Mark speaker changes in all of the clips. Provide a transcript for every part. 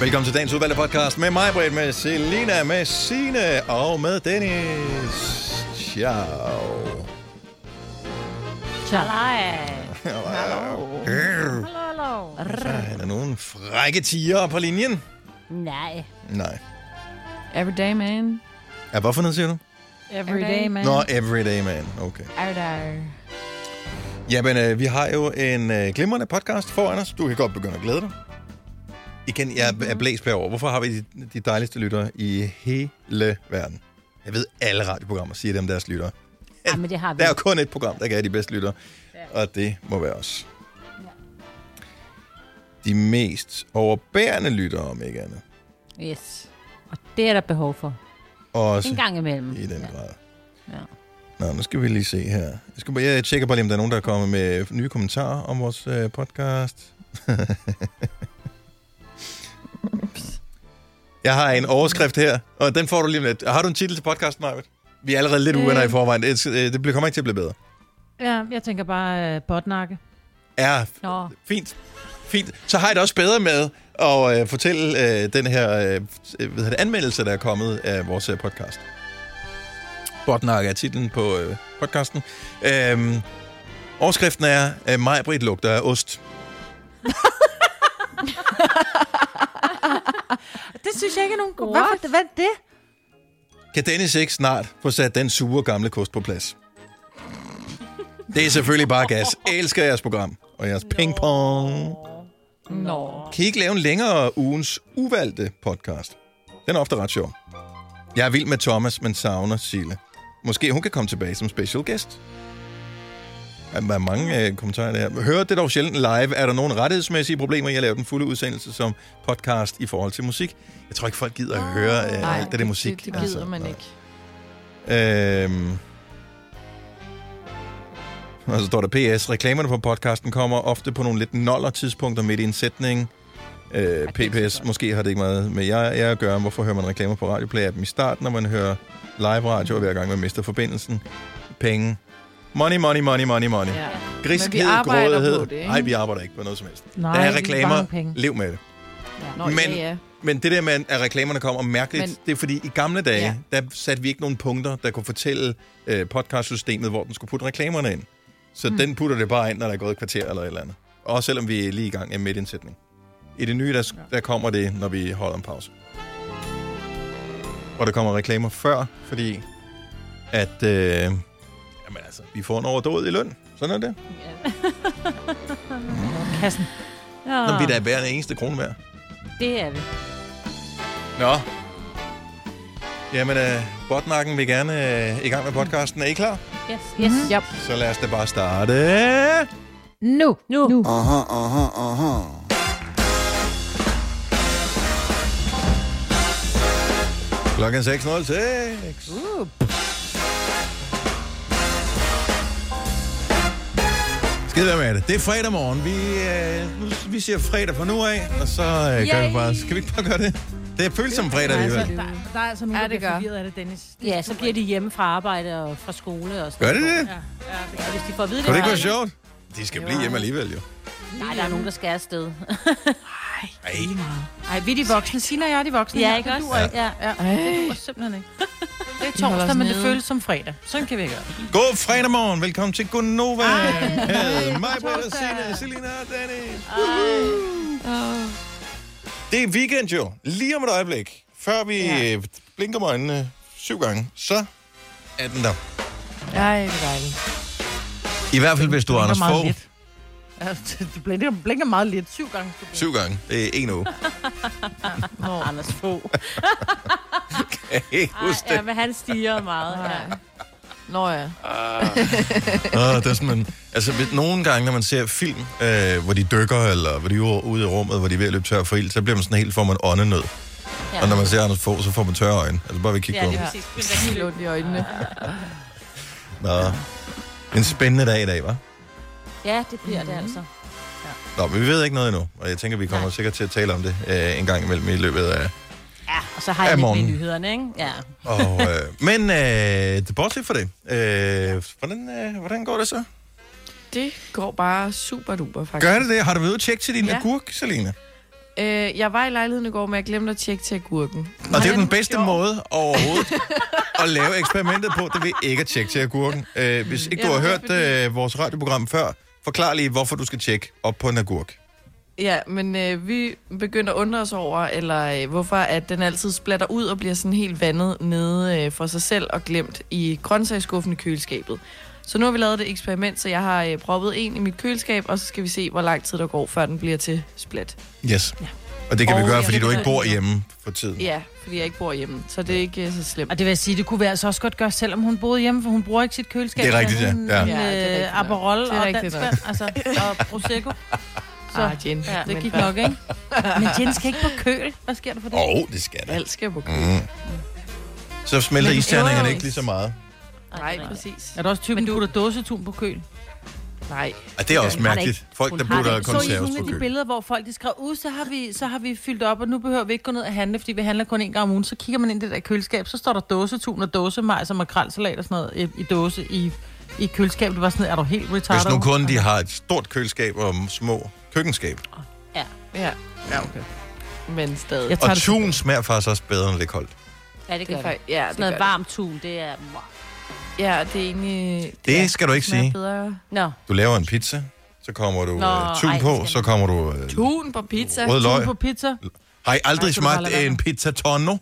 Speaker 1: Velkommen til dagens udvalgte podcast med mig, Britt, med Selina, med Sine og med Dennis. Ciao. Hallo.
Speaker 2: Hallo, hallo.
Speaker 1: Er der nogen frække tiger på linjen?
Speaker 2: Nej.
Speaker 1: Nej.
Speaker 3: Everyday man.
Speaker 1: Ja, hvorfor noget siger du?
Speaker 3: Everyday man.
Speaker 1: Nå, everyday man. Okay.
Speaker 3: Everyday.
Speaker 1: Jamen, øh, vi har jo en øh, glimrende podcast foran os. Du kan godt begynde at glæde dig. Igen, jeg er blæst over. Hvorfor har vi de, de dejligste lyttere i hele verden? Jeg ved, alle radioprogrammer siger dem deres lyttere.
Speaker 2: Ja, men det har vi.
Speaker 1: Der er jo kun et program, der kan have de bedste lyttere, og det må være os. De mest overbærende lyttere, om ikke andet.
Speaker 2: Yes. Og det er der behov for.
Speaker 1: Også
Speaker 2: En gang imellem.
Speaker 1: i den grad. Mm.
Speaker 2: Ja.
Speaker 1: Nå, nu skal vi lige se her. Jeg, skal, bare- jeg tjekker bare lige, om der er nogen, der er kommet med nye kommentarer om vores øh, podcast. jeg har en overskrift her, og den får du lige om lidt. Har du en titel til podcasten, Marvitt? Vi er allerede lidt
Speaker 3: Øh.
Speaker 1: uvenner i forvejen. Det, øh, det bliver- kommer ikke til at blive bedre.
Speaker 3: Ja, jeg tænker bare uh, botnakke.
Speaker 1: Ja,
Speaker 3: Nå.
Speaker 1: fint. Fint. Så har jeg det også bedre med at øh, fortælle øh, den her øh, hvad hedder det, anmeldelse, der er kommet af vores øh, podcast. Botnak er titlen på øh, podcasten. Øhm, overskriften er, øh, Majbrit lugter af ost.
Speaker 3: Det synes jeg ikke er nogen god.
Speaker 2: What?
Speaker 3: Hvorfor? Hvad er det?
Speaker 1: Kan Dennis ikke snart få sat den sure gamle kost på plads? Det er selvfølgelig bare gas. Elsker jeres program og jeres pingpong.
Speaker 3: Nå.
Speaker 1: Kan I ikke lave en længere ugens uvalgte podcast? Den er ofte ret sjov. Jeg er vild med Thomas, men savner Sille. Måske hun kan komme tilbage som special guest. Ja, Der er mange øh, kommentarer der. Hører det dog sjældent live. Er der nogle rettighedsmæssige problemer i at lave den fulde udsendelse som podcast i forhold til musik? Jeg tror ikke, folk gider at høre øh,
Speaker 3: nej,
Speaker 1: alt det der musik.
Speaker 3: Det, det gider altså, man nej. ikke.
Speaker 1: Øhm. Og så står der PS. Reklamerne på podcasten kommer ofte på nogle lidt noller tidspunkter midt i en sætning. Øh, PPS, måske har det ikke meget med jer, jer at gøre. Hvorfor hører man reklamer på radioplay-appen i starten, når man hører live radio, og hver gang man mister forbindelsen? Penge. Money, money, money, money, money. Ja.
Speaker 3: Ja. Men vi
Speaker 1: Griskhed,
Speaker 3: arbejder på
Speaker 1: grådighed.
Speaker 3: det, ikke?
Speaker 1: Nej, vi arbejder ikke på noget som helst.
Speaker 3: Nej,
Speaker 1: der
Speaker 3: vi
Speaker 1: er
Speaker 3: er
Speaker 1: reklamer.
Speaker 3: mange penge.
Speaker 1: Lev med det.
Speaker 3: Nå,
Speaker 1: Men-
Speaker 3: men, ja, ja.
Speaker 1: Men det der med, at reklamerne kommer mærkeligt, Men...
Speaker 3: Men-
Speaker 1: det er fordi i gamle dage, ja. der satte vi ikke nogen punkter, der kunne fortælle øh, podcastsystemet, hvor den skulle putte reklamerne ind. Så mm. den putter det bare ind, når der er gået et kvarter eller et eller andet. Og selvom vi er lige i gang er midt i en sætning. I det nye, der, der kommer det, når vi holder en pause. Og der kommer reklamer før, fordi at, øh, jamen altså, vi får en overdåd i løn. Sådan er det.
Speaker 3: Kassen.
Speaker 2: Ah.
Speaker 1: Nå. Når vi da bærer en eneste krone værd.
Speaker 2: Det er vi.
Speaker 1: Nå. Jamen, øh, botnakken vil gerne øh, i gang med podcasten. Er I klar?
Speaker 2: Yes, yes. Mm-hmm.
Speaker 3: Yep.
Speaker 1: Så lad os da bare starte.
Speaker 3: Nu. Nu. nu.
Speaker 1: Klokken 6.06.
Speaker 3: Uh.
Speaker 1: Skid være med det. Det er fredag morgen. Vi, øh, nu- vi siger fredag fra nu af, og så øh, gør vi
Speaker 2: Yay.
Speaker 1: bare... Skal vi ikke bare gøre det? Det føles som fredag alligevel.
Speaker 3: Der, der er altså nogen,
Speaker 4: Ja,
Speaker 3: der
Speaker 4: det
Speaker 3: bliver
Speaker 4: gør.
Speaker 3: forvirret af det, Dennis.
Speaker 2: Ja, så bliver de hjemme fra arbejde og fra skole. Og sådan
Speaker 1: Gør det
Speaker 2: noget.
Speaker 1: det?
Speaker 2: Ja, hvis de får at vide
Speaker 1: Kunne det ikke
Speaker 2: her-
Speaker 1: være sjovt? De skal blive hjemme alligevel, jo.
Speaker 2: Nej, der er nogen, der skal afsted.
Speaker 1: Ej,
Speaker 3: Ej, vi er de voksne. Sina og jeg er de voksne.
Speaker 2: Ja,
Speaker 3: her.
Speaker 2: ikke
Speaker 3: Det
Speaker 2: også?
Speaker 3: duer ikke.
Speaker 2: Ja.
Speaker 3: Ja, det duer simpelthen ikke. Det er
Speaker 4: holder
Speaker 3: torsdag,
Speaker 4: os
Speaker 3: men det
Speaker 4: nede.
Speaker 3: føles som fredag. Sådan kan vi gøre.
Speaker 1: God fredag morgen. Velkommen til Gunova. Med mig, Britta, Signe, Selina og Dennis. Det er weekend jo. Lige om et øjeblik. Før vi ja. blinker med øjnene syv gange, så er den der.
Speaker 4: Ej, det er dejligt.
Speaker 1: I hvert fald, hvis du er Anders
Speaker 3: meget
Speaker 1: Fogh.
Speaker 3: lidt. Ja, det- det blinker, blinker meget lidt. Syv gange. skulle du-
Speaker 1: Syv gange. Det er en uge.
Speaker 3: Nå.
Speaker 2: Anders Fogh.
Speaker 1: Ikke husk
Speaker 2: Ja, men han stiger meget. Ja.
Speaker 4: Nå ja.
Speaker 1: Nå, det er sådan, man, altså, hvis- nogle gange, når man ser film, øh, hvor de dykker, eller hvor de er ude i rummet, hvor de er ved at løbe tør for ild, så bliver man sådan helt, får man åndenød. Ja. Og når man ser Anders Fogh, så får man tørre øjne. Altså bare ved at kigge
Speaker 2: Ja,
Speaker 1: på
Speaker 2: lige
Speaker 1: ham.
Speaker 2: præcis.
Speaker 4: Helt ondt i øjnene.
Speaker 1: Nå. En spændende dag i dag, hva'?
Speaker 2: Ja, det bliver det altså.
Speaker 1: Nå, men vi ved ikke noget endnu, og jeg tænker, vi kommer Nej. sikkert til at tale om det øh, en gang imellem i løbet af...
Speaker 2: Ja, og så har jeg
Speaker 1: Ja,
Speaker 2: lidt
Speaker 1: morgen.
Speaker 2: med nyhederne, ikke? Ja.
Speaker 1: Og, øh, men øh, det bortset fra det. Øh, hvordan, øh, hvordan går det så?
Speaker 4: Det går bare super duper, faktisk.
Speaker 1: Gør det det? Har du været ude og tjekke til din ja.
Speaker 4: Ja.
Speaker 1: agurk, Selina?
Speaker 4: Øh, jeg var i lejligheden i går, men jeg glemte at tjekke til agurken.
Speaker 1: Og det er jo den bedste måde overhovedet at lave eksperimentet på, det ved ikke at tjekke til agurken. Øh, hvis ikke du
Speaker 4: Ja,
Speaker 1: har
Speaker 4: det er
Speaker 1: hørt øh, vores radioprogram før, forklar lige, hvorfor du skal tjekke op på en agurk.
Speaker 4: Ja, men øh, vi begyndte at undre os over, eller øh, hvorfor at den altid splatter ud og bliver sådan helt vandet nede øh, for sig selv og glemt i grøntsagsskuffen i køleskabet. Så nu har vi lavet et eksperiment, så jeg har øh, proppet en i mit køleskab, og så skal vi se, hvor lang tid der går, før den bliver til splat.
Speaker 1: Yes. Og det kan vi
Speaker 2: Og
Speaker 1: gøre,
Speaker 2: jeg
Speaker 1: fordi
Speaker 2: ved
Speaker 1: du ikke
Speaker 2: det.
Speaker 1: bor hjemme for tiden.
Speaker 4: Ja, fordi jeg ikke bor hjemme, så det er ikke øh, så slemt.
Speaker 5: Og det vil jeg sige, det kunne vi altså også godt gøre, selvom hun boede hjemme, for hun bruger ikke sit køleskab.
Speaker 1: Det er rigtigt, ja.
Speaker 5: Hun,
Speaker 1: Ja.
Speaker 5: øh,
Speaker 4: Ja, det er rigtigt nok.
Speaker 5: Aperol
Speaker 4: Det er
Speaker 5: og
Speaker 4: rigtigt
Speaker 5: dansk vand, altså, og Prosecco. Så
Speaker 4: Ah, Jen,
Speaker 2: Ja,
Speaker 5: det gik
Speaker 4: hvad-
Speaker 5: nok, ikke? Men Jens skal ikke på køl. Hvad sker der for det?
Speaker 1: Åh, oh, det skal det.
Speaker 4: Alt skal på køl.
Speaker 1: Mm. Så smelter
Speaker 5: Men-
Speaker 1: isterningerne
Speaker 5: Jo, jo.
Speaker 1: ikke lige så meget.
Speaker 4: Nej, præcis.
Speaker 5: Er der også typen, du putter dåsetun på køl?
Speaker 4: Nej.
Speaker 1: Og det er også
Speaker 5: Hun har det
Speaker 1: mærkeligt. Folk, der
Speaker 5: Har
Speaker 1: putter
Speaker 5: det- så I
Speaker 1: konserves
Speaker 5: nogle af
Speaker 1: på
Speaker 5: de
Speaker 1: køl.
Speaker 5: billeder, hvor folk de skrev, ud, så har, vi, så har vi fyldt op, og nu behøver vi ikke gå ned og handle, fordi vi handler kun en gang om ugen. Så kigger man ind i det der køleskab, så står der dåsetun og dåsemajs og makrelsalat og sådan noget i, i dåse i, i køleskabet. Det var sådan, er du helt retarded?
Speaker 1: Hvis nu kun de har et stort køleskab og små køkkenskab.
Speaker 4: Ja. Ja, okay. Men stadig.
Speaker 5: Jeg tager
Speaker 1: Og
Speaker 5: det,
Speaker 1: tun smager faktisk også bedre, end lidt koldt.
Speaker 2: Ja, det
Speaker 4: det
Speaker 2: gør
Speaker 4: er
Speaker 2: det.
Speaker 4: faktisk, ja, det
Speaker 2: Sådan noget
Speaker 4: gør det.
Speaker 2: varmt tun, det er...
Speaker 4: Ja, det er egentlig...
Speaker 1: Det skal du ikke
Speaker 4: smager
Speaker 1: sige.
Speaker 4: Bedre.
Speaker 2: Nå,
Speaker 1: Du laver en pizza, så kommer du
Speaker 2: Nå,
Speaker 1: øh, tun
Speaker 2: ej,
Speaker 1: på,
Speaker 2: det skal
Speaker 1: så kommer du øh,
Speaker 4: Tun på pizza.
Speaker 5: tun
Speaker 1: rød løg.
Speaker 5: på pizza. Det
Speaker 1: Har I
Speaker 5: Ej,
Speaker 1: aldrig
Speaker 5: det skal du bare
Speaker 1: smagt
Speaker 5: lade være
Speaker 1: en
Speaker 5: med.
Speaker 1: pizza tonno?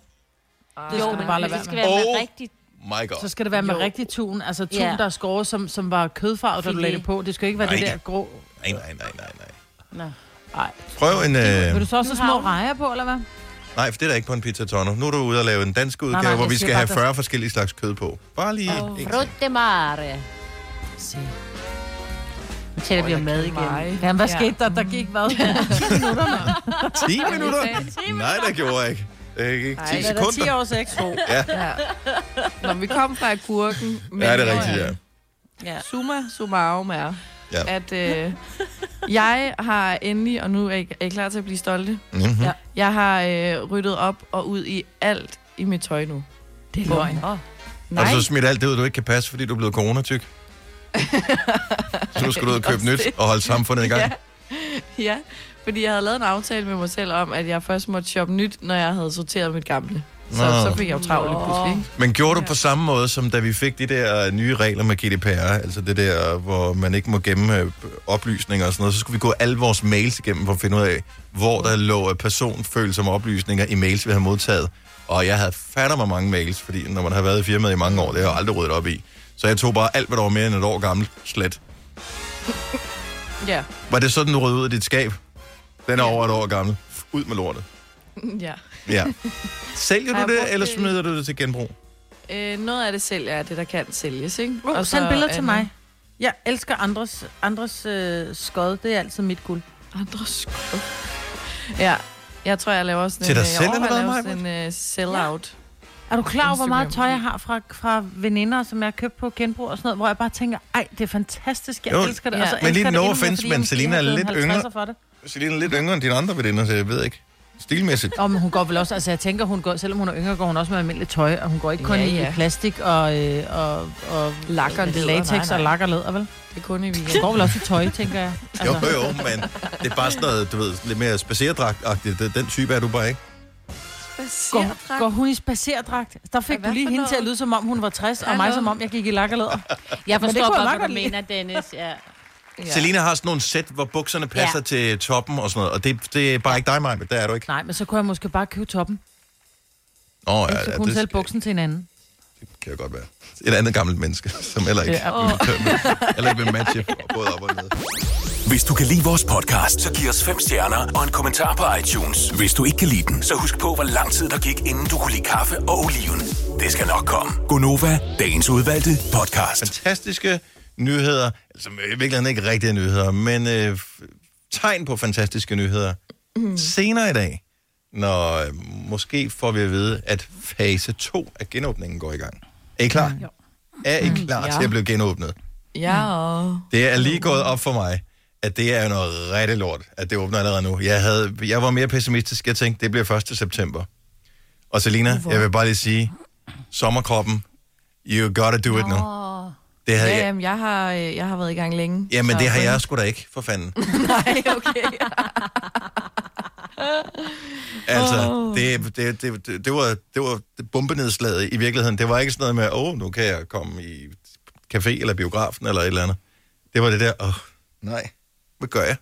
Speaker 5: skal
Speaker 2: jo,
Speaker 5: du
Speaker 2: men
Speaker 5: bare lade
Speaker 2: hvis det
Speaker 5: være
Speaker 2: skal
Speaker 5: med.
Speaker 2: være med
Speaker 1: Oh.
Speaker 2: rigtigt.
Speaker 1: My God.
Speaker 5: Så skal det være med
Speaker 4: Jo.
Speaker 5: rigtig tun, altså tun,
Speaker 2: Ja.
Speaker 5: der er skåret, som, som var kødfarvet, da du
Speaker 2: Filet.
Speaker 5: lagde det på. Det skal ikke være det
Speaker 1: Nej.
Speaker 5: der grå...
Speaker 1: Nej, nej, nej, nej, nej.
Speaker 2: Nå.
Speaker 1: Prøv en...
Speaker 5: Vil du
Speaker 1: Øh,
Speaker 5: så også
Speaker 2: Nu
Speaker 5: have små
Speaker 2: har hun-
Speaker 5: rejer på, eller hvad?
Speaker 1: nej, for det er da ikke på en pizza tonno. Nu er du ude og lave en dansk udgave,
Speaker 5: nej,
Speaker 1: hvor
Speaker 5: jeg
Speaker 1: vi
Speaker 5: siger
Speaker 1: skal
Speaker 5: bare,
Speaker 1: have
Speaker 5: der-
Speaker 1: 40 forskellige slags kød på. Bare lige... Oh.
Speaker 2: Frutte mare. Se. Nu tæller vi om mad igen.
Speaker 5: Jamen, hvad skete der? Der gik hvad?
Speaker 1: 10 minutter? Nej, det gjorde jeg ikke. Øh, ikke 10
Speaker 5: Det er da 10
Speaker 1: sekunder.
Speaker 5: års ekstra.
Speaker 4: Ja. Når vi kom fra agurken... Men
Speaker 1: Ja, det er rigtigt, ja.
Speaker 2: Ja.
Speaker 4: Summa summarum er,
Speaker 1: Ja.
Speaker 4: at øh, jeg har endelig, og nu er I, er I klar til at blive stolte,
Speaker 1: Mm-hmm.
Speaker 5: Ja.
Speaker 4: jeg har øh, ryddet op og ud i alt i mit tøj nu.
Speaker 5: Det er løgn.
Speaker 1: Har
Speaker 4: Nej,
Speaker 1: du så smidt alt det ud, du ikke kan passe, fordi du er blevet coronatyk? så nu skal du ud og købe
Speaker 4: Også
Speaker 1: nyt
Speaker 4: det.
Speaker 1: og holde samfundet i gang.
Speaker 4: Ja. ja, fordi jeg havde lavet en aftale med mig selv om, at jeg først måtte shoppe nyt, når jeg havde sorteret mit gamle. Så,
Speaker 1: Nå.
Speaker 4: så fik jeg jo travlt lige pludselig. ikke?
Speaker 1: Men gjorde du på samme måde, som da vi fik de der øh, nye regler med GDPR, altså det der, hvor man ikke må gemme øh, oplysninger og sådan noget, så skulle vi gå alle vores mails igennem for at finde ud af, hvor der lå øh, personfølsomme oplysninger i mails, vi havde modtaget. Og jeg havde fatter mig mange mails, fordi når man har været i firmaet i mange år, det har jeg aldrig ryddet op i. Så jeg tog bare alt, hvad der var mere end et år gammelt, slet.
Speaker 4: Ja,
Speaker 1: Var det sådan, du rød ud af dit skab? Den er over et år gammel. Ud med lortet.
Speaker 4: ja.
Speaker 1: Ja. Sælger
Speaker 4: Har
Speaker 1: du
Speaker 4: jeg brugt
Speaker 1: det, eller
Speaker 4: det?
Speaker 1: smider du det til genbrug?
Speaker 4: Øh, noget af det sælger jeg, det der kan sælges, ikke?
Speaker 5: Uh,
Speaker 4: Og så
Speaker 5: send billeder til
Speaker 4: andet-
Speaker 5: mig. Jeg elsker andres, andres øh, skod. Det er altid mit guld.
Speaker 4: Andre sko. Ja, jeg tror, jeg laver sådan
Speaker 1: Til
Speaker 4: en...
Speaker 1: dig
Speaker 4: øh, jeg
Speaker 1: selv, eller
Speaker 4: overvejer
Speaker 1: hvad,
Speaker 4: at lave sådan en uh, sell-out.
Speaker 5: Er du klar over, hvor meget tøj
Speaker 4: Instagram.
Speaker 5: jeg har fra, fra veninder, som jeg har købt på genbrug og sådan noget, hvor jeg bare tænker, ej, det er fantastisk, jeg
Speaker 1: Jo,
Speaker 5: jo, elsker det.
Speaker 4: ja.
Speaker 5: Og så
Speaker 4: Men
Speaker 5: elsker
Speaker 1: lige
Speaker 5: jeg det
Speaker 1: no
Speaker 5: endnu mere,
Speaker 1: offense,
Speaker 5: fordi
Speaker 1: men
Speaker 5: jeg måske
Speaker 1: Selina
Speaker 5: har
Speaker 1: er
Speaker 5: givet
Speaker 1: lidt
Speaker 5: en 50'er
Speaker 1: yngre.
Speaker 5: For det.
Speaker 1: Selina er lidt yngre end dine andre veninder, så jeg ved ikke. Stilmæssigt.
Speaker 5: Og men hun går vel også, altså jeg tænker, hun går, selvom hun er yngre, går hun også med almindeligt tøj, og hun går ikke kun
Speaker 4: Ja,
Speaker 5: ja, ja.
Speaker 4: ja.
Speaker 5: i plastik og, øh, og, og
Speaker 4: Lak og læder,
Speaker 5: latex
Speaker 4: nej, nej.
Speaker 5: og lak og læder, vel?
Speaker 4: Det er kun i
Speaker 5: Hun
Speaker 4: weekend.
Speaker 5: går vel også i tøj, tænker jeg. Altså.
Speaker 1: Jo,
Speaker 4: Altså.
Speaker 1: jo, men det er bare sådan noget, du ved, lidt mere spacerdragtagtigt. Den- Den type er du bare ikke.
Speaker 5: Går, går hun i spacerdragt? Der fik
Speaker 4: Ja,
Speaker 5: du
Speaker 4: hvad
Speaker 5: lige
Speaker 4: for
Speaker 5: hende
Speaker 4: noget?
Speaker 5: til at lyde som om, hun var 60, og mig
Speaker 4: Hallo?
Speaker 5: som om, jeg gik i lak og læder.
Speaker 2: Jeg
Speaker 5: Men det
Speaker 2: forstår
Speaker 5: kunne jeg
Speaker 2: godt,
Speaker 5: meget
Speaker 2: hvad du
Speaker 5: godt lide.
Speaker 2: mener, Dennis. Ja.
Speaker 1: Ja. Selina har sådan nogle sæt, hvor bukserne passer ja.
Speaker 2: Ja.
Speaker 1: til toppen og sådan noget, og det, det er bare ikke dig, Maja, der er du ikke.
Speaker 5: Nej, men så kunne jeg måske bare købe toppen.
Speaker 1: Nå, ja,
Speaker 5: Ja, så
Speaker 1: ja,
Speaker 5: kunne hun
Speaker 1: det
Speaker 5: sælge buksen til en anden.
Speaker 1: kan jo godt være. Et andet gammelt menneske, som heller ikke,
Speaker 5: Ja.
Speaker 1: ja. heller ikke vil matche både op og ned.
Speaker 6: Hvis du kan lide vores podcast, så giv os fem stjerner og en kommentar på iTunes. Hvis du ikke kan lide den, så husk på, hvor lang tid der gik, inden du kunne lide kaffe og oliven. Det skal nok komme. Gonova, dagens udvalgte podcast.
Speaker 1: Fantastiske nyheder, altså i virkeligheden ikke rigtige nyheder, men øh, f- tegn på fantastiske nyheder. Mm. Senere i dag, når øh, måske får vi at vide, at fase 2 af genåbningen går i gang. Er I klar? Mm. Er I klar
Speaker 4: Ja.
Speaker 1: til at blive genåbnet?
Speaker 4: Ja,
Speaker 5: Mm.
Speaker 4: og...
Speaker 1: Det er lige gået op for mig, at det er jo noget rigtig lort, at det åbner allerede nu. Jeg, havde, jeg var mere pessimistisk. Jeg tænkte, det bliver 1. september. Og Selina, jeg vil bare lige sige, sommerkroppen, you gotta do it nu. Det havde
Speaker 4: Ja,
Speaker 1: jeg,
Speaker 4: jamen, jeg har, øh, jeg har været i gang længe.
Speaker 1: jamen,
Speaker 4: så-
Speaker 1: det har jeg sgu da ikke, for fanden.
Speaker 4: Nej, okay.
Speaker 1: Altså, det, det, det, det, det, var, det var bombenedslaget i virkeligheden. Det var ikke sådan noget med, åh, oh, nu kan jeg komme i café eller biografen eller et eller andet. Det var det der, åh, oh, nej, hvad gør jeg?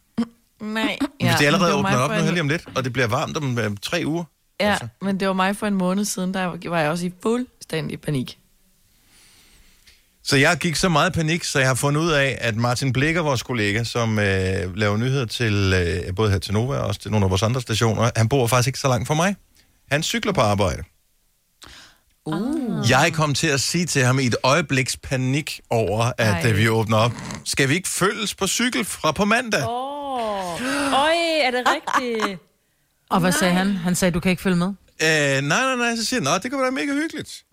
Speaker 4: Nej.
Speaker 1: Ja, Hvis det allerede
Speaker 4: var mig
Speaker 1: åbner op
Speaker 4: for
Speaker 1: nu
Speaker 4: en-
Speaker 1: her lige om lidt, og det bliver varmt om øh, tre uger.
Speaker 4: Ja,
Speaker 1: Altså.
Speaker 4: men det var mig for en måned siden, der var jeg også i fuldstændig panik.
Speaker 1: Så jeg gik så meget i panik, så jeg har fundet ud af, at Martin Blikker, vores kollega, som øh, laver nyheder til øh, både her til Nova og også til nogle af vores andre stationer, han bor faktisk ikke så langt fra mig. Han cykler på arbejde. Uh. Jeg kom til at sige til ham i et øjebliks panik over, at
Speaker 4: Ej.
Speaker 1: øh, vi åbner op. Skal vi ikke følges på cykel fra på mandag? Oh.
Speaker 2: Øj, er det rigtigt?
Speaker 5: Og hvad sagde han? Han sagde, du kan ikke følge med.
Speaker 1: Øh, nej, nej, nej. Så siger han, "Nå, det kan være mega hyggeligt.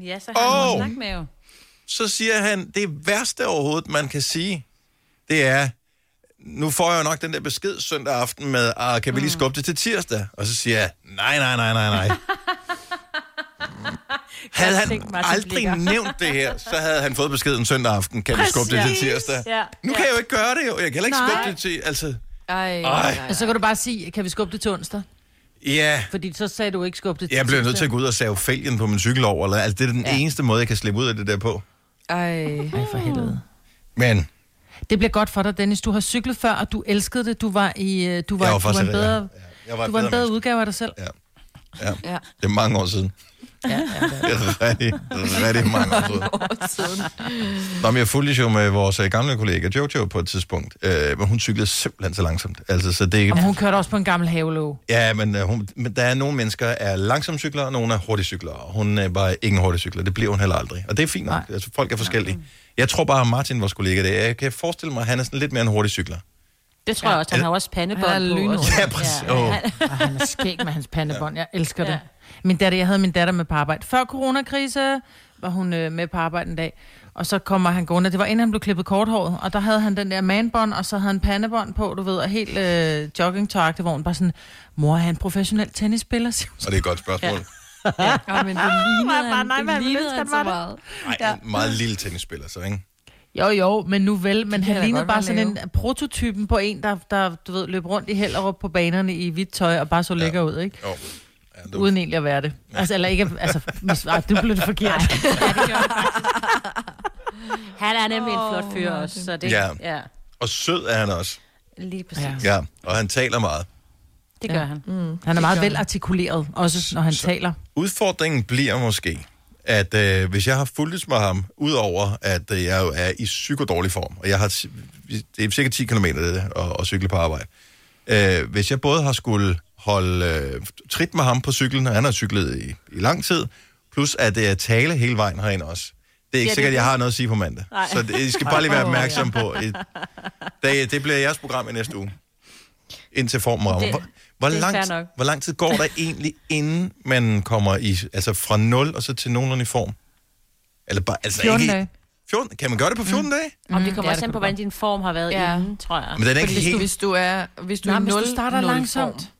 Speaker 2: Ja, så har han
Speaker 1: Åh.
Speaker 2: oh. snak med jo.
Speaker 1: så siger han, det værste overhovedet, man kan sige, det er, nu får jeg jo nok den der besked søndag aften med, ah, kan vi lige skubbe det til tirsdag? Og så siger jeg, nej, nej, nej, nej, nej. havde han
Speaker 2: tænkt, Martin
Speaker 1: aldrig
Speaker 2: Blicher.
Speaker 1: nævnt det her, så havde han fået beskeden søndag aften, kan vi skubbe det til
Speaker 2: Præcis.
Speaker 1: tirsdag?
Speaker 2: Ja.
Speaker 1: Nu
Speaker 2: Ja.
Speaker 1: kan jeg jo ikke gøre det, jo. Jeg kan heller ikke skubbe det til, altså,
Speaker 4: Ej,
Speaker 1: Ej.
Speaker 5: Og så kan du bare sige, kan vi skubbe det til onsdag?
Speaker 1: ja.
Speaker 5: Fordi så sagde du ikke skubbe det til
Speaker 1: Jeg bliver nødt til
Speaker 5: tirsdag.
Speaker 1: at gå ud og save fælgen på min cykel over, eller, altså, det er den ja. eneste måde, jeg kan slippe ud af det der på.
Speaker 4: Ej.
Speaker 5: Ej, for helvede.
Speaker 1: Men
Speaker 5: Det bliver godt for dig, Dennis. Du har cyklet før, og du elskede det. Du var, i, øh, du var,
Speaker 1: jeg var
Speaker 5: du var en
Speaker 1: faktisk...
Speaker 5: bedre,
Speaker 1: ja, jeg var
Speaker 5: du var en bedre
Speaker 1: menneske.
Speaker 5: udgave af dig selv.
Speaker 1: Ja.
Speaker 4: Ja.
Speaker 1: Det er mange år siden. Ja, ja, det er rigtig, rigtig mange år siden. Nå, men jeg fulgte jo med vores øh, gamle kollega Jojo på et tidspunkt, øh, men hun cyklede simpelthen så langsomt. Altså, så det,
Speaker 5: Og hun kørte også på en gammel havelåge.
Speaker 1: ja, men, øh, hun, men der er nogle mennesker, der er langsomme cyklere, og nogle er hurtige cyklere. Og Hun øh, var ikke en hurtig cykler, det bliver hun heller aldrig. Og det er fint nok, altså, folk er forskellige. Jeg tror bare, at Martin, vores kollega, det er, jeg kan forestille mig, at han er sådan lidt mere en hurtig cykler.
Speaker 2: Det tror jeg også. Han har også
Speaker 5: Han er
Speaker 2: pandebånd på.
Speaker 5: lynhurtig.
Speaker 2: også.
Speaker 1: Ja, præcis. Ja. Oh.
Speaker 5: Ej, han er skæg med hans pandebånd. Jeg elsker det. Min datter, jeg havde min datter med på arbejde. Før coronakrise var hun øh, med på arbejde en dag. Og så kommer han gående. Det var inden han blev klippet korthåret. Og der havde han den der manbånd, og så havde han pandebånd på, du ved. Og helt øh, jogging hvor hun bare sådan, mor, er han professionel tennisspiller? siger hun så.
Speaker 1: Og det er et godt spørgsmål.
Speaker 4: Ej, men det lignede
Speaker 3: bare,
Speaker 4: han,
Speaker 3: Ah, nej,
Speaker 4: det
Speaker 3: hvor jeg ville
Speaker 4: lignede
Speaker 3: ønske, han
Speaker 4: han så
Speaker 3: var det.
Speaker 4: meget.
Speaker 1: Nej, ja. en meget lille tennisspiller, så ikke?
Speaker 5: Jo, jo, men nu vel. Men
Speaker 4: da
Speaker 5: han lignede
Speaker 4: godt
Speaker 5: bare
Speaker 4: være
Speaker 5: sådan en prototypen på en, der, der du ved, løb rundt i Hellerup på banerne i hvidt tøj og bare så lækker ud, ikke?
Speaker 1: Jo. Ja, det var-
Speaker 5: Uden egentlig at være det. Altså, eller ikke, altså, mis, ej, du blev det forkert.
Speaker 2: Han er nemlig en flot fyr
Speaker 4: Åh,
Speaker 2: også, så det...
Speaker 1: Ja.
Speaker 2: Ja. ja.
Speaker 1: Og sød er han også.
Speaker 2: Lige præcis. Ja.
Speaker 1: Ja, og han taler meget.
Speaker 2: Det gør han. Mm.
Speaker 5: Han er meget velartikuleret, også når han så. taler.
Speaker 1: Udfordringen bliver måske, at øh, hvis jeg har fulgtes med ham, udover at øh, jeg jo er i psykodårlig form, og jeg har si- det er cirka 10 km det, der, og, og cykle på arbejde. Øh, hvis jeg både har skulle holde øh, trit med ham på cyklen, og han har cyklet i, i lang tid, plus at det er tale hele vejen herind også. Det er ikke ja,
Speaker 2: det
Speaker 1: sikkert,
Speaker 2: er
Speaker 1: at jeg
Speaker 2: det.
Speaker 1: har noget at sige på mandag. Nej. Så det, I skal bare lige være opmærksom på. Et, det, det bliver jeres program i næste uge. Indtil formen rammer.
Speaker 2: Det-
Speaker 1: Hvor, hvor,
Speaker 2: det er
Speaker 1: lang,
Speaker 2: fair
Speaker 1: tid-
Speaker 2: nok.
Speaker 1: hvor lang tid går der egentlig, inden man kommer i, altså fra 0 og så til nogenlunde i form? Eller bare, altså
Speaker 5: 14
Speaker 1: ikke,
Speaker 5: dage.
Speaker 1: 14, kan man gøre det på 14 mm. dage?
Speaker 2: Om det kommer
Speaker 5: ja,
Speaker 2: også
Speaker 5: det
Speaker 2: an
Speaker 5: kan
Speaker 2: på, hvordan din form har været
Speaker 4: Ja.
Speaker 2: ja. inden, tror jeg.
Speaker 1: Men den er ikke
Speaker 4: Fordi hvis du,
Speaker 1: helt...
Speaker 4: hvis du er, hvis du
Speaker 5: Nej,
Speaker 4: er
Speaker 5: hvis du
Speaker 4: 0,
Speaker 5: starter langsomt.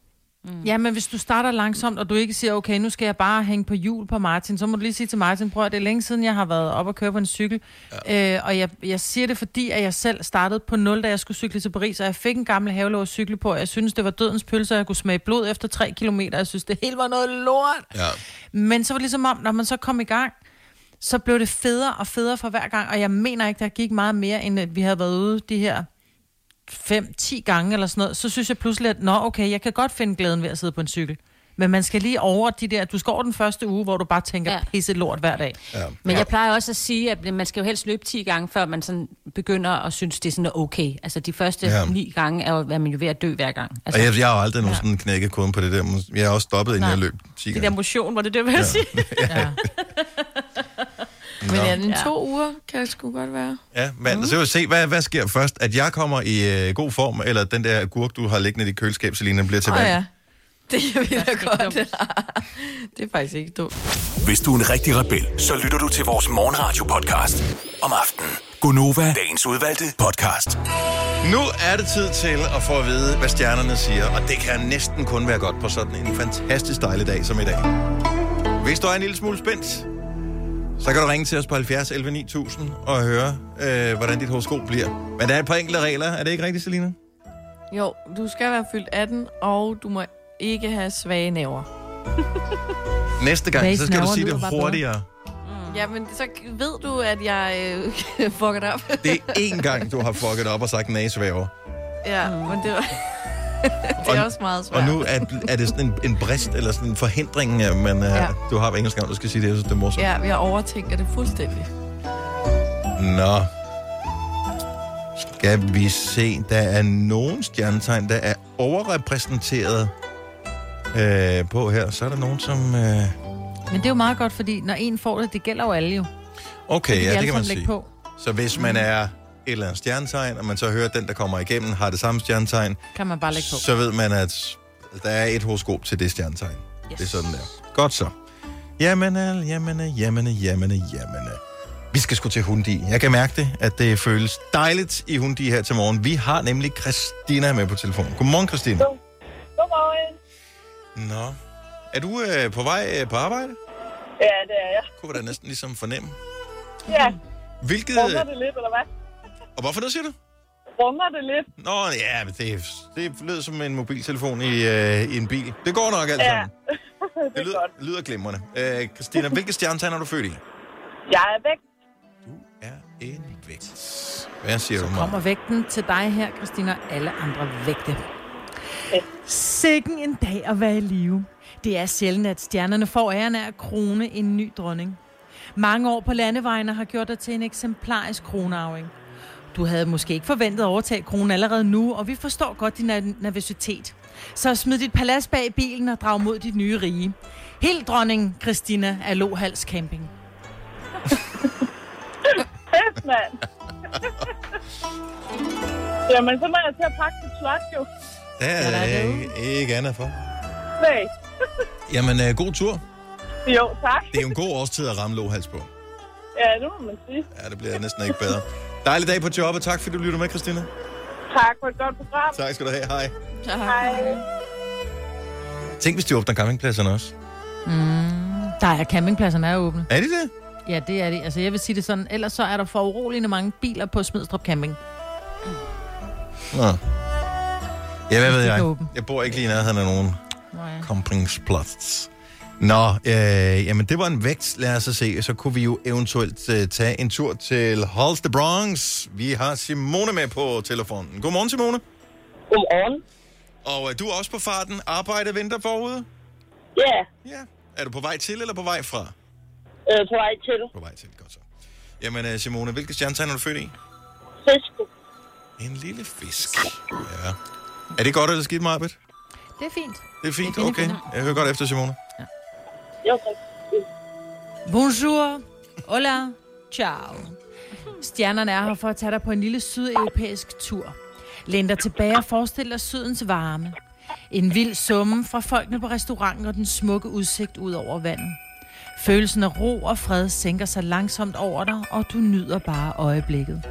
Speaker 5: Mm. Ja, men hvis du starter langsomt, og du ikke siger, okay, nu skal jeg bare hænge på hjul på Martin, så må du lige sige til Martin, prøv at det er længe siden, jeg har været op og køre på en cykel. Ja. Øh, og jeg, jeg siger det, fordi at jeg selv startede på 0, da jeg skulle cykle til Paris, og jeg fik en gammel havelov at cykle på, og jeg synes det var dødens pølse, og jeg kunne smage blod efter 3 kilometer, jeg synes, det hele var noget lort.
Speaker 1: Ja.
Speaker 5: Men så var det ligesom om, når man så kom i gang, så blev det federe og federe for hver gang, og jeg mener ikke, der gik meget mere, end at vi havde været ude de her 5-10 gange eller sådan noget, så synes jeg pludselig, at nå okay, jeg kan godt finde glæden ved at sidde på en cykel. Men man skal lige over de der, du skal over den første uge, hvor du bare tænker ja.
Speaker 2: Ja.
Speaker 5: pisse lort hver dag.
Speaker 1: Ja.
Speaker 2: Men jeg plejer også at sige, at man skal jo helst løbe 10 gange, før man sådan begynder at synes, det er sådan okay. Altså de første
Speaker 1: Ja.
Speaker 2: ja. 9 gange er jo, hvad man jo ved at dø hver gang. Altså,
Speaker 1: Og jeg, jeg har jo aldrig nogensinde knækket koden på det der. Jeg har også stoppet, inden
Speaker 2: Nej.
Speaker 1: jeg løb 10
Speaker 2: det der
Speaker 1: gange.
Speaker 2: motion, var det det, vil jeg ja. sige?
Speaker 4: Men ja, den to uger kan det sgu godt være.
Speaker 1: Ja,
Speaker 2: Mm.
Speaker 1: men så vil vi se, hvad, hvad sker først? At jeg kommer i øh, god form, eller den der gurk, du har liggende i dit køleskab, Selina, bliver
Speaker 4: Åh
Speaker 1: tilbage?
Speaker 4: ja, det er virkelig godt. det er faktisk ikke dumt.
Speaker 6: Hvis du er en rigtig rebel, så lytter du til vores morgenradio-podcast om aftenen. Gunova, dagens udvalgte podcast.
Speaker 1: Nu er det tid til at få at vide, hvad stjernerne siger, og det kan næsten kun være godt på sådan en fantastisk dejlig dag som i dag. Hvis du er en lille smule spændt, så kan du ringe til os på 70 11 9000 og høre, øh, hvordan dit horoskop bliver. Men der er et par enkelte regler, er det ikke rigtigt, Selina?
Speaker 4: Jo, du skal være fyldt 18, og du må ikke have svage næver.
Speaker 1: Næste gang,
Speaker 2: Hvad
Speaker 1: så skal du
Speaker 2: snavrer
Speaker 1: sige
Speaker 2: lyder
Speaker 1: det
Speaker 2: bare bedre.
Speaker 1: hurtigere.
Speaker 4: Ja, men så ved du, at jeg øh, fucker det op.
Speaker 1: Det er én gang, du har fucket op og sagt næsvæver.
Speaker 4: Ja, men det var... det er
Speaker 1: Og-
Speaker 4: også meget svært.
Speaker 1: Og nu er, er det sådan en, en brist, eller sådan en forhindring, øh, men ja.
Speaker 4: Ja.
Speaker 1: du har på engelsk navn, du skal sige det, jeg synes, det er morsomt.
Speaker 4: Ja, vi har overtænkt det fuldstændig.
Speaker 1: Nå. Skal vi se, der er nogen stjernetegn, der er overrepræsenteret øh, på her. Så er der nogen, som... Øh...
Speaker 5: Men det er jo meget godt, fordi når en får det, det gælder jo alle jo.
Speaker 1: Okay, ja,
Speaker 5: alle
Speaker 1: det kan
Speaker 5: sammen
Speaker 1: man
Speaker 5: lægge
Speaker 1: sige.
Speaker 5: På.
Speaker 1: Så hvis man er et eller andet stjernetegn, og man så hører, at den, der kommer igennem, har det samme stjernetegn,
Speaker 5: Kan man bare lægge på.
Speaker 1: så ved man, at der er et horoskop til det stjernetegn. Yes. Det er sådan der. Godt så. Jamen, øh, jamen, øh, jamen, øh, jamen, øh, jamen. øh. Vi skal sgu til Hundi. Jeg kan mærke det, at det føles dejligt i Hundi her til morgen. Vi har nemlig Christina med på telefonen. Godmorgen, Christina.
Speaker 7: Godmorgen.
Speaker 1: Nå. Er du øh, på vej øh, på arbejde?
Speaker 7: Ja, det er jeg.
Speaker 1: Kunne vi da næsten ligesom fornemme.
Speaker 7: Ja,
Speaker 1: Hvilket...
Speaker 7: rummer det lidt, eller hvad?
Speaker 1: Og hvorfor det, siger du?
Speaker 7: Rummer det lidt?
Speaker 1: Nå, ja, men det, det lød som en mobiltelefon i, øh, i en bil. Det går nok alt
Speaker 7: Ja,
Speaker 1: sammen.
Speaker 7: det
Speaker 1: Det
Speaker 7: er
Speaker 1: lyder,
Speaker 7: godt.
Speaker 1: lyder glimrende. Øh, Christina, hvilke stjernetegn er du født i?
Speaker 7: Jeg er væk.
Speaker 1: Du er en vægt. Hvad siger du,
Speaker 5: Kommer
Speaker 1: mig?
Speaker 5: vægten til dig her, Christina, og alle andre vægte. Sikken en dag at være i live. Det er sjældent, at stjernerne får æren af at krone en ny dronning. Mange år på landevejene har gjort dig til en eksemplarisk kronarving. Du havde måske ikke forventet at overtage kronen allerede nu, og vi forstår godt din ner- nervøsitet. Så smid dit palads bag i bilen og drag mod dit nye rige. Helt dronning Christina af Lohals Camping.
Speaker 7: Kæft, mand. Jamen, så må jeg til at pakke dit slot, jo.
Speaker 1: Der er ikke, ikke andet for.
Speaker 7: Nej.
Speaker 1: Jamen, øh, god tur.
Speaker 7: Jo, tak.
Speaker 1: Det er jo en god årstid at ramme låhals på.
Speaker 7: Ja, det må man sige.
Speaker 1: Ja, det bliver næsten ikke bedre. Dejlig dag på jobbet. Tak, fordi du lytter med, Christina.
Speaker 7: Tak for et godt program.
Speaker 1: Tak skal du have. Hej.
Speaker 7: Hej.
Speaker 1: Tænk, hvis de åbner campingpladserne også.
Speaker 5: Mm, Der er campingpladserne er åbne.
Speaker 1: Er de det?
Speaker 5: Ja, det er det. Altså, jeg vil sige det sådan. Ellers så er der for uroligende mange biler på Smidstrup Camping.
Speaker 1: Nå. Ja, hvad ved
Speaker 5: er
Speaker 1: jeg?
Speaker 5: åbent.
Speaker 1: Jeg bor ikke lige i nærheden af nogen
Speaker 5: Nå ja.
Speaker 1: Kompringsplads. Nå, øh, jamen det var en vægt, lad os så se. Så kunne vi jo eventuelt øh, tage en tur til Halls the Bronx. Vi har Simone med på telefonen. Godmorgen, Simone.
Speaker 7: Godmorgen.
Speaker 1: Og øh, du er også på farten. Arbejde venter forude?
Speaker 7: Ja,
Speaker 1: Ja. Er du på vej til eller på vej fra?
Speaker 7: øh, på vej til
Speaker 1: På vej til, godt så. Jamen øh, Simone, hvilke stjernetegn er du født i?
Speaker 7: fisken.
Speaker 1: En lille fisk. Ja. Er det godt eller skidt, Marbet?
Speaker 5: Det er fint.
Speaker 1: Det er fint,
Speaker 5: Det er fine
Speaker 1: okay.
Speaker 5: finder.
Speaker 1: Jeg hører godt efter, Simone.
Speaker 7: Jo, tak.
Speaker 5: Bonjour. Hola. Ciao. Stjernerne er her for at tage dig på en lille sydeuropæisk tur. Læn dig tilbage og forestil dig sydens varme. En vild summe fra folkene på restauranten og den smukke udsigt ud over vandet. Følelsen af ro og fred sænker sig langsomt over dig, og du nyder bare øjeblikket.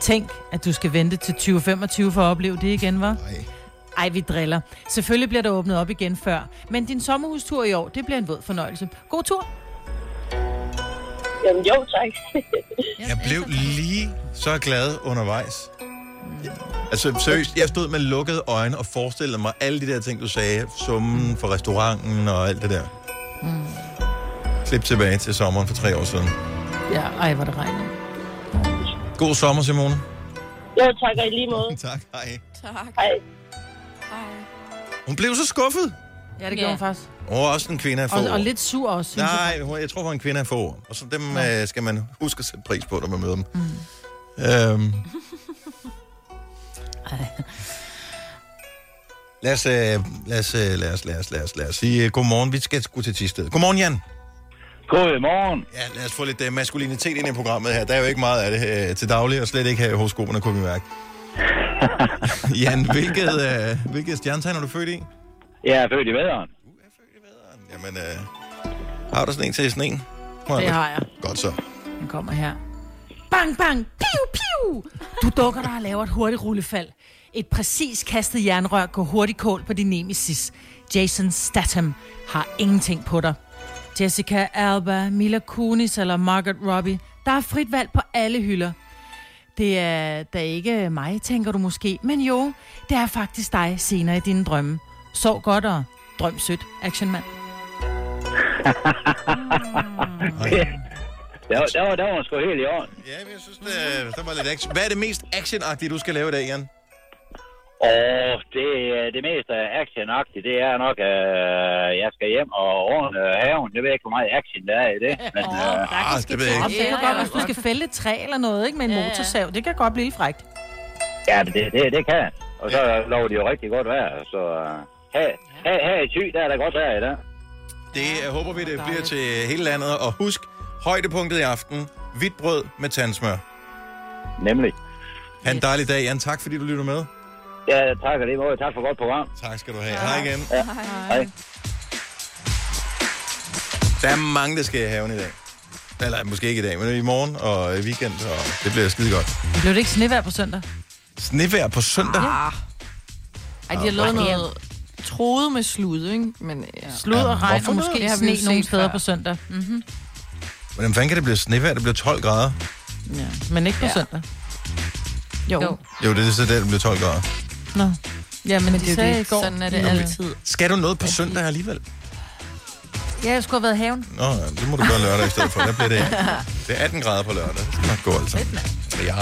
Speaker 5: Tænk, at du skal vente til 2025 for at opleve det igen, var?
Speaker 1: Nej.
Speaker 5: Ej, vi driller. Selvfølgelig bliver der åbnet op igen før, men din sommerhustur i år, det bliver en våd fornøjelse. God tur!
Speaker 7: Jamen, jo, tak.
Speaker 1: Jeg blev lige så glad undervejs. Altså seriøst, jeg stod med lukkede øjne og forestillede mig alle de der ting, du sagde. Summen for restauranten og alt det der.
Speaker 5: Mm.
Speaker 1: Klip tilbage til sommeren for tre år siden.
Speaker 5: Ja, ej, hvor det regner.
Speaker 1: God sommer, Simone.
Speaker 7: jo, tak og i lige måde.
Speaker 1: Tak, hej.
Speaker 4: Tak.
Speaker 7: Hej.
Speaker 4: Hej.
Speaker 1: Hun blev så skuffet.
Speaker 5: Ja, det gjorde
Speaker 4: Ja.
Speaker 5: hun faktisk.
Speaker 1: Hun var også en kvinde af få
Speaker 5: Og,
Speaker 1: år.
Speaker 5: og lidt sur også, synes jeg.
Speaker 1: Nej, hun- jeg tror, hun er en kvinde af få år. Og så dem øh, skal man huske at sætte pris på, når man møder dem. Mm. Øhm. lad, os, øh, lad, os, øh, lad, os, lad, os, lad os, lad os sige øh, godmorgen. Vi skal sgu til Tisted. Godmorgen, Jan.
Speaker 8: Godmorgen.
Speaker 1: Ja, lad os få lidt øh, maskulinitet ind i programmet her. Der er jo ikke meget af det øh, til daglig, og slet ikke her hos grupperne, kunne vi mærke. Jan, hvilket, øh, hvilket stjernetegn er du født i?
Speaker 8: Jeg er født i vaderen.
Speaker 1: Jamen, øh, har du sådan en til sådan en?
Speaker 5: Det har jeg.
Speaker 1: Godt så.
Speaker 5: Den kommer her. Bang, bang, piu, piu! Du dukker dig og laver et hurtigt rullefald. Et præcis kastet jernrør går hurtigt kål på din nemesis. Jason Statham har ingenting på dig. Jessica Alba, Mila Kunis eller Margaret Robbie. Der er frit valg på alle hylder. Det er da ikke mig, tænker du måske. Men jo, det er faktisk dig senere i dine drømme. Sov godt og Drøm sødt, actionmand.
Speaker 8: Der, var- der, var, der var han sgu helt i orden.
Speaker 1: Ja, men jeg synes, det, øh, der var lidt action. Hvad er det mest actionagtige, du skal lave i dag, Jan?
Speaker 8: Og det, øh, det mest øh, actionagtige, det er nok, øh, jeg skal hjem og ordne øh, haven. Jeg ved ikke, hvor meget action der er i det. Men, øh,
Speaker 1: Ah, det ved jeg
Speaker 5: Og
Speaker 1: ikke.
Speaker 5: det kan
Speaker 2: ja,
Speaker 5: godt, hvis du skal fælde et træ eller noget, ikke? Med en
Speaker 2: Ja, ja.
Speaker 5: motorsav. Det kan godt blive lidt frækt.
Speaker 8: ja, men det, det, det kan han. Og så lover de jo rigtig godt vejr. Så øh, her, her, her i Thy, der er der godt vejr i dag.
Speaker 1: Det øh, håber vi, det bliver til hele landet. Og husk, højdepunktet i aften, hvidt brød med tandsmør.
Speaker 8: Nemlig.
Speaker 1: Ha' en dejlig dag, Jan. Tak, fordi du lytter med.
Speaker 8: Ja, tak og lige måde. Tak for godt program.
Speaker 1: Tak skal du have. Hej igen.
Speaker 8: Hej.
Speaker 1: Der er mange, der skal i haven i dag. Eller måske ikke i dag, men i morgen og i weekend, og det bliver skide godt.
Speaker 5: Blev det ikke snevær på søndag?
Speaker 1: Snevejr på søndag.
Speaker 4: Ej, de har lavet noget troet med slud, ikke? Men ja.
Speaker 5: Blod og regn,
Speaker 1: hvorfor
Speaker 5: og
Speaker 1: noget?
Speaker 5: måske
Speaker 4: Det har vi jo
Speaker 5: sne
Speaker 4: set
Speaker 5: nogle steder
Speaker 4: før.
Speaker 5: på søndag. Mm.
Speaker 1: Hvordan fanden kan det blive snevejr? Det bliver 12 grader.
Speaker 5: Men ikke på
Speaker 4: Ja.
Speaker 5: søndag.
Speaker 2: Jo.
Speaker 4: jo. jo.
Speaker 1: Jo, det er så der, det bliver 12 grader.
Speaker 5: Nå. Ja, men, men de
Speaker 4: Det er
Speaker 5: sagde
Speaker 4: jo
Speaker 5: i
Speaker 4: det.
Speaker 5: går...
Speaker 4: Sådan er det
Speaker 5: Ja.
Speaker 4: altid.
Speaker 1: Skal du noget på søndag alligevel?
Speaker 5: Ja, jeg skulle have været i haven.
Speaker 1: Nå, ja, det må du gøre lørdag i stedet for. Der bliver det, det er 18 grader på lørdag. Det skal nok gå altså. Ja.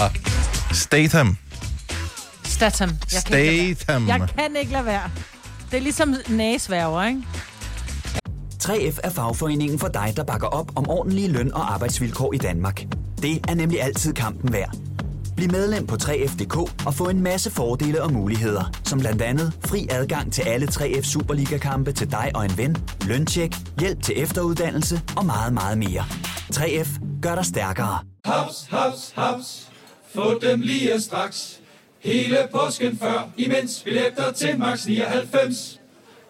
Speaker 1: Statham.
Speaker 5: Statham. Jeg kan, ikke lade
Speaker 1: Statham.
Speaker 5: være. jeg kan ikke lade være. Det er ligesom næsværger, ikke?
Speaker 9: 3F er fagforeningen for dig, der bakker op om ordentlige løn- og arbejdsvilkår i Danmark. Det er nemlig altid kampen værd. Bliv medlem på 3F.dk og få en masse fordele og muligheder, som blandt andet fri adgang til alle 3F Superliga-kampe til dig og en ven, løntjek, hjælp til efteruddannelse og meget, meget mere. 3F gør dig stærkere.
Speaker 10: Haps, haps, haps. Få dem lige straks. Hele påsken før, imens billetter til max 99.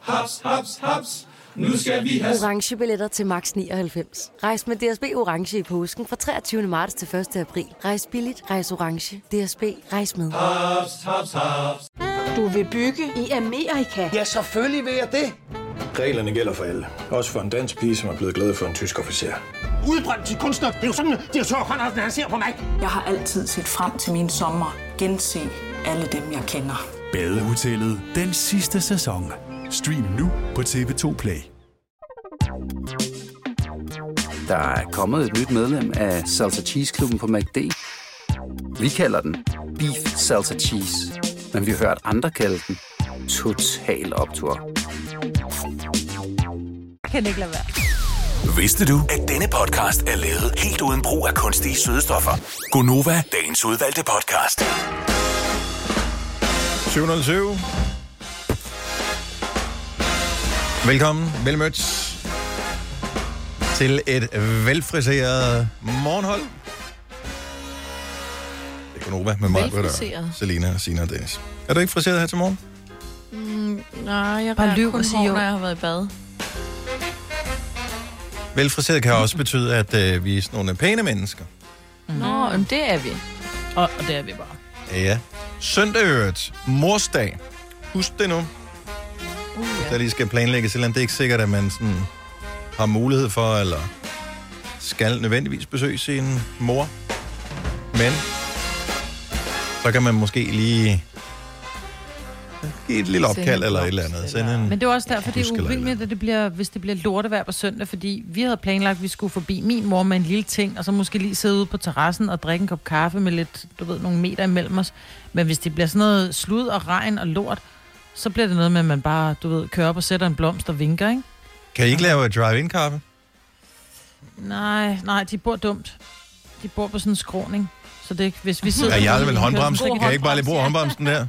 Speaker 10: Haps, haps, haps. Nu skal vi have
Speaker 11: Orange billetter til max 99. Rejs med DSB Orange i påsken fra 23. marts til 1. april. Rejs billigt, rejs orange. DSB, rejs med.
Speaker 10: haps, haps, haps.
Speaker 11: Du vil bygge i Amerika?
Speaker 10: Ja, selvfølgelig vil jeg det. Reglerne gælder for alle. Også for en dansk pige, som er blevet glad for en tysk officer.
Speaker 9: Udbrøndt til kunstner, det er jo sådan, det er så han ser på mig.
Speaker 11: Jeg har altid set frem til min sommer. Gense alle dem, jeg kender.
Speaker 6: Badehotellet den sidste sæson. Stream nu på TV2 Play.
Speaker 9: Der er kommet et nyt medlem af Salsa Cheese Klubben på MACD. Vi kalder den Beef Salsa Cheese, men vi har hørt andre kalde den Total Optor.
Speaker 5: Jeg kan ikke lade være.
Speaker 6: Vidste du, at denne podcast er lavet helt uden brug af kunstige sødestoffer? Gonova, dagens udvalgte podcast.
Speaker 1: 707. Velkommen, velmødt til et velfriseret morgenhold. Det er Konoba med mig, Britta,
Speaker 4: Velfriseret.
Speaker 1: Selina, Sina og Dennis. Er du ikke friseret her til morgen?
Speaker 4: Mm, Nej, jeg
Speaker 5: Bare
Speaker 4: bare
Speaker 5: lyv
Speaker 4: lyver
Speaker 5: og
Speaker 4: kun
Speaker 5: sig Mhm.
Speaker 4: hår,
Speaker 5: jo.
Speaker 4: når jeg har været i bad.
Speaker 1: Velfriseret kan også betyde, at øh, vi er sådan nogle pæne mennesker.
Speaker 4: Nå, men det er vi.
Speaker 5: Og, og det er vi bare.
Speaker 1: Ja. Søndag i øvrigt. Morsdag. Husk det nu. Uh,
Speaker 5: Uh,
Speaker 1: ja. Der lige skal planlægge et eller andet. Det er ikke sikkert, at man sådan har mulighed for, eller skal nødvendigvis besøge sin mor. Men så kan man måske lige give et lille
Speaker 4: Sende
Speaker 1: opkald
Speaker 4: en
Speaker 1: eller et
Speaker 4: blomst,
Speaker 1: eller andet. Sende
Speaker 4: eller-
Speaker 1: en...
Speaker 5: Men det er også derfor, det
Speaker 1: Husk
Speaker 5: er
Speaker 1: eller
Speaker 5: urimeligt, at det bliver, hvis det bliver lortevejr på søndag, fordi vi havde planlagt, at vi skulle forbi min mor med en lille ting, og så måske lige sidde ude på terrassen og drikke en kop kaffe med lidt, du ved, nogle meter imellem os. Men hvis det bliver sådan noget slud og regn og lort, så bliver det noget med, at man bare, du ved, kører op og sætter en blomst og vinker, ikke?
Speaker 1: Kan I ikke lave et drive-in-kaffe?
Speaker 5: Nej, nej, de bor dumt. De bor på sådan en skråning. Så det, hvis vi sidder...
Speaker 1: Ja, jeg har vel
Speaker 5: ude i en
Speaker 1: håndbrems.
Speaker 5: kørsel-
Speaker 1: Kan jeg ikke bare lige bruge håndbremsen der?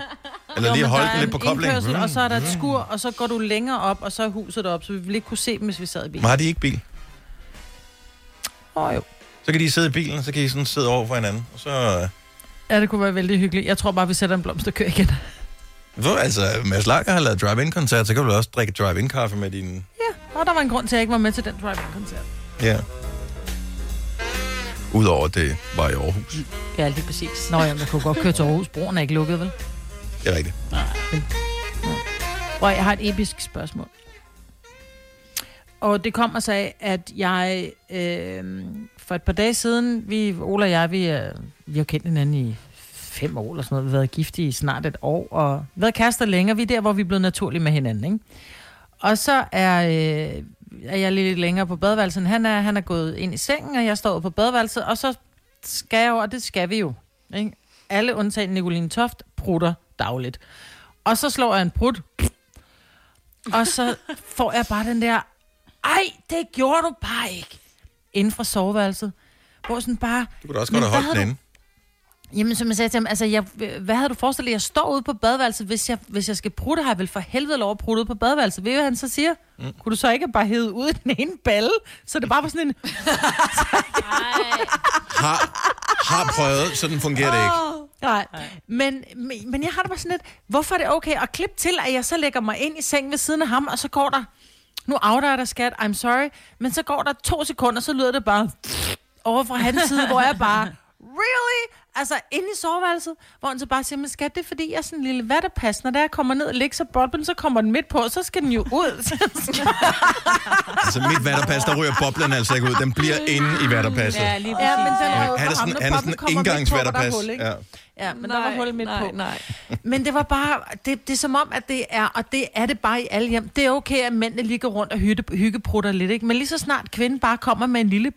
Speaker 1: Eller
Speaker 5: Jo,
Speaker 1: lige
Speaker 5: men
Speaker 1: holde
Speaker 5: der
Speaker 1: den
Speaker 5: er
Speaker 1: lidt på
Speaker 5: en
Speaker 1: koblingen?
Speaker 5: indkørsel,
Speaker 1: Mm.
Speaker 5: Og så er der et skur, og så går du længere op, og så er huset op, så vi ville ikke kunne se dem, hvis vi sad i bilen.
Speaker 1: Men har de ikke bil?
Speaker 5: Åh, oh, jo.
Speaker 1: Så kan de sidde i bilen, og så kan I sådan sidde over for hinanden. Og så... øh,
Speaker 5: Ja, det kunne være vældig hyggeligt. Jeg tror bare, vi sætter en blomst og kører igen.
Speaker 1: Hvor, altså, Mads Langer har lavet drive-in-koncert, så kan du vel også drikke drive-in-kaffe med din...
Speaker 5: Ja, og der var en grund til, at jeg ikke var med til den drive-in-koncert.
Speaker 1: Ja. Udover at det var i Aarhus.
Speaker 2: Ja, lige præcis.
Speaker 5: Nå ja, man kunne godt køre til Aarhus. Broen er ikke lukket, vel?
Speaker 1: Det er rigtigt.
Speaker 5: Prøv, jeg har et episk spørgsmål. Og det kommer sig af, at jeg øh, for et par dage siden, vi, Ola og jeg, vi, øh, vi har jo kendt hinanden i fem år eller sådan noget. Vi har været gift i snart et år, og været kærester længere. Vi er der, hvor vi er blevet naturlige med hinanden, ikke? Og så er, øh, er jeg lidt længere på badeværelset, end han er. Han er gået ind i sengen, og jeg står på badeværelset, og så skal jeg jo, og det skal vi jo. Ikke? Alle undtagen Nicoline Toft prutter dagligt. Og så slår jeg en prut, og så får jeg bare den der, ej, det gjorde du bare ikke, inden fra soveværelset. Hvor sådan bare...
Speaker 1: Du kunne da også
Speaker 5: "Men
Speaker 1: godt have
Speaker 5: hvad
Speaker 1: holdt
Speaker 5: havde
Speaker 1: den
Speaker 5: du-
Speaker 1: inde.
Speaker 5: Jamen, som jeg sagde til ham, altså, jeg, hvad havde du forestillet? Jeg står ude på badeværelset, hvis jeg, hvis jeg skal prutte, har jeg vel for helvede lov at prutte ude på badeværelset. Ved I, hvad han så siger? Mm. Kunne du så ikke bare hede ud i den ene balle? Så det bare var sådan en...
Speaker 1: Har, har prøvet, så den fungerer det ikke.
Speaker 5: Nej, men, men, men jeg har det bare sådan lidt, hvorfor er det okay at klippe til, at jeg så lægger mig ind i sengen ved siden af ham, og så går der, nu outer jeg dig, skat, I'm sorry, men så går der to sekunder, så lyder det bare over fra hans side, hvor jeg bare, really? Altså, inde i soveværelset, hvor han så bare siger, men skat, det er fordi, jeg er sådan en lille vattepas, når der jeg kommer ned og ligger sig boblen, så kommer den midt på, og så skal den jo ud.
Speaker 1: Altså mit vatterpas, der ryger boblen altså ikke ud. Den bliver inde i vatterpasset.
Speaker 2: Ja, lige præcis.
Speaker 5: men den er jo
Speaker 1: Han er
Speaker 5: for ham,
Speaker 1: sådan,
Speaker 5: når
Speaker 1: han er sådan
Speaker 5: boblen
Speaker 1: en
Speaker 5: kommer midt på, hvor der er
Speaker 1: engangsvatterpas.
Speaker 5: hul, ikke?
Speaker 1: Ja.
Speaker 5: Ja, men nej, der var hul midt
Speaker 4: nej,
Speaker 5: på.
Speaker 4: Nej,
Speaker 5: Men det var bare, det, det er som om, at det er, og det er det bare i alle hjem. Det er okay, at mændene ligger rundt og hytte, hyggeprutter lidt, ikke? Men lige så snart kvinden bare kommer med en lille,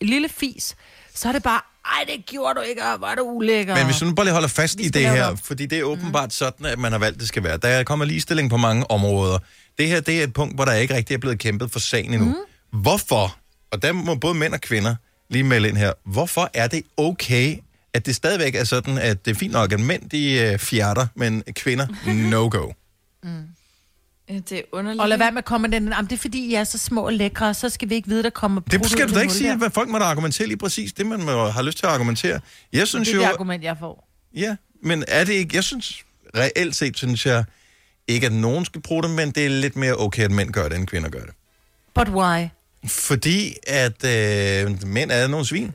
Speaker 5: en lille fis, så er det bare, ej, det gjorde du ikke, og hvor er du ulækker.
Speaker 1: Men hvis du nu bare lige holder fast i det
Speaker 5: lave det
Speaker 1: her, fordi det er åbenbart sådan, at man har valgt, det skal være. Der kommer ligestilling på mange områder. Det her, det er et punkt, hvor der ikke rigtig er blevet kæmpet for sagen endnu. Hvorfor, og der må både mænd og kvinder lige melde ind her, hvorfor er det okay, at det stadigvæk er sådan, at det er fint nok, at mænd de øh, fjerter, men kvinder, no-go.
Speaker 4: nej. Det er underligt.
Speaker 5: Og lad være med at komme med den, jamen, det er fordi, I er så små og lækre, så skal vi ikke vide, der kommer
Speaker 1: Det
Speaker 5: prut ud
Speaker 1: skal
Speaker 5: af
Speaker 1: du da ikke
Speaker 5: hul
Speaker 1: sige,
Speaker 5: der.
Speaker 1: hvad folk må da argumentere lige præcis. Det, man må har lyst til at argumentere. Jeg synes
Speaker 5: Det
Speaker 1: jo...
Speaker 5: er det argument, jeg får.
Speaker 1: Ja, men er det ikke... Jeg synes, reelt set synes jeg ikke, at nogen skal bruge det, men det er lidt mere okay, at mænd gør det, end kvinder gør det.
Speaker 5: But why?
Speaker 1: Fordi at øh, mænd er nogle svin.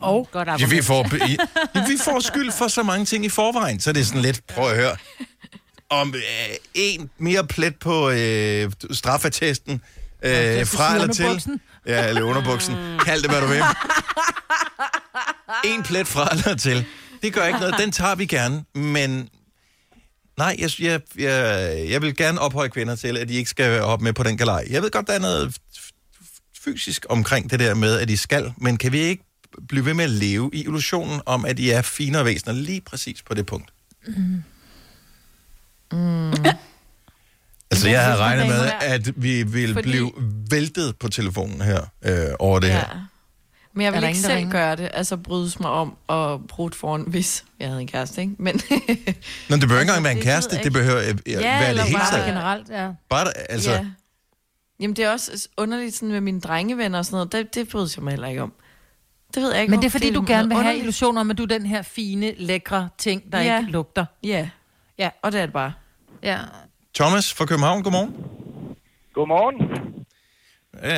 Speaker 5: Og?
Speaker 2: Godt
Speaker 1: Ja, vi,
Speaker 2: arbejde.
Speaker 1: får, i, ja, vi får skyld for så mange ting i forvejen, så det er sådan lidt, prøv at høre, om øh, en mere plet på øh, straffattesten, øh, fra eller til,
Speaker 5: underbuksen.
Speaker 1: ja, eller underbuksen, kald det hvad du vil. En plet fra eller til, det gør ikke noget, den tager vi gerne, men nej, jeg, jeg, jeg, jeg vil gerne ophøje kvinder til, at de ikke skal hoppe med på den galej. Jeg ved godt, der er noget fysisk omkring det der med, at I skal, men kan vi ikke blive ved med at leve i illusionen om, at I er finere væsener lige præcis på det punkt? Mm.
Speaker 7: Mm.
Speaker 1: altså, jeg havde regnet med, at vi ville
Speaker 4: Fordi-
Speaker 1: blive væltet på telefonen her øh, over det ja. her.
Speaker 4: Men jeg
Speaker 5: Er
Speaker 4: vil
Speaker 5: der
Speaker 4: ikke
Speaker 5: ingen, der
Speaker 4: selv
Speaker 5: ringer?
Speaker 4: gøre det. Altså brydes mig om og bruge foran, hvis jeg havde en kæreste, ikke? Men
Speaker 1: Nå, det behøver ikke
Speaker 4: Altså,
Speaker 1: engang være en
Speaker 4: det
Speaker 1: kæreste,
Speaker 4: ved jeg
Speaker 1: det behøver øh, øh, være det
Speaker 4: eller
Speaker 1: hele
Speaker 4: bare-
Speaker 1: taget.
Speaker 5: Generelt, ja.
Speaker 1: Bare, der- altså,
Speaker 4: ja. Jamen det er også underligt sådan med mine drengevenner og sådan noget. Det, det bryder jeg mig heller ikke om. Det ved jeg ikke.
Speaker 5: Men det er
Speaker 4: hvorfor.
Speaker 5: fordi, du gerne vil have
Speaker 4: underligt.
Speaker 5: illusioner om, at du er den her fine, lækre ting, der
Speaker 4: Ja.
Speaker 5: ikke lugter.
Speaker 4: Ja.
Speaker 5: Ja.
Speaker 4: ja, og det er det bare.
Speaker 5: Ja.
Speaker 1: Thomas fra København, godmorgen.
Speaker 12: Godmorgen.
Speaker 1: Øh,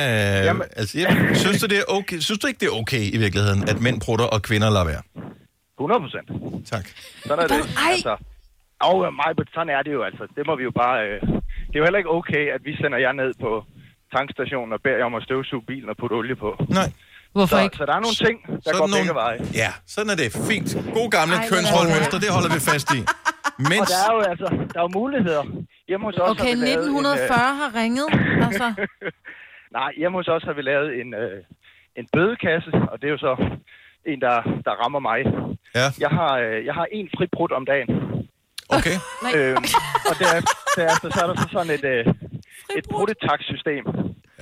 Speaker 1: Jamen. Altså, jeg, synes, du det er okay, synes du ikke, det er okay i virkeligheden, at mænd prutter og kvinder lader være?
Speaker 12: 100 procent.
Speaker 1: Tak.
Speaker 12: Sådan er det.
Speaker 5: Ej.
Speaker 12: Altså, og mig, men sådan er det jo altså. Det må vi jo bare... Øh, det er jo heller ikke okay, at vi sender jer ned på tankstationen og beder jer om at støvsuge bilen og putte olie på.
Speaker 1: Nej.
Speaker 5: Hvorfor
Speaker 12: Så,
Speaker 5: ikke?
Speaker 12: så der er nogle ting, der går begge veje.
Speaker 1: Ja, sådan er det. Fint. God gamle kønsrollemønster, det holder vi fast i.
Speaker 12: Og
Speaker 1: Mens,
Speaker 12: der er jo altså, der er jo muligheder. Hjemme hos os
Speaker 5: Okay,
Speaker 12: har vi lavet en, øh,
Speaker 5: 1940 har ringet, altså.
Speaker 12: Nej, hjemme hos os har vi lavet en, øh, en bødekasse, og det er jo så en, der, der rammer mig.
Speaker 1: ja,
Speaker 12: Jeg har, øh, jeg har en fribrud om dagen.
Speaker 1: okay.
Speaker 12: Øhm, og der, derefter så er der så sådan et, øh, et brudetaksystem.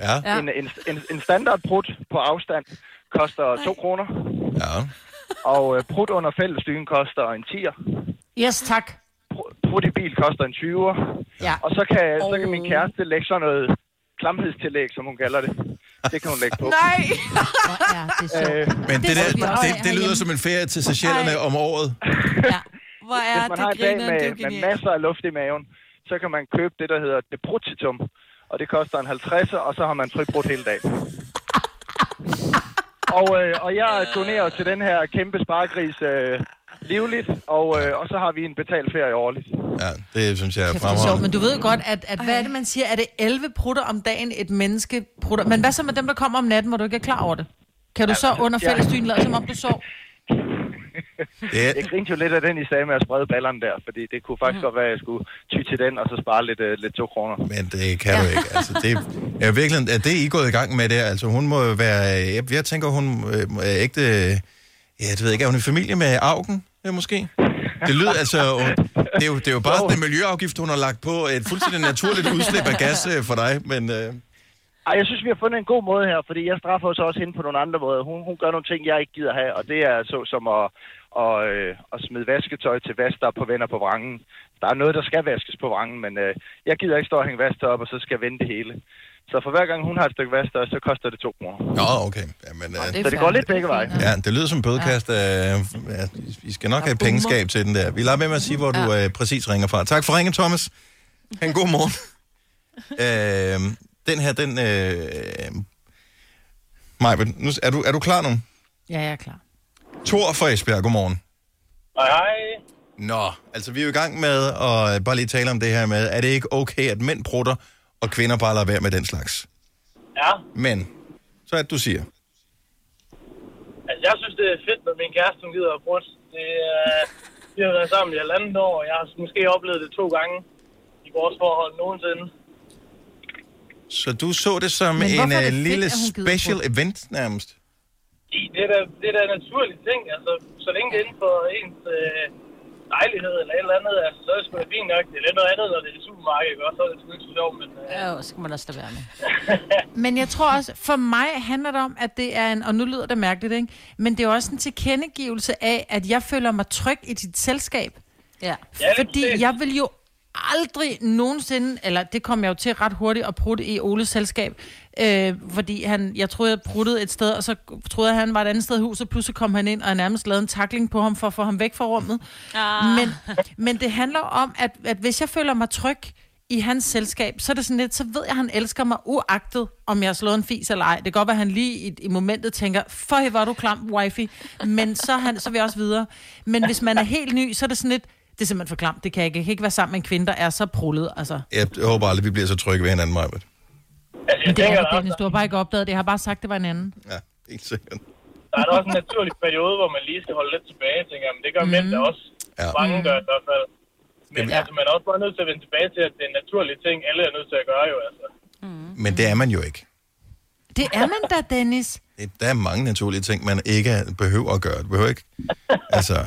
Speaker 1: Ja,
Speaker 12: Ja. En, en, en, en standardbrud på afstand koster 2 kroner,
Speaker 1: ja.
Speaker 12: og øh, brud under fællesstyen koster en 10'er.
Speaker 5: Yes, tak.
Speaker 12: Brud- Brud i bil koster en 20'er.
Speaker 5: Ja.
Speaker 12: Og så kan, så kan min kæreste lægge sådan noget klamhedstillæg, som hun kalder det. Det kan hun lægge på.
Speaker 4: Nej!
Speaker 5: Hvor er det sjovt.
Speaker 12: Øh,
Speaker 1: Men det, der,
Speaker 5: får vi også
Speaker 1: det,
Speaker 5: af
Speaker 1: det lyder
Speaker 5: herhjemme.
Speaker 1: som en ferie til Seychellerne om året.
Speaker 5: Ja.
Speaker 4: Hvor er
Speaker 12: Hvis man har
Speaker 4: det
Speaker 12: en dag
Speaker 4: griner,
Speaker 12: med,
Speaker 4: det er jo
Speaker 12: med
Speaker 4: genialt.
Speaker 12: masser af luft i maven, så kan man købe det, der hedder debrutitum. Og det koster en 50, og så har man fribrudt hele dagen. og, øh, og jeg donerer til den her kæmpe sparegris øh, livligt, og, øh, og så har vi en betalt ferie årligt.
Speaker 1: Ja, det synes jeg er
Speaker 5: Kæft, det er sjovt,
Speaker 1: fremragende.
Speaker 5: men du ved jo godt, at, at hvad er det, man siger? Er det 11 prutter om dagen, et menneske prutter? Men hvad så med dem, der kommer om natten, hvor du ikke er klar over det? Kan du så under fællesstyen lade, som om du sov?
Speaker 1: Ja.
Speaker 12: Jeg grinte jo lidt af den, I sagde med at sprede ballerne der, fordi det kunne
Speaker 4: Mhm.
Speaker 12: faktisk godt være, at jeg skulle ty til den, og så spare lidt, øh, lidt to kroner.
Speaker 1: Men det kan du ikke. Altså, det er virkelig, er det I er gået i gang med der? Altså, hun må jo være, øh, jeg, jeg tænker, hun øh, er ægte, øh, ja, det ved jeg ikke, er hun i familie med Augen, ja, måske? Det lyder altså, hun, det, er jo, det er jo bare den miljøafgift, hun har lagt på et fuldstændig naturligt udslip af gas øh, for dig, men øh,
Speaker 12: Ej, jeg synes, vi har fundet en god måde her, fordi jeg straffer så også hende på nogle andre måder. Hun, hun gør nogle ting, jeg ikke gider have, og det er så som at, og, øh, at smide vasketøj til vask, der er på venner på vrangen. Der er noget, der skal vaskes på vrangen, men øh, jeg gider ikke stå og hænge vasketøj op, og så skal jeg vende det hele. Så for hver gang hun har et stykke vasketøj, så koster det to kroner.
Speaker 1: nå, okay. Jamen, øh,
Speaker 12: Så det går lidt begge veje.
Speaker 1: Ja, det lyder som en bødekast. Ja. Øh, ja, I skal nok have pengeskab til den der. Vi lader være med at sige, hvor du øh, præcis ringer fra. Tak for ringen, Thomas. Ha' en god morgen. øh, den her, den... Øh, Maj, nu, er, du, er du klar nu?
Speaker 5: Ja, jeg er klar.
Speaker 1: Tor fra Esbjerg, godmorgen.
Speaker 13: Hej, hej.
Speaker 1: Nå, altså vi er jo i gang med at øh, bare lige tale om det her med, er det ikke okay, at mænd prutter, og kvinder bare lader være med den slags?
Speaker 13: Ja,
Speaker 1: Men, så at du siger,
Speaker 13: altså jeg synes, det er fedt, når min kæreste hun gider at brudt. Det, øh, vi har været sammen i halvandet år, og jeg har måske oplevet det to gange i vores forhold nogensinde.
Speaker 1: så du så det som
Speaker 13: Men hvorfor
Speaker 1: en
Speaker 13: er
Speaker 1: øh,
Speaker 13: det fedt,
Speaker 1: lille
Speaker 13: at hun gider
Speaker 1: special
Speaker 13: prutte?
Speaker 1: event nærmest?
Speaker 13: Fordi det er da, det er da en naturlig ting, altså så længe det er inden for ens øh, lejlighed eller et eller andet, altså så er det sgu da fint nok. Det er lidt noget andet, når det er i supermarkedet, og så er det sgu ikke så sjovt, men... Øh,
Speaker 5: Ja, så kan man også lade være med. Men jeg tror også, for mig handler det om, at det er en, og nu lyder det mærkeligt, ikke? men det er også en tilkendegivelse af, at jeg føler mig tryg i dit selskab.
Speaker 2: Ja.
Speaker 5: Fordi jeg vil jo aldrig nogensinde, eller det kom jeg jo til ret hurtigt at prutte i Oles selskab, øh, fordi han, jeg troede, jeg pruttede et sted, og så troede jeg, han var et andet sted i huset, og pludselig kom han ind, og jeg nærmest lavede en takling på ham for at få ham væk fra rummet.
Speaker 2: Ah.
Speaker 5: Men, men det handler om, at, at hvis jeg føler mig tryg i hans selskab, så er det sådan lidt, så ved jeg, at han elsker mig uagtet, om jeg har slået en fis eller ej. Det kan godt være, at han lige i, i momentet tænker, for hvor er du klam, wifey, men så, er han, så vil jeg også videre. Men hvis man er helt ny, så er det sådan lidt, det er simpelthen for klamt, det kan jeg ikke. Jeg kan ikke være sammen med en kvinde, der er så prullet, altså.
Speaker 1: Jeg håber aldrig, vi bliver så trygge ved hinanden, Majbert.
Speaker 5: Men det er jo Dennis, du har bare ikke opdaget det. Jeg har bare sagt, det var en anden.
Speaker 1: Ja, helt sikkert.
Speaker 13: der er da også en naturlig periode, hvor man lige skal holde lidt tilbage, tænker jeg, men det gør mm. mænd da også.
Speaker 1: Mhm. Ja.
Speaker 13: Mange
Speaker 1: Mm.
Speaker 13: gør det i hvert fald. Men
Speaker 1: Jamen, ja.
Speaker 13: altså, man er også bare nødt til at vende tilbage til, at det er en naturlig ting, alle er nødt til at gøre jo, altså.
Speaker 1: Men det er man jo ikke.
Speaker 5: Det er man da, Dennis.
Speaker 1: Der er mange naturlige ting, man ikke behøver at gøre. Du behøver ikke... Altså,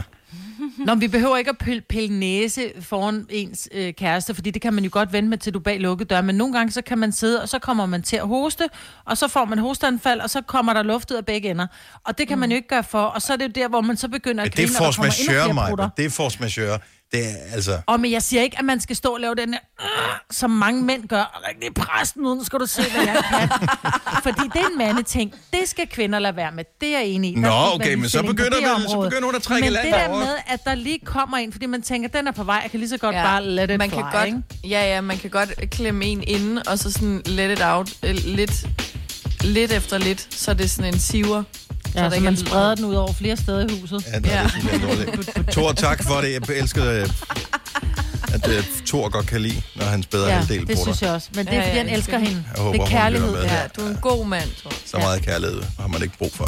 Speaker 5: Nå, men vi behøver ikke at pille, pille næse foran ens øh, kæreste, fordi det kan man jo godt vende med til du er bag lukkede døre, men nogle gange så kan man sidde, og så kommer man til at hoste, og så får man hosteanfald, og så kommer der luft ud af begge ender. Og det kan man jo ikke gøre for, og så er det jo der, hvor man så begynder at
Speaker 1: det er
Speaker 5: grine, og der
Speaker 1: force
Speaker 5: kommer endnu
Speaker 1: majeure,
Speaker 5: flere prutter.
Speaker 1: Majbert. Det er force majeure. Det er altså...
Speaker 5: Og men jeg siger ikke, at man skal stå og lave den her, "Åh", som mange mænd gør. Og rigtig præsten, uden skal du se, hvad jeg kan. Fordi det er en mandeting. Det skal kvinder lade være med. Det er jeg enig i. Der
Speaker 1: Nå,
Speaker 5: skal ikke være
Speaker 1: okay, men så
Speaker 5: ligestilling på
Speaker 1: begynder
Speaker 5: det
Speaker 1: vel- så
Speaker 5: område.
Speaker 1: begynder hun at trække
Speaker 5: Men
Speaker 1: land
Speaker 5: det der
Speaker 1: derover.
Speaker 5: med, at der lige kommer en, fordi man tænker, den er på vej, jeg kan lige så godt ja. bare lade den
Speaker 4: man
Speaker 5: fly,
Speaker 4: kan godt,
Speaker 5: ikke?
Speaker 4: Ja, ja, man kan godt klemme en inden, og så sådan let it out, øh, lidt, lidt efter lidt, så det er sådan en siver.
Speaker 5: Ja, så
Speaker 4: ikke
Speaker 5: man
Speaker 4: er lyd.
Speaker 5: spreder den ud over flere steder i huset.
Speaker 1: Ja, det er sådan lidt dårligt. Thor, tak for det. Jeg elsker, øh, at øh, Thor godt kan lide, når hans bedre
Speaker 5: Ja,
Speaker 1: halvdel
Speaker 5: det
Speaker 1: bruger
Speaker 5: synes jeg også. Men det er, fordi han elsker hende.
Speaker 1: Jeg håber,
Speaker 5: det er
Speaker 1: hun lytter
Speaker 5: kærlighed.
Speaker 1: med her.
Speaker 5: Ja,
Speaker 4: Du er en god mand, tror jeg.
Speaker 1: Så meget kærlighed har man ikke brug for.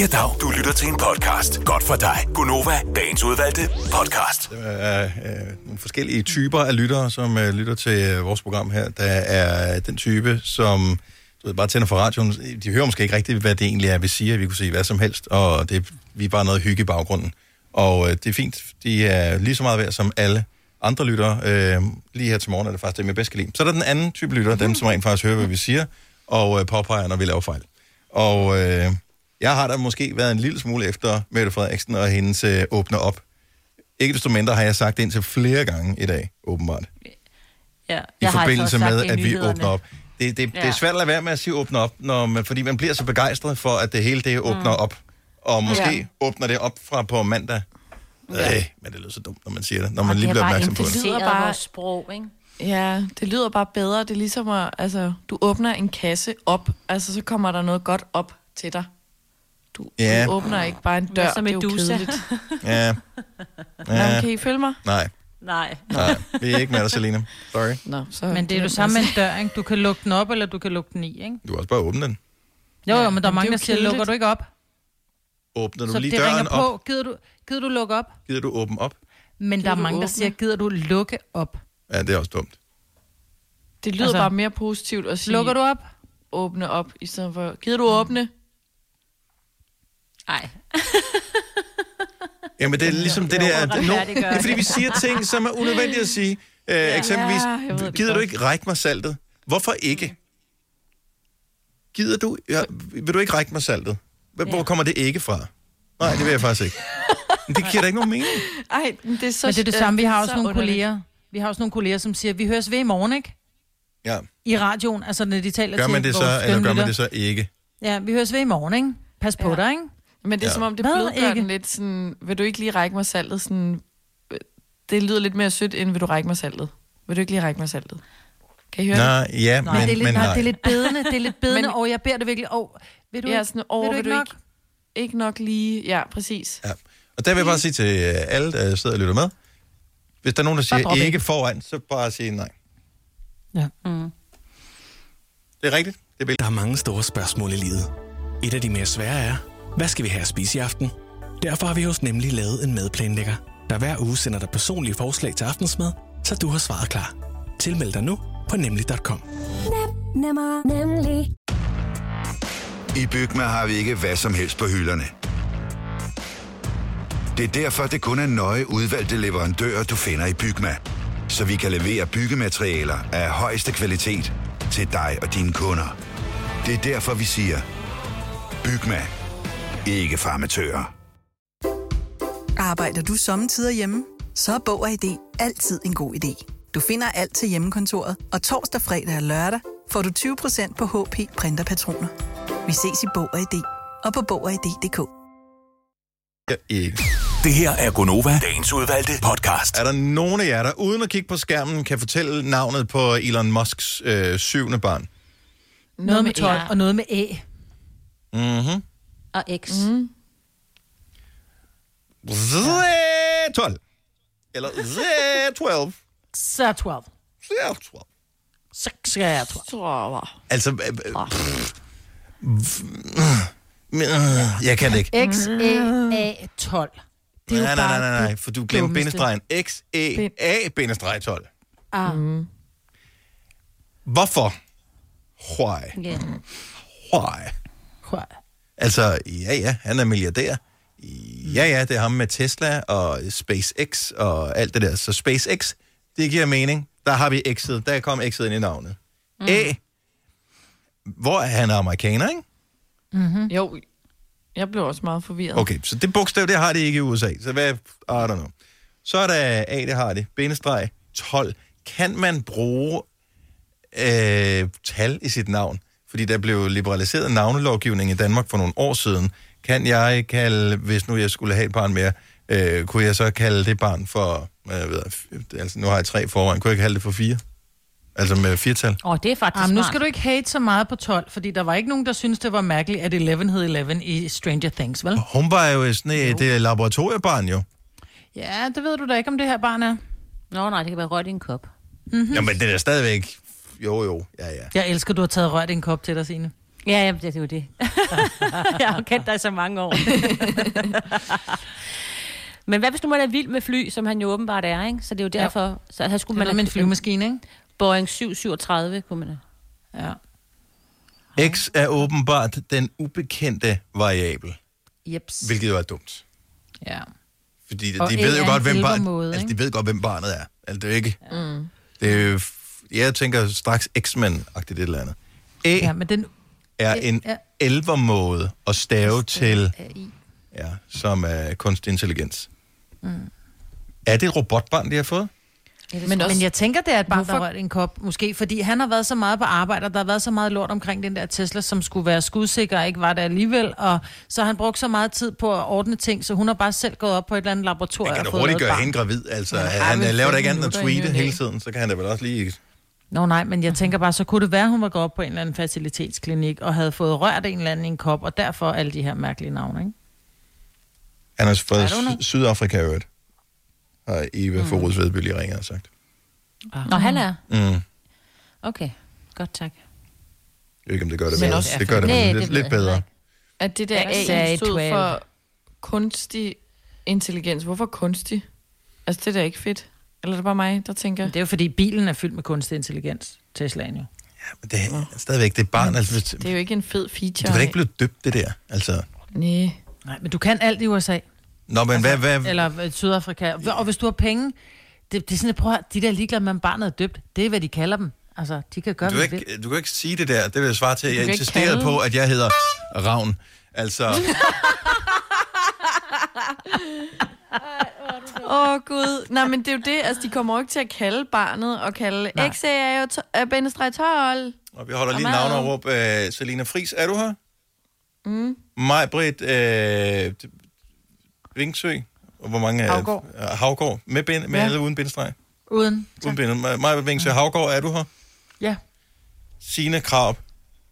Speaker 6: Ja, dag. Du lytter til en podcast. Godt for dig. Gunova, dagens udvalgte podcast.
Speaker 1: Der er øh, nogle forskellige typer af lyttere, som øh, lytter til øh, vores program her. Der er den type, som du ved, bare tænder for radioen. De hører måske ikke rigtigt, hvad det egentlig er, vi siger. Vi kunne sige hvad som helst, og det, vi er bare noget hygge i baggrunden. Og øh, det er fint. De er lige så meget værd som alle andre lyttere. Øh, lige her til morgen er det faktisk dem, jeg bedst kan lide. Så er der den anden type lyttere, dem som rent faktisk hører, hvad vi siger, og øh, påpeger, når vi laver fejl. Og øh, jeg har da måske været en lille smule efter Mette Frederiksen og hendes øh, åbner op ikke desto mindre har jeg sagt det indtil flere gange i dag, åbenbart.
Speaker 2: Ja.
Speaker 1: I
Speaker 2: Jeg har altså
Speaker 1: forbindelse
Speaker 2: også sagt det i
Speaker 1: med, at vi
Speaker 2: nyhederne.
Speaker 1: åbner op. Det, det, det
Speaker 2: Ja.
Speaker 1: er svært at lade være med at sige åbne op, når man, fordi man bliver så begejstret for, at det hele det åbner
Speaker 2: Mm.
Speaker 1: op. Og måske
Speaker 2: Ja.
Speaker 1: åbner det op fra på mandag. Ja. Øh, men det lyder så dumt, når man siger det, når man lige bliver opmærksom på det.
Speaker 2: impliceret
Speaker 4: lyder bare-
Speaker 2: vores sprog, ikke?
Speaker 4: Ja, det lyder bare bedre. Det er ligesom at, altså, du åbner en kasse op, altså så kommer der noget godt op til dig. Du,
Speaker 1: Ja.
Speaker 4: du åbner ikke bare en dør,
Speaker 2: Hvad så
Speaker 4: det er jo
Speaker 2: Medusa?
Speaker 4: kedeligt.
Speaker 1: Ja.
Speaker 4: Nå,
Speaker 1: ja.
Speaker 4: men kan I følge mig?
Speaker 1: Nej.
Speaker 2: Nej.
Speaker 1: Nej, vi er ikke med dig, Selina. Sorry.
Speaker 4: Nå, så
Speaker 5: Men det er jo sammen med en dør, ikke? Du kan lukke den op, eller du kan lukke den i, ikke?
Speaker 1: Du kan også bare åbne den.
Speaker 5: Jo, jo, men der
Speaker 4: men
Speaker 5: er
Speaker 4: det er
Speaker 5: mange,
Speaker 4: jo
Speaker 5: der siger,
Speaker 4: kedeligt.
Speaker 5: lukker du ikke op?
Speaker 1: Åbner du
Speaker 5: så
Speaker 1: lige
Speaker 5: det
Speaker 1: døren
Speaker 5: ringer
Speaker 1: op?
Speaker 5: på. Gider du, gider du lukke op?
Speaker 1: Gider du åbne op?
Speaker 5: Men
Speaker 4: Gider
Speaker 5: der er
Speaker 4: du
Speaker 5: mange, der
Speaker 4: åbne?
Speaker 5: siger, gider du lukke op?
Speaker 1: Ja, det er også dumt.
Speaker 4: Det lyder
Speaker 5: Altså,
Speaker 4: altså, bare mere positivt at sige...
Speaker 5: lukker du op?
Speaker 4: Åbne op, i stedet for... Gider du åbne?
Speaker 2: Nej.
Speaker 1: Jamen, det er ligesom det
Speaker 2: Jo,
Speaker 1: der...
Speaker 2: retfærdiggør
Speaker 1: No,
Speaker 2: det.
Speaker 1: det er fordi, vi siger ting, som er unødvendige at sige. Øh, eksempelvis,
Speaker 4: Ja, jeg ved det
Speaker 1: gider du
Speaker 4: godt.
Speaker 1: ikke række mig saltet? Hvorfor ikke? Gider du... Ja, vil du ikke række mig saltet? Hvor hvor kommer det ikke fra? Nej, det vil jeg faktisk ikke. Men det giver da ikke nogen mening.
Speaker 4: Ej, men det er så...
Speaker 5: Men det er det
Speaker 4: øh,
Speaker 5: samme. Vi har
Speaker 4: så
Speaker 5: også nogle
Speaker 4: underligt.
Speaker 5: kolleger. Vi har også nogle kolleger, som siger, vi høres ved i morgen, ikke?
Speaker 1: Ja.
Speaker 5: I radioen, altså når de taler
Speaker 1: Gør
Speaker 5: til
Speaker 1: man det så,
Speaker 5: vores
Speaker 1: eller gør man
Speaker 5: skønlytter.
Speaker 1: det så ikke?
Speaker 5: Ja, vi høres ved i morgen, ikke? Pas på ja. dig, ikke?
Speaker 4: Men det er ja. som om, det
Speaker 5: Hvad,
Speaker 4: blødgør
Speaker 5: ikke?
Speaker 4: den lidt sådan... Vil du ikke lige række mig saltet? Sådan, øh, det lyder lidt mere sødt, end vil du række mig saltet? Vil du ikke lige række mig saltet? Kan I høre det?
Speaker 1: Nej, ja, men,
Speaker 5: Men, det, er lidt,
Speaker 1: men
Speaker 5: nej,
Speaker 1: nej.
Speaker 5: det er lidt bedende, det er lidt bedende,
Speaker 4: Men-
Speaker 5: og jeg beder dig virkelig, og vil du,
Speaker 4: Ja,
Speaker 5: ikke,
Speaker 4: sådan, åh,
Speaker 5: vil du ikke nok?
Speaker 4: Ikke, ikke nok lige... Ja, præcis.
Speaker 1: Ja. Og der vil jeg bare sige til øh, alle, der sidder og lytter med, hvis der er nogen, der
Speaker 4: drop
Speaker 1: siger
Speaker 4: ikke.
Speaker 1: ikke foran, så bare sige nej.
Speaker 5: Ja.
Speaker 2: Mm.
Speaker 1: Det er rigtigt. Det er
Speaker 6: der er mange store spørgsmål i livet. Et af de mere svære er, hvad skal vi have at spise i aften? Derfor har vi hos Nemlig lavet en madplanlægger, der hver uge sender dig personlige forslag til aftensmad, så du har svaret klar. Tilmeld dig nu på nemlig.com.
Speaker 14: Nemmer, nemlig.
Speaker 15: I Bygma har vi ikke hvad som helst på hylderne. Det er derfor, det kun er nøje udvalgte leverandører, du finder i Bygma. Så vi kan levere byggematerialer af højeste kvalitet til dig og dine kunder. Det er derfor, vi siger, Bygma. Ikke farmatører.
Speaker 16: Arbejder du sommetider hjemme? Så er Bog og ID altid en god idé. Du finder alt til hjemmekontoret, og torsdag, fredag og lørdag får du 20% på HP printerpatroner. Vi ses i Bog og ID og på Bog og ID.dk.
Speaker 1: ikke.
Speaker 6: Det her er Gonova, dagens udvalgte podcast.
Speaker 1: Er der nogen af jer, der uden at kigge på skærmen, kan fortælle navnet på Elon Musks øh, syvende barn?
Speaker 5: Noget med tøj
Speaker 2: æ.
Speaker 5: og noget med æ.
Speaker 1: Mhm.
Speaker 2: Og X. Mm.
Speaker 1: 12. Eller Z12.
Speaker 5: Så 12.
Speaker 1: Z12.
Speaker 5: Så skal jeg 12.
Speaker 1: Altså, øh, øh,
Speaker 5: Ah.
Speaker 1: pff. Men, øh, jeg kan det ikke.
Speaker 5: X, E, A, 12. Det er jo
Speaker 1: nej, nej,
Speaker 5: bare
Speaker 1: nej, nej, nej,
Speaker 5: det
Speaker 1: for du glemte
Speaker 5: dummeste.
Speaker 1: bindestregen. X, E, A, bindestreg 12.
Speaker 5: Ah. Mm.
Speaker 1: Hvorfor? Why?
Speaker 5: Yeah.
Speaker 1: Why?
Speaker 5: Why?
Speaker 1: Altså, ja, ja, han er milliardær. Ja, ja, det er ham med Tesla og SpaceX og alt det der. Så SpaceX, det giver mening. Der har vi X'et. Der kom X'et ind i navnet. Mm. A. Hvor er han amerikaner, ikke?
Speaker 4: Mm-hmm. Jo, jeg blev også meget forvirret.
Speaker 1: Okay, så det bogstav, det har det ikke i USA. Så hvad, I don't know. Så er der A, det har det. Bindestreg 12. Kan man bruge øh, tal i sit navn? Fordi der blev liberaliseret navnelovgivning i Danmark for nogle år siden. Kan jeg kalde, hvis nu jeg skulle have et barn mere, øh, kunne jeg så kalde det barn for, hvad jeg ved, f- altså nu har jeg tre i forvejen, kunne jeg kalde det for fire? Altså med firtal?
Speaker 2: Åh, oh, det er faktisk
Speaker 5: Jamen, nu
Speaker 2: smart.
Speaker 5: skal du ikke hate så meget på 12, fordi der var ikke nogen, der syntes, det var mærkeligt, at 11 hed 11 i Stranger Things, vel?
Speaker 1: Hun var jo sådan et øh, laboratoriebarn jo.
Speaker 5: Ja, det ved du da ikke, om det her barn er.
Speaker 2: Nå nej, det kan være rødt i en kop.
Speaker 1: Mm-hmm. Jamen det er da stadigvæk, jo jo, ja ja.
Speaker 5: Jeg elsker, du har taget rørt i en kop til dig, Signe.
Speaker 2: Ja, ja, det er jo det. jeg har jo kendt dig i så mange år. Men hvad hvis nu man er vild med fly, som han jo åbenbart er, ikke? Så det er jo derfor... Ja. Så her skulle
Speaker 5: Det er
Speaker 2: man
Speaker 5: noget med en flyvemaskine, ikke?
Speaker 2: Boeing 737, kunne man...
Speaker 5: Ja.
Speaker 1: X er åbenbart den ubekendte variabel,
Speaker 5: Jeps.
Speaker 1: hvilket jo er dumt.
Speaker 5: Ja.
Speaker 1: Fordi de,
Speaker 5: Og
Speaker 1: de
Speaker 5: A
Speaker 1: ved
Speaker 5: er
Speaker 1: jo
Speaker 5: en
Speaker 1: godt, hvem barnet,
Speaker 5: elvermåde,
Speaker 1: altså, de
Speaker 5: ikke?
Speaker 1: ved godt, hvem barnet er. Altså, det er jo ikke...
Speaker 5: Mm.
Speaker 1: Det er, jo f- jeg tænker straks X-Men-agtigt et eller andet. A
Speaker 5: Ja, men den...
Speaker 1: er
Speaker 5: det
Speaker 1: en
Speaker 5: er-
Speaker 1: elvermåde at stave til, ja, som er kunstig intelligens.
Speaker 5: Mm.
Speaker 1: Er det et robotbarn, de har fået?
Speaker 5: Men, også, men jeg tænker, det er et barn, der
Speaker 2: Hvorfor-
Speaker 5: rørt i en kop, måske, fordi han har været så meget på arbejde, og der har været så meget lort omkring den der Tesla, som skulle være skudsikker, og ikke var det alligevel, og så har han brugt så meget tid på at ordne ting, så hun har bare selv gået op på et eller andet laboratorium
Speaker 1: Kan du
Speaker 5: fået
Speaker 1: hurtigt
Speaker 5: lavet et
Speaker 1: gøre
Speaker 5: barn.
Speaker 1: hende gravid? Altså,
Speaker 5: Men
Speaker 1: han,
Speaker 5: har vel
Speaker 1: han øh, laver da
Speaker 5: fem
Speaker 1: ikke andet end at
Speaker 5: minutter i ny og
Speaker 1: tweete
Speaker 5: næ.
Speaker 1: hele tiden, så kan han da vel også lige...
Speaker 5: Nå nej, men jeg tænker bare, så kunne det være, hun var gået op på en eller anden facilitetsklinik, og havde fået rørt en eller anden i en kop, og derfor alle de her mærkelige navne, ikke?
Speaker 1: Han er fra
Speaker 5: I don't know.
Speaker 1: Sy- Sydafrika, i øvrigt. Har Eva mm. Forud Vedby lige ringer og sagt.
Speaker 2: Nå, han er...
Speaker 1: Mm.
Speaker 2: Okay, godt tak.
Speaker 1: Jeg ved ikke, om det gør det
Speaker 2: Men
Speaker 1: bedre.
Speaker 2: også-
Speaker 1: Det gør det,
Speaker 2: Nej,
Speaker 1: men
Speaker 2: det
Speaker 1: lidt,
Speaker 2: ved
Speaker 1: lidt
Speaker 2: jeg
Speaker 1: bedre.
Speaker 4: At det der
Speaker 2: Jeg sagde
Speaker 4: A stod
Speaker 2: 12.
Speaker 4: for kunstig intelligens? Hvorfor kunstig? Altså, det er da ikke fedt. Eller er det bare mig, der tænker?
Speaker 5: Det er jo fordi, bilen er fyldt med kunstig intelligens, Teslaen jo.
Speaker 1: Men det er stadigvæk, det er barn. Altså, hvis-
Speaker 4: Det er jo ikke en fed feature.
Speaker 1: det var da ikke blevet døbt, det der. Altså,
Speaker 4: Nej.
Speaker 5: Nej, men du kan alt i USA.
Speaker 1: nå, men hvad, hvad,
Speaker 5: Eller øh, Sydafrika. Og hvis du har penge, det, det er sådan, at prøv at høre, de der ligeglade med, om barnet er døbt, det er, hvad de kalder dem. Altså, de kan gøre,
Speaker 1: du,
Speaker 5: hvad
Speaker 1: kan
Speaker 5: de vil.
Speaker 1: ikke, du kan ikke sige det der. Det vil jeg svare til.
Speaker 5: Du
Speaker 1: Jeg
Speaker 5: kan ikke
Speaker 1: insisterede
Speaker 5: kalde-
Speaker 1: på, at jeg hedder Ravn. Altså,
Speaker 4: Åh, oh, Gud. Nej, men det er jo det. Altså, de kommer jo ikke til at kalde barnet og kalde
Speaker 1: Nej.
Speaker 4: XA er jo to- er bindestreg tolv.
Speaker 1: og vi holder lige
Speaker 4: Og mad.
Speaker 1: navn og råb. Øh, Selina Fris, er du her?
Speaker 4: Mm.
Speaker 1: Maj Britt øh, Vingsø. Og hvor mange er
Speaker 5: Haugaard.
Speaker 1: Øh, Havgård. Med, bind, med
Speaker 5: Ja.
Speaker 1: ja. eller uden bindestreg?
Speaker 5: Uden.
Speaker 1: Uden bindestreg. Maj Britt Vingsø. Havgård, er du her?
Speaker 5: Ja.
Speaker 1: Signe Krab.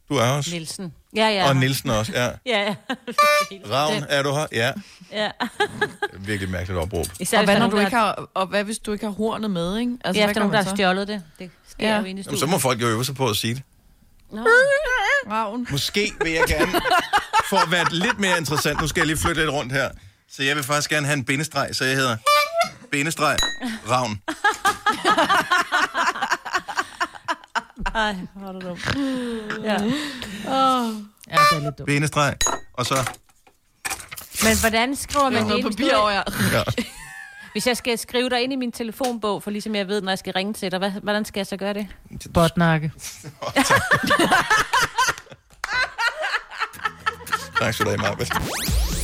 Speaker 1: Du er også.
Speaker 2: Nielsen. Ja, ja.
Speaker 1: Og Nielsen også, ja.
Speaker 2: Ja, ja.
Speaker 1: Ravn, er du her? Ja.
Speaker 2: Ja.
Speaker 1: Virkelig mærkeligt opråb.
Speaker 2: Især
Speaker 4: og,
Speaker 2: hvis
Speaker 4: hvad,
Speaker 2: der er
Speaker 4: når
Speaker 2: nogen,
Speaker 4: du
Speaker 2: der
Speaker 4: ikke har, og hvad hvis du ikke har hornet med, ikke? Altså,
Speaker 2: Ja,
Speaker 4: hvad
Speaker 2: efter
Speaker 4: gør
Speaker 2: nogen, der
Speaker 4: man
Speaker 2: har
Speaker 4: så?
Speaker 2: stjålet det. Det sker
Speaker 4: Ja.
Speaker 2: jo inde i
Speaker 1: Jamen,
Speaker 2: studiet.
Speaker 1: så må folk jo øve sig på at sige det.
Speaker 2: Nå.
Speaker 4: Ravn.
Speaker 1: Måske vil jeg gerne, for at være lidt mere interessant, nu skal jeg lige flytte lidt rundt her, så jeg vil faktisk gerne have en bindestreg, så jeg hedder bindestreg Ravn.
Speaker 2: Ej, hvor er det dumt. Ja. Oh.
Speaker 5: Ja, det er lidt dumt.
Speaker 1: Bindestreg, og så...
Speaker 2: Men hvordan skriver man det ind? Papir over,
Speaker 4: ja.
Speaker 1: Ja.
Speaker 2: Hvis jeg skal skrive dig ind i min telefonbog, for ligesom jeg ved, når jeg skal ringe til dig, hvad, hvordan skal jeg så gøre det?
Speaker 5: Botnakke.
Speaker 1: Tak skal du have, Marbet.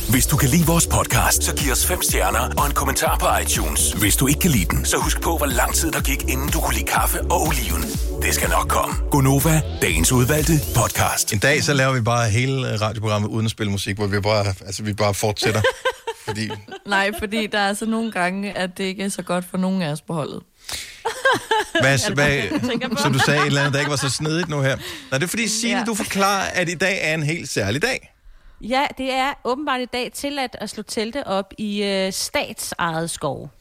Speaker 6: Hvis du kan lide vores podcast, så giv os fem stjerner og en kommentar på iTunes. Hvis du ikke kan lide den, så husk på, hvor lang tid der gik, inden du kunne lide kaffe og oliven. Det skal nok komme.
Speaker 1: Gonova, dagens udvalgte podcast. En dag, så laver vi bare hele radioprogrammet uden at spille musik, hvor vi bare, altså, vi bare fortsætter. fordi
Speaker 4: Nej, fordi der er altså nogle gange, at det ikke er så godt for nogen af os på holdet.
Speaker 1: Hvad, hvad,
Speaker 4: tænker på.
Speaker 1: som du sagde, et eller andet, der ikke var så snedigt nu her. Nej, det er fordi, Signe, ja. du forklarer, at i dag er en helt særlig dag.
Speaker 2: Ja, det er åbenbart i dag tilladt at slå telte op i øh, statsejet skov.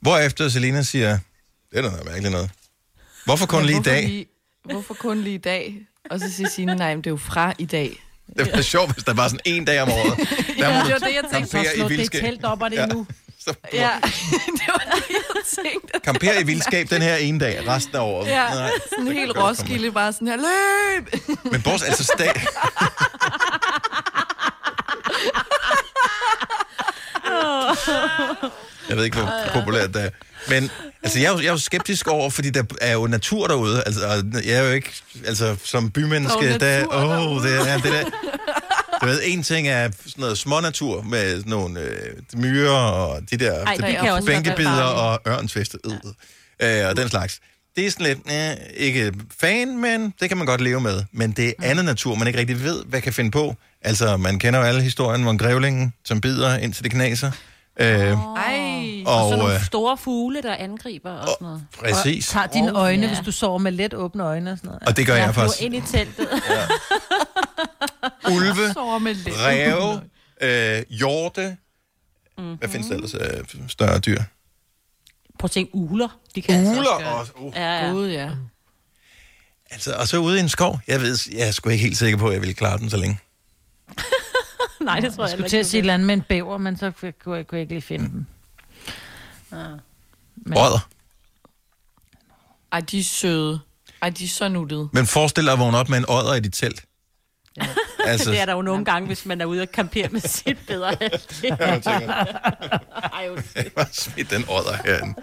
Speaker 1: Hvorefter Selina siger, det er da noget mærkeligt noget. Hvorfor kun
Speaker 4: Ja,
Speaker 1: lige i
Speaker 4: hvorfor
Speaker 1: dag?
Speaker 4: Lige, hvorfor kun lige i dag? Og så siger Signe, nej, men det er jo fra i dag.
Speaker 1: Det var sjovt, hvis der var sådan en dag om året. Der
Speaker 4: Ja,
Speaker 1: må
Speaker 4: det
Speaker 1: du
Speaker 4: var det, jeg tænkte.
Speaker 1: campere i vildskab.
Speaker 5: op, og
Speaker 1: det er Ja. nu.
Speaker 4: Ja, det var det, jeg tænkte.
Speaker 1: Kampere i vildskab den her ene dag, resten af året.
Speaker 4: Ja,
Speaker 1: Nej.
Speaker 4: sådan helt Roskilde, bare sådan her, løb!
Speaker 1: Men Bors, altså stat... Jeg ved ikke, hvor populært det er. Men altså, jeg, er jo, jeg er jo skeptisk over, fordi der er jo natur derude. Altså, og jeg er jo ikke... Altså, som bymenneske,
Speaker 17: Der er
Speaker 1: der...
Speaker 17: jo
Speaker 1: Åh, oh, det er det der... Du ved, en ting er sådan noget smånatur med sådan nogle øh, myrer og de der
Speaker 17: Ej, det kan også være
Speaker 1: bænkebider og
Speaker 17: farligt.
Speaker 1: ørnsfeste øh, øh, og den slags. Det er sådan lidt, øh, ikke fan, men det kan man godt leve med. Men det er andet natur, man ikke rigtig ved, hvad kan finde på. Altså, man kender jo alle historien om grævlingen, som bider indtil det knaser. Øh,
Speaker 2: Ej. Og,
Speaker 1: Og,
Speaker 2: og så nogle
Speaker 1: øh,
Speaker 2: store fugle, der angriber og sådan noget.
Speaker 1: præcis.
Speaker 2: Ah,
Speaker 5: Tag dine øjne, hvis du sover med let åbne øjne og sådan noget.
Speaker 1: Og det gør jeg
Speaker 2: flyver
Speaker 1: faktisk.
Speaker 2: ind i teltet.
Speaker 1: Ulve,
Speaker 4: Sover med lidt.
Speaker 1: ræve, øh, hjorte. Hvad findes der ellers af større dyr?
Speaker 2: Prøv at tænke, uler. De kan altså
Speaker 1: Ugler
Speaker 2: gøre det.
Speaker 1: også. Uh.
Speaker 2: Ja, ja.
Speaker 4: Gud, ja.
Speaker 1: Altså, og så ude i en skov. Jeg ved, jeg er sgu ikke helt sikker på, at jeg ville klare den så længe.
Speaker 2: Nej, det tror jeg heller
Speaker 5: Jeg skulle
Speaker 2: ikke,
Speaker 5: til at
Speaker 2: du
Speaker 5: sige et
Speaker 2: vil.
Speaker 5: eller andet med en bæver, men så kunne jeg, kunne jeg, kunne jeg ikke lige finde den.
Speaker 1: Men... Rødder.
Speaker 4: Ej, de er søde. Ej, de er så nuttede.
Speaker 1: Men forestil dig at vågne op med en odder i dit telt. Ja. Altså,
Speaker 2: det er der jo nogle gange, hvis man er ude og kampere med sit bedre halvdel.
Speaker 1: Ja, jeg tænker.
Speaker 2: Ej, undskyld.
Speaker 1: Jeg har smidt den odder herinde.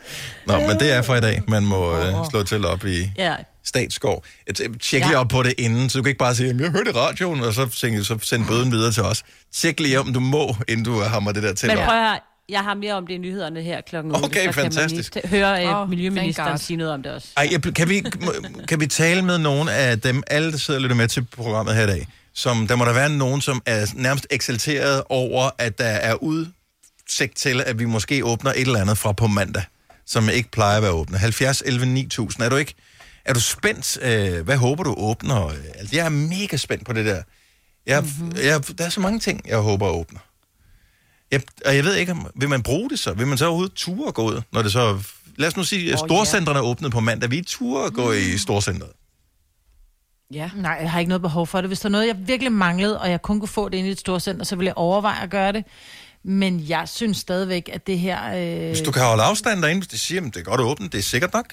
Speaker 1: Nå, men det er for i dag. Man må øh, slå til op i
Speaker 2: Ja.
Speaker 1: statsskov. Et- et- Tjek
Speaker 2: Ja.
Speaker 1: lige op på det inden, så du kan ikke bare sige, "Jamen, jeg hørte i radioen, og så, tænker, jeg, så send bøden videre til os. Tjek lige om du må, inden du hammer det der til
Speaker 2: Men
Speaker 1: op.
Speaker 2: prøv at høre, jeg har mere om det i nyhederne her klokken 8.
Speaker 1: Okay,
Speaker 2: så
Speaker 1: fantastisk.
Speaker 2: Kan man lige t- høre øh, oh,
Speaker 4: Oh, thank God.
Speaker 2: miljøministeren sige noget om det også.
Speaker 1: Ej, jeg, bl- kan, vi, må- kan vi tale med nogen af dem, alle der sidder og lytter med til programmet her i dag, som der må der være nogen, som er nærmest eksalteret over, at der er udsigt til, at vi måske åbner et eller andet fra på mandag, som ikke plejer at være åbne. 70, 11, 9000. Er du ikke? Er du spændt? Øh, hvad håber du åbner? Øh, Altså, jeg er mega spændt på det der. Jeg, mm-hmm. jeg, der er så mange ting, jeg håber åbner. Jeg, og jeg ved ikke, om, vil man bruge det så? Vil man så overhovedet ture at gå ud, når det så... Lad os nu sige, at
Speaker 5: Åh,
Speaker 1: storcentrene er åbnet på mandag. Vi ture at gå
Speaker 4: Mm.
Speaker 1: i storcentret.
Speaker 4: Ja.
Speaker 5: Nej, jeg har ikke noget behov for det. Hvis der er noget, jeg virkelig manglede, og jeg kun kunne få det inde i et storcenter, så ville jeg overveje at gøre det. Men jeg synes stadigvæk, at det her... Øh...
Speaker 1: Hvis du kan holde afstand derinde, hvis de siger, at det er godt åbent, det er sikkert nok.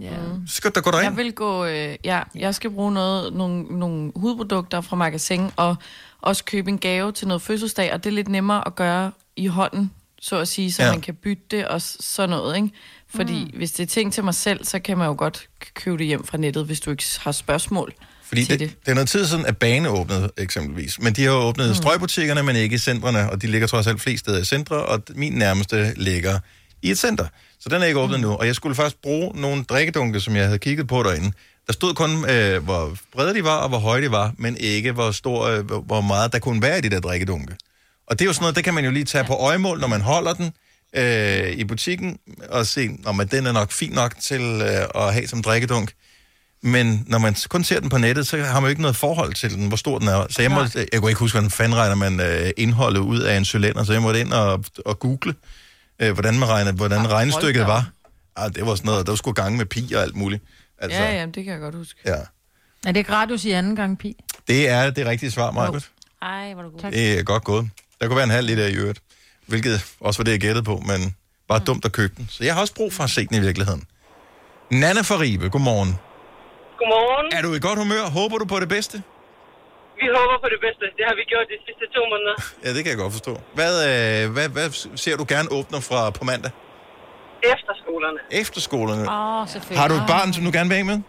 Speaker 4: Ja.
Speaker 1: Så skal der gå derind.
Speaker 4: Jeg vil gå, øh, ja, jeg skal bruge noget, nogle, nogle hudprodukter fra magasin, og også købe en gave til noget fødselsdag, og det er lidt nemmere at gøre i hånden, så at sige, så
Speaker 1: Ja.
Speaker 4: ja. man kan bytte det og s- sådan noget, ikke? Fordi mm. hvis det er ting til mig selv, så kan man jo godt k- købe det hjem fra nettet, hvis du ikke har spørgsmål.
Speaker 1: Fordi det, det er noget tid siden, at Bane åbnede eksempelvis. Men de har jo åbnet mm. strøgbutikkerne, men ikke centrene, og de ligger trods alt flere steder i centre, og d- min nærmeste ligger i et center. Så den er ikke åbnet mm. nu, og jeg skulle faktisk bruge nogle drikkedunke, som jeg havde kigget på derinde. Der stod kun, øh, hvor brede de var, og hvor høje de var, men ikke hvor, stor, øh, hvor- hvor meget der kunne være i de der drikkedunke. Og det er jo sådan noget, det kan man jo lige tage på øjemål, når man holder den øh, i butikken, og se, om at den er nok fin nok til øh, at have som drikkedunk. Men når man kun ser den på nettet, så har man jo ikke noget forhold til den, hvor stor den er. Så jeg, må, jeg kunne ikke huske, hvordan fanden regner man øh, indholdet ud af en cylinder, så jeg måtte ind og, og google, øh, hvordan, man regner, hvordan ja, regnestykket
Speaker 4: hold da op.
Speaker 1: var. Ah, det var sådan noget, der skulle gange med pi og alt muligt. Altså,
Speaker 4: Ja, ja, det kan jeg godt huske.
Speaker 1: ja.
Speaker 5: Er det ikke radius i anden gang, Pi?
Speaker 1: Det er det rigtige svar, Markus.
Speaker 5: Ej, hvor er du god.
Speaker 1: Det er godt gået. Der kunne være en halv liter i øvrigt, hvilket også var det, jeg gættede på, men bare dumt at købe den. Så jeg har også brug for at se den i virkeligheden. Nana fra Ribe, godmorgen.
Speaker 7: Godmorgen.
Speaker 1: Er du i godt humør? Håber du på det bedste?
Speaker 7: Vi håber på det bedste. Det har vi gjort de sidste to måneder.
Speaker 1: Ja, det kan jeg godt forstå. Hvad, øh, hvad, hvad ser du gerne åbner fra på mandag?
Speaker 7: Efterskolerne.
Speaker 1: Efterskolerne.
Speaker 7: Åh, oh, selvfølgelig.
Speaker 1: Har du et barn, som du gerne vil af med?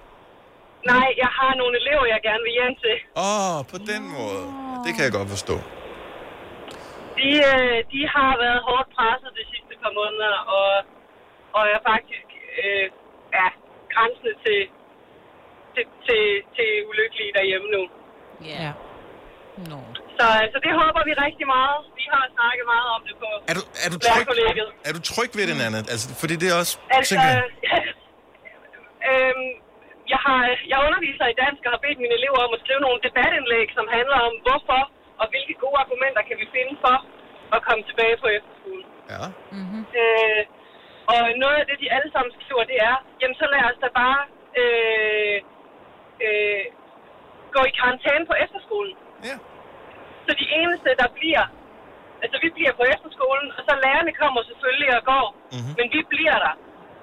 Speaker 7: Nej, jeg har nogle elever, jeg gerne vil hjem til.
Speaker 1: Åh, oh, på den måde. Det kan jeg godt forstå.
Speaker 7: De, øh, de har været hårdt presset de sidste par måneder, og, og er faktisk øh, er grænsende til, til, til, til ulykkelige derhjemme nu.
Speaker 5: Ja.
Speaker 7: No. Så, øh, så det håber vi rigtig meget. Vi har snakket meget om det på
Speaker 1: Er du, er du tryg,
Speaker 7: lærerkollegiet.
Speaker 1: er du tryg ved den anden? Altså, fordi det er også...
Speaker 7: Altså,
Speaker 1: tænker jeg,
Speaker 7: øhm, jeg, har, jeg underviser i dansk og har bedt mine elever om at skrive nogle debatindlæg, som handler om hvorfor og hvilke gode argumenter kan vi finde for at komme tilbage på efterskolen.
Speaker 1: Ja.
Speaker 7: Mm-hmm. Øh, og noget af det, de alle sammen skriver, det er, jamen så lad os da bare øh, øh, gå i karantæne på efterskolen.
Speaker 1: Ja.
Speaker 7: Så de eneste, der bliver, altså vi bliver på efterskolen, og så lærerne kommer selvfølgelig og går,
Speaker 1: Mhm.
Speaker 7: mm-hmm. men vi bliver der.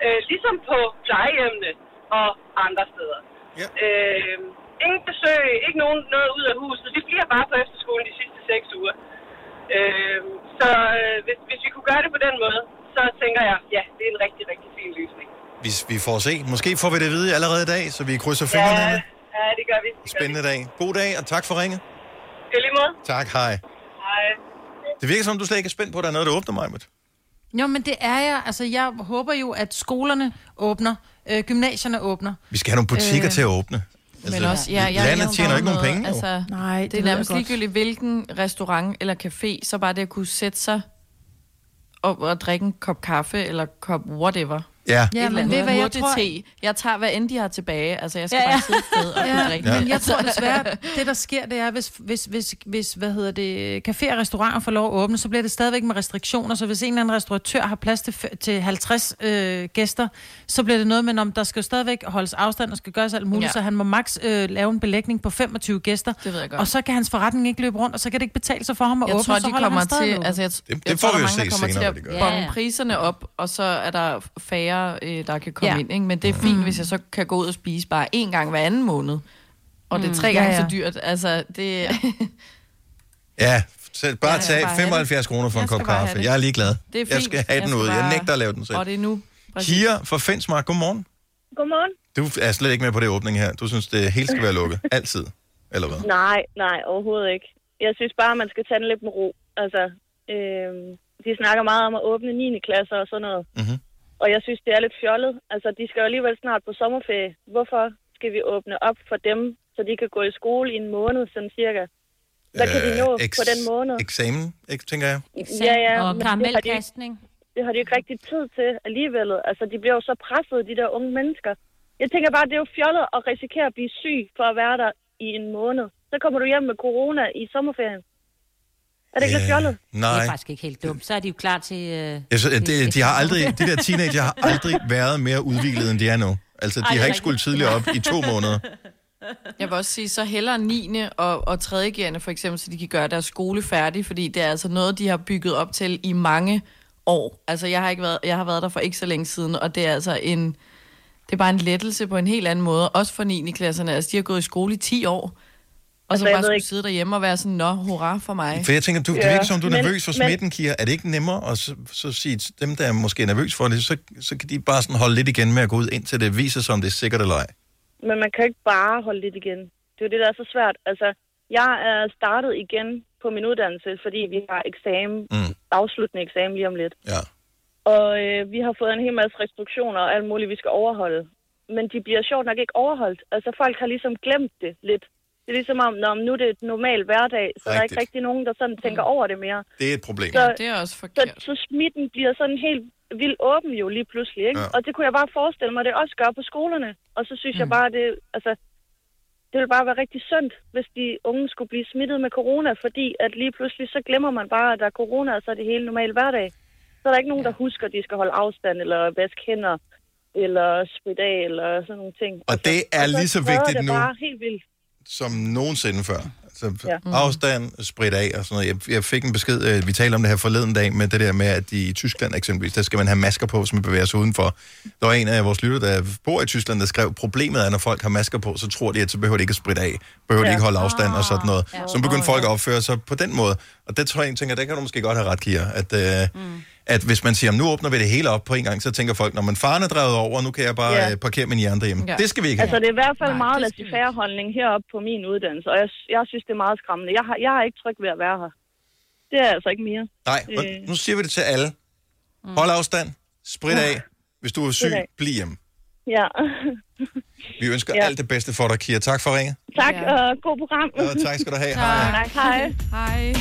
Speaker 7: Øh, ligesom på plejehjemmene og andre steder.
Speaker 1: Ja.
Speaker 7: Øh, ingen besøg, ikke nogen noget ud af huset. Vi bliver bare på efterskolen de sidste seks uger. Øh, så øh, hvis, hvis vi kunne gøre det på den måde, så tænker jeg, ja, det er en rigtig, rigtig fin løsning.
Speaker 1: Hvis vi får se. Måske får vi det at vide allerede i dag, så vi krydser fingrene.
Speaker 7: Ja,
Speaker 1: Nana.
Speaker 7: ja det gør vi. Det gør vi.
Speaker 1: Spændende dag. God dag, og tak for ringet.
Speaker 7: I lige måde.
Speaker 1: Tak, hej.
Speaker 7: Hej.
Speaker 1: Det virker som, du slet ikke er spændt på, at der er noget, der åbner mig.
Speaker 5: Jo, men det er jeg. Altså, jeg håber jo, at skolerne åbner, øh, gymnasierne åbner.
Speaker 1: Vi skal have nogle butikker
Speaker 5: Øh,
Speaker 1: øh, til at åbne.
Speaker 4: Men også, ja, jeg,
Speaker 1: landet
Speaker 4: jeg
Speaker 1: tjener jo ikke nogen penge. Altså,
Speaker 4: Altså,
Speaker 5: Nej,
Speaker 4: det, det er
Speaker 5: ved jeg
Speaker 4: nærmest
Speaker 5: godt.
Speaker 4: ligegyldigt, hvilken restaurant eller café, så bare det at kunne sætte sig og, og drikke en kop kaffe eller kop whatever.
Speaker 1: Ja.
Speaker 4: Et
Speaker 5: Ja,
Speaker 4: eller
Speaker 5: men
Speaker 4: andet.
Speaker 5: ved I hvad, jeg
Speaker 4: Hurtig
Speaker 5: tror-
Speaker 4: te. Jeg tager, hvad end de har tilbage. Altså, jeg skal
Speaker 5: Ja,
Speaker 4: ja,
Speaker 5: ja.
Speaker 4: bare sidde et sted og kunne drikke.
Speaker 5: Ja, men jeg tror desværre, det der sker, det er, hvis, hvis, hvis, hvis hvad hedder det, caféer og restauranter får lov at åbne, så bliver det stadigvæk med restriktioner. Så hvis en eller anden restauratør har plads til, f- til 50 øh, gæster, så bliver det noget med, om der skal jo stadigvæk holdes afstand og skal gøres alt muligt, ja.
Speaker 4: Ja.
Speaker 5: så han må maks øh, lave en belægning på 25 gæster.
Speaker 4: Det ved jeg godt.
Speaker 5: Og så kan hans forretning ikke løbe rundt, og så kan det ikke betale sig for ham at
Speaker 4: jeg
Speaker 5: åbne,
Speaker 4: tror,
Speaker 5: så
Speaker 4: de
Speaker 5: holder
Speaker 4: kommer
Speaker 5: han stadig
Speaker 4: til...
Speaker 5: lukket.
Speaker 4: Altså, jeg, t-
Speaker 1: Det- det
Speaker 4: jeg
Speaker 1: får
Speaker 4: tror,
Speaker 1: vi
Speaker 4: der
Speaker 1: jo
Speaker 4: er
Speaker 1: se
Speaker 4: mange, der kommer
Speaker 1: senere,
Speaker 4: til
Speaker 1: hvad
Speaker 4: at
Speaker 1: de
Speaker 5: gør.
Speaker 4: bonge
Speaker 5: Ja.
Speaker 4: priserne op, og så er der færre, øh, der kan komme
Speaker 5: Ja.
Speaker 4: ja. ind. Ikke? Men det er fint, mm. hvis jeg så kan gå ud og spise bare én gang hver anden måned. Og det er
Speaker 5: Mm.
Speaker 4: tre
Speaker 5: Ja,
Speaker 4: gange
Speaker 5: ja.
Speaker 4: så dyrt. Altså, det...
Speaker 1: ja, så bare
Speaker 4: Jeg skal
Speaker 1: tag
Speaker 4: bare have
Speaker 1: 75 kroner for en kop
Speaker 4: bare have
Speaker 1: kaffe.
Speaker 4: det.
Speaker 1: Jeg er ligeglad.
Speaker 4: Det er fint.
Speaker 1: jeg skal have den ud. Jeg
Speaker 4: bare-
Speaker 1: nægter at lave den selv.
Speaker 4: Og det er nu. Præcis.
Speaker 1: Kira fra Fensmark, godmorgen.
Speaker 17: Godmorgen.
Speaker 1: Du er slet ikke med på det åbning her. Du synes, det hele skal være lukket. Altid. Eller hvad?
Speaker 17: Nej, nej, overhovedet ikke. Jeg synes bare, man skal tage den lidt med ro. Altså, øh, de snakker meget om at åbne 9. klasser og sådan noget.
Speaker 1: Mhm.
Speaker 17: Og jeg synes, det er lidt fjollet. Altså, de skal jo alligevel snart på sommerferie. Hvorfor skal vi åbne op for dem, så de kan gå i skole i en måned, sådan cirka? Hvad kan de nå
Speaker 1: Øh, eks-
Speaker 17: på den måned?
Speaker 1: Eksamen, ikke, tænker jeg.
Speaker 17: Ja, ja,
Speaker 2: Og
Speaker 17: men det har de ikke-
Speaker 2: karamelkastning.
Speaker 17: det har de jo ikke rigtig tid til alligevel. Altså, de bliver jo så presset, de der unge mennesker. Jeg tænker bare, det er jo fjollet at risikere at blive syg for at være der i en måned. Så kommer du hjem med corona i sommerferien. Er det ikke lidt fjollet?
Speaker 2: Det er
Speaker 1: Nej.
Speaker 2: faktisk ikke helt dumt. Så er de jo klar til... Øh,
Speaker 1: Jeg synes, at
Speaker 2: til-
Speaker 1: det, de, har aldrig, de der teenager har aldrig været mere udviklet, end de er nu. Altså, de
Speaker 2: Ej, det
Speaker 1: har
Speaker 2: er
Speaker 1: ikke skulle tidligere op i to måneder.
Speaker 4: Jeg vil også sige, så hellere 9. og, og 3. gerne for eksempel, så de kan gøre deres skole færdig, fordi det er altså noget, de har bygget op til i mange år. Altså, jeg har, ikke været, jeg har været der for ikke så længe siden, og det er altså en... Det er bare en lettelse på en helt anden måde, også for 9. klasserne. Altså, de har gået i skole i 10 år, og så
Speaker 17: jeg
Speaker 4: bare
Speaker 17: ved
Speaker 4: skulle
Speaker 17: ikke-
Speaker 4: sidde derhjemme og være sådan, nå, hurra for mig.
Speaker 1: For jeg tænker, du, det virker som, du er nervøs for
Speaker 4: men-
Speaker 1: smitten, Kira. Er det ikke nemmere at så, så sige, til dem, der er måske nervøs for det, så, så kan de bare sådan holde lidt igen med at gå ud, indtil det viser sig, om det er sikkert eller ej.
Speaker 17: Men man kan jo ikke bare holde lidt igen. Det er jo det, der er så svært. Altså, jeg er startet igen på min uddannelse, fordi vi har eksamen,
Speaker 1: mm.
Speaker 17: afsluttende eksamen lige om lidt.
Speaker 1: Ja.
Speaker 17: Og øh, vi har fået en hel masse restriktioner og alt muligt, vi skal overholde. Men de bliver sjovt nok ikke overholdt. Altså, folk har ligesom glemt det lidt. Det er ligesom om, når nu er det et normalt hverdag, så der er ikke
Speaker 1: Rigtigt. Mm.
Speaker 17: rigtig nogen, der sådan tænker over det mere.
Speaker 1: Det er et problem.
Speaker 17: Så,
Speaker 4: det er også
Speaker 17: forkert. Så, så smitten bliver sådan helt vildt åben jo lige pludselig, ikke?
Speaker 1: Ja.
Speaker 17: Og det kunne jeg bare forestille mig, det også gør på skolerne. Og så synes mm. jeg bare, det, altså, det ville bare være rigtig sundt, hvis de unge skulle blive smittet med corona, fordi at lige pludselig så glemmer man bare, at der er corona, og så er det hele normal hverdag. Så er der ikke nogen, der husker, at de skal holde afstand, eller vaske hænder, eller spritte af, eller sådan nogle ting.
Speaker 1: Og det er lige så
Speaker 17: spreder
Speaker 1: vigtigt
Speaker 17: det
Speaker 1: nu,
Speaker 17: bare helt vildt.
Speaker 1: som nogensinde før. Altså,
Speaker 17: Ja.
Speaker 1: ja. afstand, spredt af og sådan noget. Jeg, jeg fik en besked, øh, vi talte om det her forleden dag, med det der med, at i Tyskland eksempelvis, der skal man have masker på, hvis man bevæger sig udenfor. Der var en af vores lytter, der bor i Tyskland, der skrev, problemet er, når folk har masker på, så tror de, at så behøver de ikke at spritte af, behøver ja. de
Speaker 6: Ja.
Speaker 1: ikke holde afstand og sådan noget.
Speaker 6: Ja.
Speaker 1: Så begyndte folk at opføre sig på den måde. Og det tror jeg, en tænker, der kan du måske godt have ret, Kira, at, øh, mm. at hvis man siger, nu åbner vi det hele op på en gang, så tænker folk, når man faren er drevet over, nu kan jeg bare
Speaker 17: Ja.
Speaker 1: ja. parkere min jern derhjemme. Ja. Det skal vi ikke have.
Speaker 17: Altså, det er i hvert fald Nej, meget laissez-faire holdning heroppe på min uddannelse, og jeg, jeg synes, det er meget skræmmende. Jeg, har, jeg er ikke tryg ved at være her. Det er jeg altså ikke mere.
Speaker 1: Nej, og
Speaker 17: Øh.
Speaker 1: nu siger vi det til alle.
Speaker 4: Mm.
Speaker 1: Hold afstand, sprit af. Hvis du er syg,
Speaker 17: Sprit af.
Speaker 1: bliv hjemme.
Speaker 17: Ja.
Speaker 1: Vi ønsker
Speaker 17: Ja.
Speaker 1: alt det bedste for dig, Kira. Tak for ringet.
Speaker 17: tak, og god program.
Speaker 1: Ja, tak skal du have. Hej.
Speaker 17: Hej. Hej.
Speaker 4: Hej.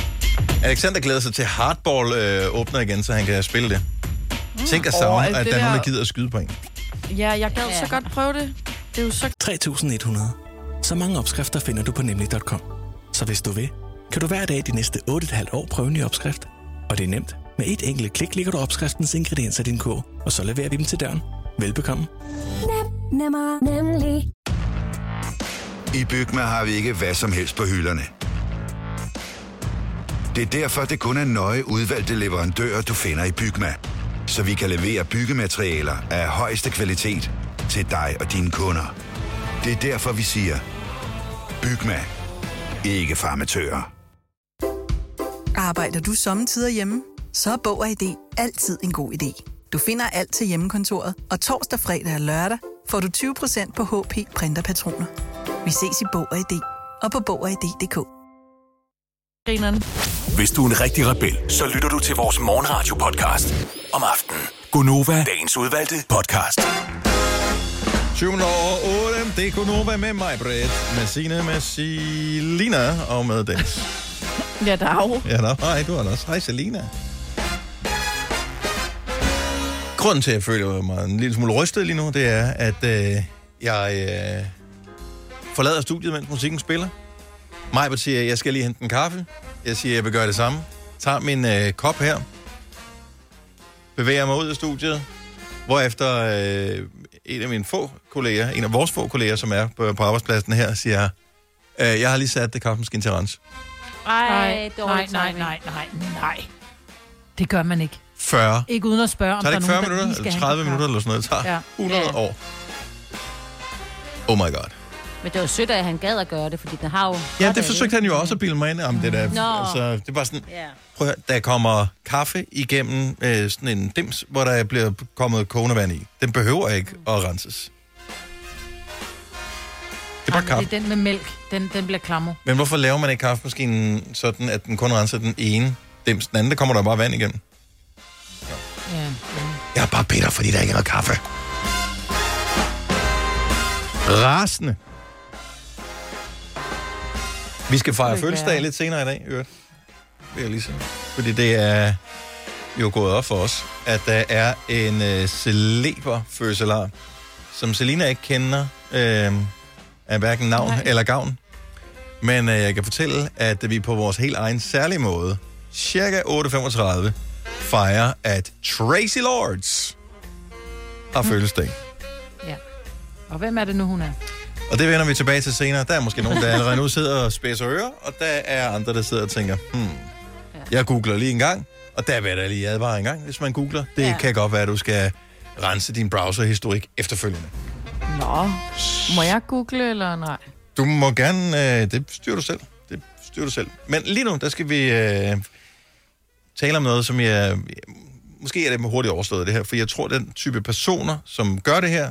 Speaker 1: Alexander glæder sig til hardball øh, åbner igen, så han kan spille det. Tænk at savne,
Speaker 4: Mm.
Speaker 1: at
Speaker 4: Åh, alt
Speaker 1: der er
Speaker 4: det
Speaker 1: nogen, der
Speaker 4: der-
Speaker 1: gider at skyde på en.
Speaker 4: Ja, jeg gad så godt prøve det. Det er jo så
Speaker 18: 3100. Så mange opskrifter finder du på nemlig.com. Så hvis du vil, kan du hver dag de næste 8,5 år prøve en ny opskrift. Og det er nemt. Med et enkelt klik ligger du opskriftens ingredienser i din kog, og så leverer vi dem til døren. Velbekomme.
Speaker 14: Nem, nemmer, nemlig.
Speaker 15: I Bygma har vi ikke hvad som helst på hylderne. Det er derfor, det kun er nøje udvalgte leverandører, du finder i Bygma. Så vi kan levere byggematerialer af højeste kvalitet til dig og dine kunder. Det er derfor, vi siger, Bygma. Ikke farmatører.
Speaker 16: Arbejder du sommetider hjemme? Så er Bog og ID altid en god idé. Du finder alt til hjemmekontoret, og torsdag, fredag og lørdag får du 20% på HP printerpatroner. Vi ses i Bog og ID og på Bog og ID.dk.
Speaker 4: grineren.
Speaker 6: Hvis du er en rigtig rebel, så lytter du til vores morgenradio-podcast om aftenen. Gunova, dagens udvalgte podcast.
Speaker 1: 7 over 8, det er Konoba med mig, Britt, med Signe, med Selina og med Dennis.
Speaker 4: Ja, der er jo.
Speaker 1: Ja, der hej, du har også. Hej, Selina. Grunden til, at jeg føler mig en lille smule rystet lige nu, det er, at øh, jeg øh, forlader studiet, mens musikken spiller. Majbert siger, at jeg skal lige hente en kaffe. Jeg siger, at jeg vil gøre det samme. Tager min øh, kop her. Bevæger mig ud af studiet. Hvorefter øh, en af mine få kolleger, en af vores få kolleger, som er på, på arbejdspladsen her, siger, øh, jeg har lige sat det kaffemaskine til at rense.
Speaker 2: Ej,
Speaker 3: nej,
Speaker 2: dårlig
Speaker 3: nej,
Speaker 2: timing.
Speaker 3: nej, nej, nej. Det gør man ikke.
Speaker 1: 40
Speaker 3: Ikke uden at spørge, om
Speaker 1: Tager
Speaker 3: der
Speaker 1: det
Speaker 3: er
Speaker 1: ikke 40
Speaker 3: nogen, der
Speaker 1: minutter,
Speaker 3: lige skal
Speaker 1: eller
Speaker 3: have
Speaker 1: 30
Speaker 3: en
Speaker 1: minutter, eller sådan noget? Det tager
Speaker 3: Ja.
Speaker 1: 100
Speaker 3: Ja.
Speaker 1: år. Oh my god.
Speaker 2: Øh, Men det var sødt, at han gad at gøre det, fordi den har jo...
Speaker 1: Ja, det forsøgte han jo også at bilde mig ind om, det der.
Speaker 2: Nå.
Speaker 1: Altså, det var sådan,
Speaker 2: Ja.
Speaker 1: prøv at høre, der kommer kaffe igennem øh, sådan en dims, hvor der bliver kommet kogende vand i. Den behøver ikke
Speaker 2: Mm.
Speaker 1: at renses. Det
Speaker 3: Ej,
Speaker 1: er bare
Speaker 3: men
Speaker 1: kaffe.
Speaker 3: Det er den med mælk. Den, den bliver klammer.
Speaker 1: Men hvorfor laver man ikke kaffemaskinen sådan, at den kun renser den ene dims? Den anden, der kommer der bare vand igennem.
Speaker 3: Ja.
Speaker 1: Jeg er bare bitter, fordi der ikke er noget kaffe. Rasende. Vi skal fejre
Speaker 6: Det kan
Speaker 1: fødselsdag
Speaker 6: være.
Speaker 1: lidt senere i dag, i øvrigt. Vil jeg lige sige. Fordi det er jo gået op for os, at der er en øh, celeber fødselar, som Selina ikke kender øh, af hverken navn Nej. eller gavn. Men øh, jeg kan fortælle, at vi på vores helt egen særlige måde, cirka 8.35, fejrer, at Tracy Lords har fødselsdag.
Speaker 3: ja. Og hvem er det nu, hun er?
Speaker 1: Og det vender vi tilbage til senere. Der er måske nogen, der allerede nu sidder og spidser ører, og der er andre, der sidder og tænker, hmm, jeg googler lige en gang, og der vil jeg da lige advare en gang, hvis man googler. Det ja. kan godt være, at du skal rense din browserhistorik efterfølgende.
Speaker 4: Nå, må jeg google eller nej?
Speaker 1: Du må gerne... Øh, det styrer du selv. Det styrer du selv. Men lige nu, der skal vi øh, tale om noget, som jeg... Måske er det hurtigt overstået, det her. For jeg tror, den type personer, som gør det her,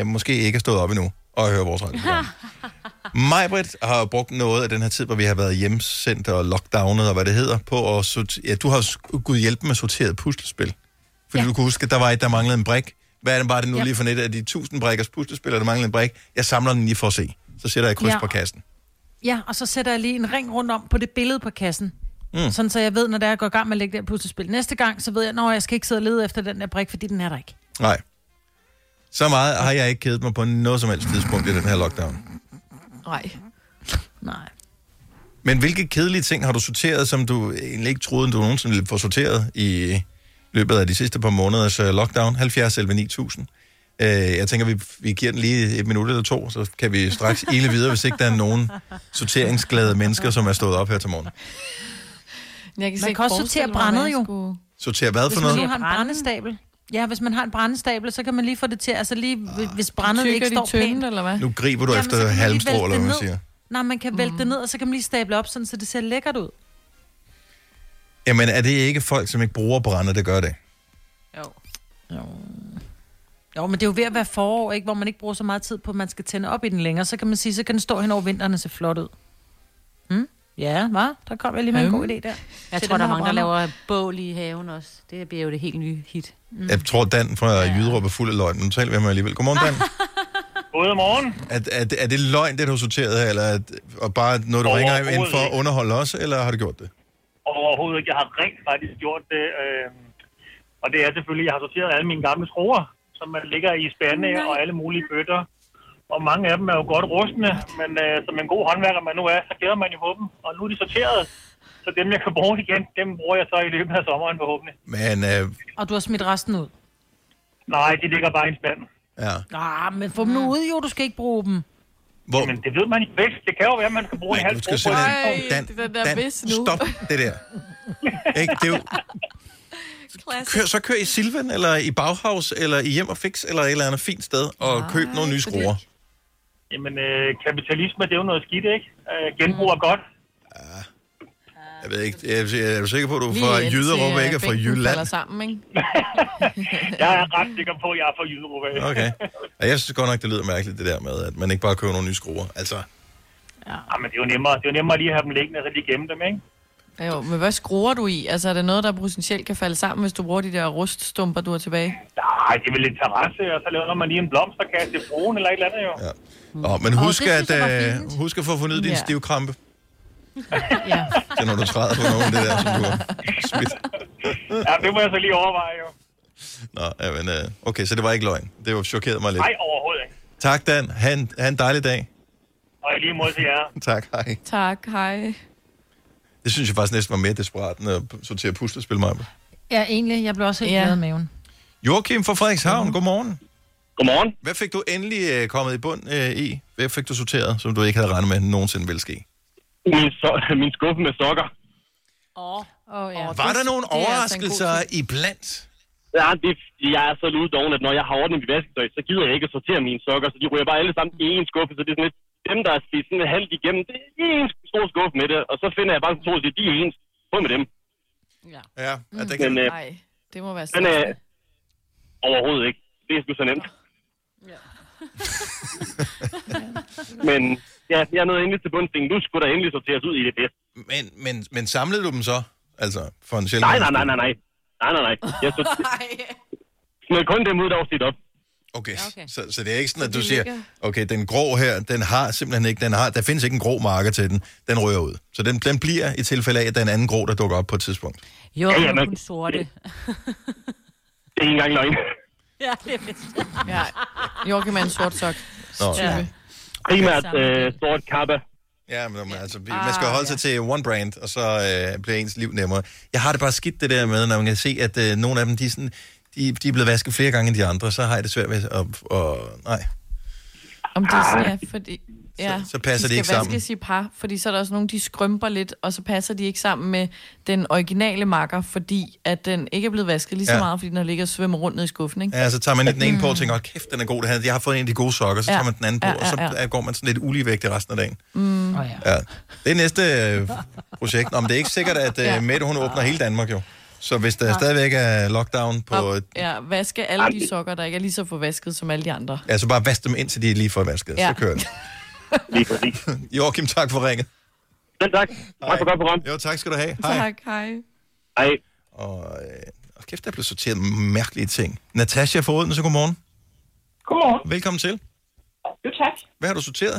Speaker 1: øh, måske ikke er stået op endnu og hører vores radio. Majbrit har brugt noget af den her tid, hvor vi har været hjemsendt og lockdownet og hvad det hedder, på at sorti- ja, du har s- gud hjælpe med sorteret puslespil. Fordi ja. du kunne huske, at der var et, der manglede en brik. Hvad er det, var det nu ja.
Speaker 19: Ja.
Speaker 1: lige for net af de 1000 brikkers puslespil, og der manglede en brik? Jeg samler den lige for at se. Så sætter jeg et kryds
Speaker 5: Ja.
Speaker 1: på kassen.
Speaker 5: Ja, og så sætter jeg lige en ring rundt om på det billede på kassen.
Speaker 1: Mm.
Speaker 5: Mm. Sådan så jeg ved, når det er, jeg går i gang med at lægge det her puslespil. Næste gang, så ved jeg, når jeg skal ikke sidde og lede efter den der brik, fordi den er der ikke.
Speaker 1: Nej. Så meget har jeg ikke kedet mig på noget som helst tidspunkt i den her lockdown.
Speaker 4: Nej.
Speaker 5: Nej.
Speaker 1: Men hvilke kedelige ting har du sorteret, som du egentlig ikke troede, du nogensinde ville få sorteret i løbet af de sidste par måneders øh, lockdown? 70 11 9000. Øh, Jeg tænker, vi, vi giver den lige et minut eller to, så kan vi straks ile videre, hvis ikke der er nogen sorteringsglade mennesker, som er stået op her til morgen.
Speaker 4: Jeg kan
Speaker 5: Man kan også sortere brændet jo.
Speaker 3: Uh.
Speaker 1: Sorter hvad for
Speaker 5: Hvis man nu
Speaker 1: noget?
Speaker 5: har en brændestabel. Ja, hvis man har en brændestabel, så kan man lige få det til, altså lige, hvis brændet
Speaker 4: Tykker
Speaker 5: ikke
Speaker 4: de
Speaker 5: står
Speaker 4: tynde,
Speaker 5: pænt.
Speaker 4: eller hvad?
Speaker 1: Nu griber du
Speaker 5: Jamen, så
Speaker 1: efter
Speaker 5: kan man lige
Speaker 1: halmstrå,
Speaker 5: vælte
Speaker 1: eller
Speaker 5: det
Speaker 1: hvad man
Speaker 5: ned.
Speaker 1: siger.
Speaker 5: Nej, man kan vælte det ned, og så kan man lige stable op, sådan, så det ser lækkert ud.
Speaker 1: Jamen, er det ikke folk, som ikke bruger brænde, der gør det?
Speaker 5: Jo, men det er jo ved at være forår, ikke? hvor man ikke bruger så meget tid på, at man skal tænde op i den længere. Så kan man sige, så kan den stå hen over vinteren og se flot ud. Hmm? Ja, hva? Der kom jeg lige med en
Speaker 2: Øhm.
Speaker 5: god idé der.
Speaker 2: Jeg
Speaker 5: Til
Speaker 2: tror,
Speaker 5: dem,
Speaker 2: der er mange, der
Speaker 5: brænder.
Speaker 2: laver bål i haven også. Det bliver jo det helt nye hit. Mm.
Speaker 1: Jeg tror, Dan fra ja. Jyderup er fuld af løgn, men nu taler vi med ham alligevel. Godmorgen,
Speaker 5: Ah.
Speaker 1: Dan.
Speaker 20: Godmorgen.
Speaker 1: Er, er, er det løgn, det du har sorteret her, eller er det, og bare noget, du ringer
Speaker 20: Overhovedet
Speaker 1: ind for at
Speaker 20: ikke.
Speaker 1: underholde os, eller har du gjort det?
Speaker 20: Overhovedet ikke. Jeg har rent faktisk gjort det. Øh, og det er selvfølgelig, jeg har sorteret alle mine gamle skruer, som man ligger i spande og alle mulige bøtter. Og mange af dem er jo godt rustne, men øh, som en god håndværker man nu er, så glæder man jo på dem. Og nu er de sorteret, så dem jeg kan bruge igen, dem bruger jeg så i løbet af sommeren forhåbentlig.
Speaker 1: Men øh,
Speaker 5: Og du har smidt resten ud.
Speaker 20: Nej, de ligger bare i en spand.
Speaker 1: ja.
Speaker 5: Ah, men få dem nu ud, jo. Du skal ikke bruge dem.
Speaker 1: Hvor...
Speaker 20: Jamen, det ved man ikke bedst. Det kan jo være, at man skal bruge en halv
Speaker 1: du skal
Speaker 20: skrue på et
Speaker 1: simpelthen...
Speaker 20: tidspunkt.
Speaker 1: Dan, Dan, stop det der. Ikke? Det er jo... Kør, så kør i Silvan, eller i Bauhaus, eller i Hjem og Fix, eller et eller andet fint sted, og Nej, køb nogle nye skruer.
Speaker 20: Jamen, øh, kapitalisme, det er jo noget skidt, ikke? Øh, genbrug er godt.
Speaker 1: Jeg ved ikke, jeg er, jeg er du sikker på, at du er
Speaker 20: Lige
Speaker 1: fra
Speaker 20: indtil,
Speaker 1: Jyderup,
Speaker 20: øh,
Speaker 1: ikke er fra
Speaker 20: bænken
Speaker 1: Jylland?
Speaker 4: Falder sammen, Mm, ikke?
Speaker 20: Jeg er ret sikker på, at jeg er fra Jyderup. af.
Speaker 1: Okay. Og jeg synes godt nok, det lyder mærkeligt, det der med, at man ikke bare køber nogle nye skruer. Altså,
Speaker 20: Ja, Ah, men det er jo nemmere, det er jo nemmere lige at have dem liggende, så lige gemme dem, ikke?
Speaker 4: Ja, Jo, men hvad skruer du i? Altså, er der noget, der potentielt kan falde sammen, hvis du bruger de der ruststumper, du har tilbage?
Speaker 20: Nej, det er vel lidt terrasse, og så laver man lige en blomsterkasse i fruen eller et eller andet, jo.
Speaker 1: Ja. Nå, men husk,
Speaker 20: Åh, det
Speaker 1: at,
Speaker 20: synes jeg var
Speaker 1: øh, husk at få fundet din
Speaker 20: Ja.
Speaker 1: stivkrampe. Det er, når du træder på nogen, det der, som du har smidt.
Speaker 20: ja, det må jeg så lige overveje, jo.
Speaker 1: Nå, ja, men, øh, okay, så det var ikke løgn. Det var chokeret mig lidt.
Speaker 20: Nej, overhovedet ikke.
Speaker 1: Tak, Dan. Ha' en, ha' en dejlig dag.
Speaker 20: Og i lige mod til jer.
Speaker 1: Tak, hej.
Speaker 4: Tak, hej.
Speaker 1: Det synes jeg faktisk næsten var mere desperat, end at p- sortere puslespil mig.
Speaker 5: Ja, egentlig. Jeg blev også helt ja. glad i maven.
Speaker 1: Joachim fra
Speaker 21: Mhm.
Speaker 1: Frederikshavn, godmorgen.
Speaker 20: Godmorgen.
Speaker 1: Hvad fik du endelig øh, kommet i bund øh, i? Hvad fik du sorteret, som du ikke havde regnet med nogensinde ville ske?
Speaker 21: Min, so- min skuffe med sokker.
Speaker 5: Oh, ja.
Speaker 1: Var der nogle overraskelser iblandt?
Speaker 21: Ja, det, jeg er så ludoven, at når jeg har ordnet mit vasketøj, så gider jeg ikke at sortere mine sokker, så de ryger bare alle sammen i en skuffe, så det er sådan lidt, dem, der er spist sådan halvt igennem, det er en stor skuffe med det, og så finder jeg bare to, og siger, de er ens. På med dem.
Speaker 1: Ja, ja det
Speaker 21: Men, øh,
Speaker 4: Mm. Nej, det må være
Speaker 21: den er
Speaker 4: sådan.
Speaker 21: øh, overhovedet ikke. Det er sgu så nemt. Men ja, jeg er nået endelig til bundsting. Nu skulle der endelig sorteres ud i det bedste.
Speaker 1: Men, men, men samlede du dem så? Altså, for en sjældent...
Speaker 21: Nej, nej, nej, nej, nej. Nej, nej, nej. Jeg så... Smed kun dem ud, der var sit op.
Speaker 1: Okay, okay. Så, så det er ikke sådan, at du siger, okay, den grå her, den har simpelthen ikke, den har, der findes ikke en grå marker til den, den rører ud. Så den, den bliver i tilfælde af, at den anden grå, der dukker op på et tidspunkt.
Speaker 2: Jo,
Speaker 21: Ja,
Speaker 2: ja,
Speaker 21: ja,
Speaker 2: ja,
Speaker 21: men-
Speaker 2: kun sorte.
Speaker 21: Det er ikke engang løgn.
Speaker 2: ja, det er fedt.
Speaker 4: ja. Jo, kan man en sort sok.
Speaker 1: Nå,
Speaker 4: Ja.
Speaker 21: Primært øh, sort kappa.
Speaker 1: Ja, men altså, vi- man skal holde sig til one brand, og så øh, bliver ens liv nemmere. Jeg har det bare skidt det der med, når man kan se, at øh, nogle af dem, de er, sådan, de, de er blevet vasket flere gange end de andre, så har jeg det svært ved at... Og, nej.
Speaker 4: Om de, ja, fordi, ja,
Speaker 1: Ah. så passer
Speaker 4: de
Speaker 1: det ikke
Speaker 4: skal
Speaker 1: sammen.
Speaker 4: vaskes i par, fordi så er der også nogle, de skrømper lidt, og så passer de ikke sammen med den originale makker, fordi at den ikke er blevet vasket lige så
Speaker 1: Ja.
Speaker 4: meget, fordi den har ligget og svømmer rundt ned i skuffen, ikke?
Speaker 1: Ja, så tager man lidt den ene på og tænker, "Åh, kæft, den er god, det her. jeg har fået en af de gode sokker, så
Speaker 4: Ja.
Speaker 1: tager man den anden på,
Speaker 4: Ja,
Speaker 1: og så
Speaker 4: ja, ja.
Speaker 1: øh, går man sådan lidt uligevægtig resten af dagen.
Speaker 4: Mm.
Speaker 1: Ja. Det er næste øh, projekt. Nå, men det er ikke sikkert, at øh, Mette, hun åbner hele Danmark jo. Så hvis der
Speaker 4: Nej.
Speaker 1: stadigvæk er lockdown på... Øh,
Speaker 4: Ja, vaske alle de sokker, der ikke er lige så forvasket som alle de andre.
Speaker 1: ja, så bare vask dem ind, til de er lige får vasket, ja.
Speaker 4: Ja.
Speaker 1: så kører den. Lige præcis. Joachim, tak for ringet. Selv tak. Tak for godt program. Jo, tak skal du have. Hej.
Speaker 4: Tak, hej.
Speaker 1: Hej. Og, øh, og kæft, der blev sorteret mærkelige ting. Natasha fra Odense, godmorgen.
Speaker 19: Godmorgen.
Speaker 1: Velkommen til.
Speaker 19: Jo, tak.
Speaker 1: Hvad har du sorteret?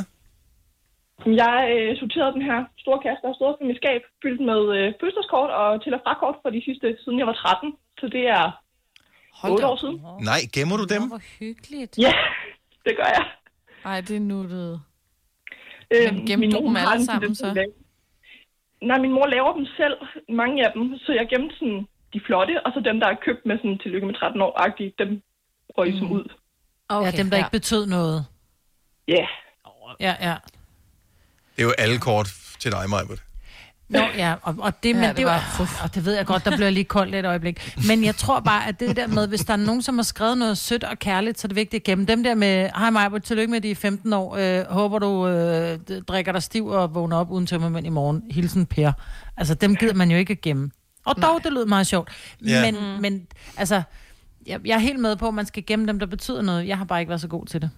Speaker 19: Jeg øh, sorterede den her store kasse, der har stået på mit skab, fyldt med øh, fødselskort og til- og frakort for de sidste, siden jeg var 13. Så det er
Speaker 4: Hold
Speaker 19: 8
Speaker 4: da
Speaker 19: år siden.
Speaker 1: Nej, gemmer du dem?
Speaker 4: Hvor hyggeligt.
Speaker 19: Ja, det gør jeg.
Speaker 4: Ej, det er nuttet.
Speaker 19: Øh,
Speaker 4: Men gemte du dem alle sammen, så?
Speaker 19: Nej, min mor laver dem selv, mange af dem, så jeg gemte sådan de flotte, og så dem, der er købt med sådan tillykke med 13 år-agtige, dem røg
Speaker 4: Mm.
Speaker 19: som ud.
Speaker 5: Okay, ja, dem, der ja.
Speaker 19: ja.
Speaker 5: ikke betød noget.
Speaker 19: Ja. Yeah.
Speaker 5: Ja, ja.
Speaker 1: Det er jo alle kort til dig, Majbert.
Speaker 5: Nå, ja, og, og det,
Speaker 4: Ja,
Speaker 5: men
Speaker 4: det
Speaker 5: det, det,
Speaker 4: var-
Speaker 5: var, og det ved jeg godt, der bliver lige koldt et øjeblik. Men jeg tror bare, at det der med, hvis der er nogen, som har skrevet noget sødt og kærligt, så er det vigtigt at gemme dem der med, hej Maja, tillykke med de 15 år, øh, håber du øh, d- drikker dig stiv og vågner op uden tømmermænd i morgen. Hilsen Per. Altså, dem gider man jo ikke at gemme. Og dog, Nej. det lød meget sjovt.
Speaker 1: Ja.
Speaker 5: Ja. Men,
Speaker 4: Mm.
Speaker 5: men altså, jeg, jeg er helt med på, at man skal gemme dem, der betyder noget. Jeg har bare ikke været så god til det.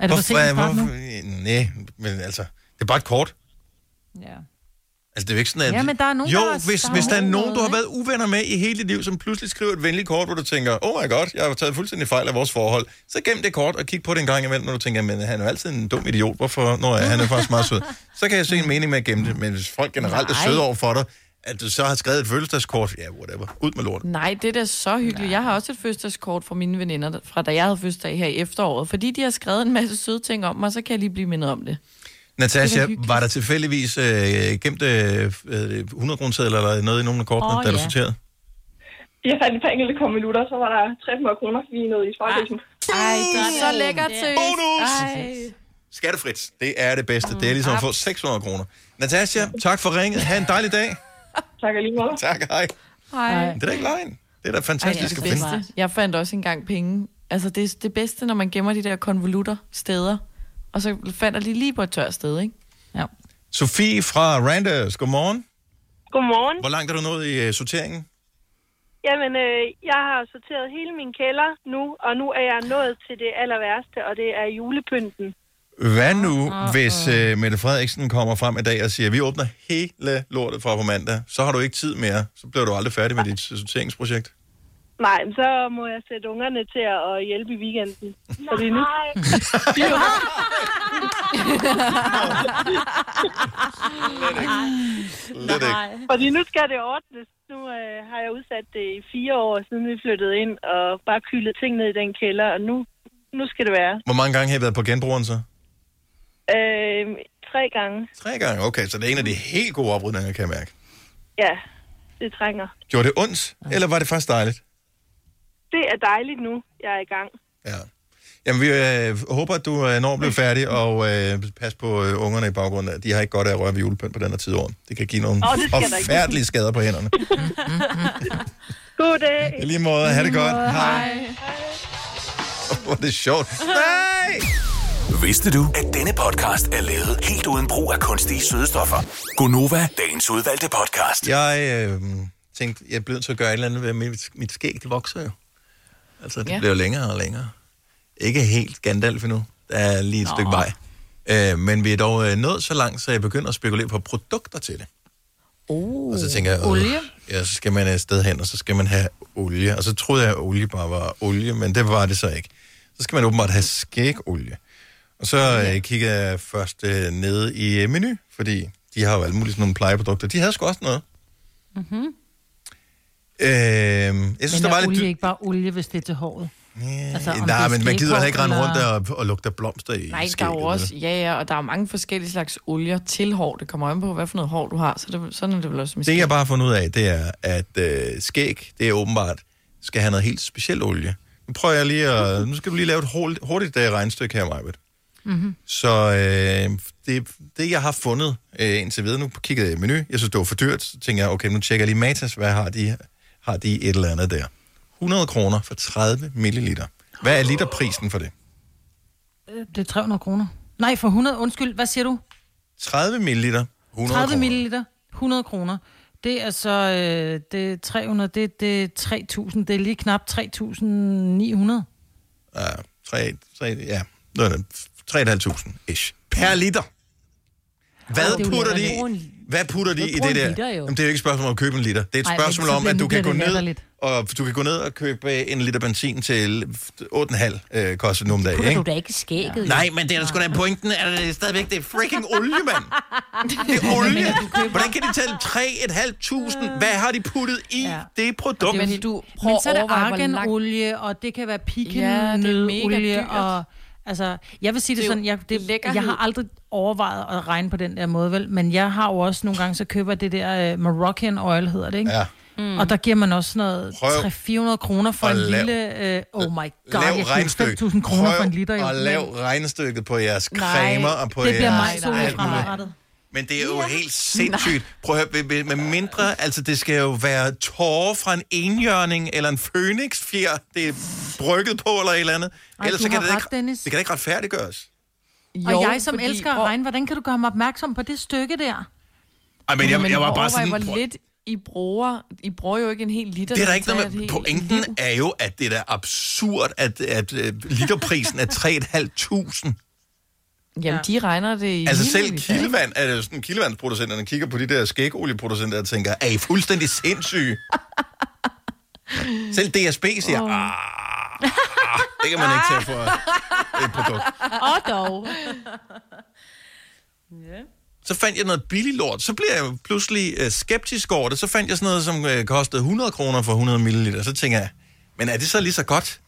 Speaker 5: Er det for sent at starte nu?
Speaker 1: Nej, øh, men altså, det er bare et kort.
Speaker 5: Ja.
Speaker 1: Altså, det er jo ikke sådan, at...
Speaker 5: Ja, men der er nogen,
Speaker 1: jo,
Speaker 5: der har-
Speaker 1: hvis,
Speaker 5: der
Speaker 1: hvis
Speaker 5: har
Speaker 1: der er
Speaker 5: nogen
Speaker 1: nogen,
Speaker 5: noget,
Speaker 1: du har været uvenner med i hele dit liv, som pludselig skriver et venligt kort, hvor du tænker, oh my god, jeg har taget fuldstændig fejl af vores forhold, så gem det kort og kig på det en gang imellem, når du tænker, men han er jo altid en dum idiot, hvorfor? Nå, ja, han er faktisk meget sød. Så kan jeg se en mening med at gemme det, men hvis folk generelt er
Speaker 4: Nej.
Speaker 1: søde over for dig, at du så har skrevet et fødselsdagskort, ja, whatever, ud med lortet.
Speaker 4: Nej, det er da så hyggeligt. Jeg har også et fødselsdagskort fra mine veninder, der- fra da jeg havde fødselsdag her i efteråret. Fordi de har skrevet en masse søde ting om mig, så kan jeg lige blive mindet om det.
Speaker 1: Natasha,
Speaker 4: Det var
Speaker 1: var, var der tilfældigvis øh, gemt øh, øh, 100 kroner eller noget i nogle af kortene,
Speaker 19: Åh,
Speaker 1: oh, da du
Speaker 19: ja.
Speaker 1: sorterede?
Speaker 19: Jeg fandt et par enkelte konvolutter, så var der 300 kroner, fordi noget i sparkrisen.
Speaker 4: Ah. Ej, det er så lækkert til.
Speaker 1: Bonus!
Speaker 4: Ej.
Speaker 1: Skattefrit. Det er det bedste. Det er ligesom at få 600 kroner. Natasha, tak for ringet. Ha' en dejlig dag.
Speaker 19: tak og lige måde.
Speaker 1: Tak, hej.
Speaker 4: Hej.
Speaker 1: Det er da ikke løgn. Det er da fantastisk
Speaker 4: Ej,
Speaker 1: at
Speaker 4: det er det
Speaker 1: finde.
Speaker 4: bedste. Jeg fandt også engang penge. Altså, det er det bedste, når man gemmer de der konvolutter steder. Og så fandt jeg lige lige på et tørt sted, ikke?
Speaker 1: Sofie fra Randers, godmorgen.
Speaker 22: Godmorgen.
Speaker 1: Hvor langt er du nået i uh, sorteringen?
Speaker 22: Jamen, øh, jeg har sorteret hele min kælder nu, og nu er jeg nået til det aller værste, og det er julepynten.
Speaker 1: Hvad nu, hvis uh, Mette Frederiksen kommer frem i dag og siger, vi åbner hele lortet fra på mandag, så har du ikke tid mere, så bliver du aldrig færdig med dit øh, sorteringsprojekt.
Speaker 22: Nej, men så må jeg sætte ungerne til at at hjælpe i weekenden. Nej. Fordi nu...
Speaker 1: Lidt ikke.
Speaker 22: Fordi nu skal det ordnes. Nu øh, har jeg udsat det i fire år, siden vi flyttede ind, og bare kyldet ting ned i den kælder, og nu, nu skal det være.
Speaker 1: Hvor mange gange har I været på genbrugeren så?
Speaker 22: Øh, tre gange.
Speaker 1: Tre gange, okay, så det er en af de helt gode oprydninger, kan jeg mærke.
Speaker 22: Ja, det trænger.
Speaker 1: Gjorde det ondt, eller var det faktisk dejligt?
Speaker 22: Det er dejligt nu, jeg er i gang.
Speaker 1: Jamen, vi øh, håber, at du øh, når at blive færdig, og øh, pas på øh, ungerne i baggrunden. De har ikke godt af at røre ved julepynt på den her tid af året. Det kan give nogle
Speaker 22: Åh, det skal der ikke.
Speaker 1: forfærdelige skader på hænderne.
Speaker 22: God dag.
Speaker 1: I lige måde, have det godt. Hej. Hvor er det sjovt. Nej!
Speaker 6: Vidste du, at denne podcast er lavet helt uden brug af kunstige sødestoffer?
Speaker 1: Gunova,
Speaker 6: Dagens udvalgte podcast.
Speaker 1: Jeg øh, tænkte, jeg blev nødt til at gøre et eller andet ved mit, mit skæg. Det vokser jo. Altså, det
Speaker 6: Ja.
Speaker 1: ja. bliver længere og længere. Ikke helt Gandalf endnu. Der er lige et Nå. stykke vej. Øh, men vi er dog øh, nået så langt, så jeg begynder at spekulere på produkter til det.
Speaker 4: Oh.
Speaker 5: Uh,
Speaker 1: Og så tænker jeg, øh,
Speaker 4: Olie?
Speaker 1: Ja, så skal man et sted hen, og så skal man have olie. Og så troede jeg, at olie bare var olie, men det var det så ikke. Så skal man åbenbart have skægolie. Og så øh, kigger jeg først øh, ned i øh, menu, fordi de har jo alle mulige sådan nogle plejeprodukter. De havde sgu også noget.
Speaker 4: Mhm.
Speaker 5: Mm-hmm.
Speaker 1: Øh, jeg synes,
Speaker 5: men
Speaker 1: der
Speaker 5: er
Speaker 1: var lidt...
Speaker 5: olie ikke bare olie, hvis det er til håret?
Speaker 1: Yeah,
Speaker 5: altså, om det
Speaker 1: nej,
Speaker 5: er
Speaker 1: men man gider
Speaker 5: skæghår
Speaker 1: heller ikke rende
Speaker 5: eller-
Speaker 1: rundt og, og lugte af blomster i
Speaker 4: Nej, der
Speaker 1: skægget,
Speaker 4: er jo også, ja, ja, og der er mange forskellige slags olier til hår. Det kommer an på, hvad for noget hår du har, så det, sådan er det vel også med
Speaker 1: Det, jeg bare har fundet ud af, det er, at øh, skæg, det er åbenbart, skal have noget helt specielt olie. Nu prøver jeg lige at... Nu skal du lige lave et hurtigt, hurtigt øh, regnstykke her, Majbet. Mm-hmm. Så øh, det, det, jeg har fundet øh, indtil videre, nu kiggede jeg i menu, jeg synes, det var for dyrt, så tænker jeg, okay, nu tjekker jeg lige Matas, hvad har de, har de et eller andet der. 100 kroner for 30 milliliter. Hvad er literprisen for det?
Speaker 5: Øh, Det er 300 kroner. Nej, for 100. Undskyld, hvad siger du?
Speaker 1: 30 milliliter, 100
Speaker 5: 30
Speaker 1: kroner.
Speaker 5: milliliter, 100 kroner. Det er så, øh, det er 300, det, det er 3.000, det er lige knap 3.900.
Speaker 1: Ja, 3, 3, ja, 3.500 ish. Per liter.
Speaker 5: Ej, det er
Speaker 1: Hvad
Speaker 5: jo
Speaker 1: putter
Speaker 5: lidt-
Speaker 1: de, hvad putter de
Speaker 5: Man
Speaker 1: i
Speaker 5: bruger
Speaker 1: det
Speaker 5: en
Speaker 1: der?
Speaker 5: liter jo.
Speaker 1: Jamen, det er jo ikke et spørgsmål om at købe en liter. Det er
Speaker 5: Ej,
Speaker 1: et
Speaker 5: men
Speaker 1: spørgsmål
Speaker 5: så
Speaker 1: om, at
Speaker 5: bliver-
Speaker 1: du kan, gå
Speaker 5: bliver det
Speaker 1: ned,
Speaker 5: latterligt.
Speaker 1: og, du kan gå ned og købe en liter benzin til 8,5 øh, koster nu om dagen.
Speaker 2: Putter
Speaker 1: ikke?
Speaker 2: du da ikke skægget? jo?
Speaker 1: Nej, men det er da sgu da pointen, at det er stadigvæk det er freaking olie, mand. Det er
Speaker 2: Men
Speaker 1: olie.
Speaker 2: mindre du køber-
Speaker 1: Hvordan kan de tælle 3.500? Hvad har de puttet i ja. det produkt?
Speaker 5: Mm. Men, du, men så er der arganolie, og det kan være
Speaker 4: Ja, det er mega
Speaker 5: pikenødolie,
Speaker 4: dyrt.
Speaker 5: og... Altså, jeg vil sige det,
Speaker 4: Det er jo
Speaker 5: sådan, jeg, det, jeg
Speaker 4: lækkerhed.
Speaker 5: har aldrig overvejet at regne på den der måde, vel? Men jeg har jo også nogle gange, så køber jeg det der uh, Moroccan oil, hedder det, ikke?
Speaker 1: Ja.
Speaker 5: Mm. Og der giver man også sådan
Speaker 1: Prøv
Speaker 5: noget 300-400 kroner for
Speaker 1: at
Speaker 5: en
Speaker 1: lav-
Speaker 5: lille... Uh, oh my god,
Speaker 1: Lav
Speaker 5: jeg
Speaker 1: regnstykket.
Speaker 5: 5.000 kroner for en liter. jo.
Speaker 1: og lav regnestykket på jeres
Speaker 5: Nej,
Speaker 1: cremer og på
Speaker 5: det bliver
Speaker 1: jeres...
Speaker 5: mig så
Speaker 1: alt
Speaker 5: ud
Speaker 1: muligt.
Speaker 5: fremadrettet.
Speaker 1: Men det er jo helt sindssygt. Prøv at høre, med- med mindre, altså det skal jo være tårer fra en enhjørning eller en fønixfjer, det er brygget på eller et eller andet.
Speaker 5: Ej,
Speaker 1: Ellers
Speaker 5: du
Speaker 1: så kan
Speaker 5: har
Speaker 1: det,
Speaker 5: ret,
Speaker 1: ikke,
Speaker 5: Dennis.
Speaker 1: det kan da ikke retfærdiggøres.
Speaker 5: Jo, og jeg som fordi, elsker at regne, hvordan kan du gøre mig opmærksom på det stykke der?
Speaker 1: Ej, men jeg,
Speaker 4: Men
Speaker 1: jeg var
Speaker 4: overvej,
Speaker 1: bare sådan...
Speaker 4: Hvor
Speaker 1: prøv-
Speaker 4: lidt I bruger. I bruger jo ikke en hel liter.
Speaker 1: Det er
Speaker 4: når
Speaker 1: der
Speaker 4: I
Speaker 1: ikke noget
Speaker 4: tager
Speaker 1: med.
Speaker 4: et helt-
Speaker 1: Pointen er jo, at det er da absurd, at, at øh, literprisen er 3.500.
Speaker 4: Jamen, de regner det i
Speaker 1: Altså
Speaker 4: hele
Speaker 1: selv
Speaker 4: liter, ikke?
Speaker 1: kildevand, er det jo sådan, kildevandsproducenterne kigger på de der skægolieproducenter og tænker, er I fuldstændig sindssyge? selv DSB siger,
Speaker 2: Åh.
Speaker 1: ah, det kan man ikke tage for et produkt.
Speaker 2: Og dog.
Speaker 1: Så fandt jeg noget billig lort, så blev jeg jo pludselig øh, skeptisk over det, så fandt jeg sådan noget, som øh, kostede 100 kroner for 100 ml, så tænker jeg, men er det så lige så godt?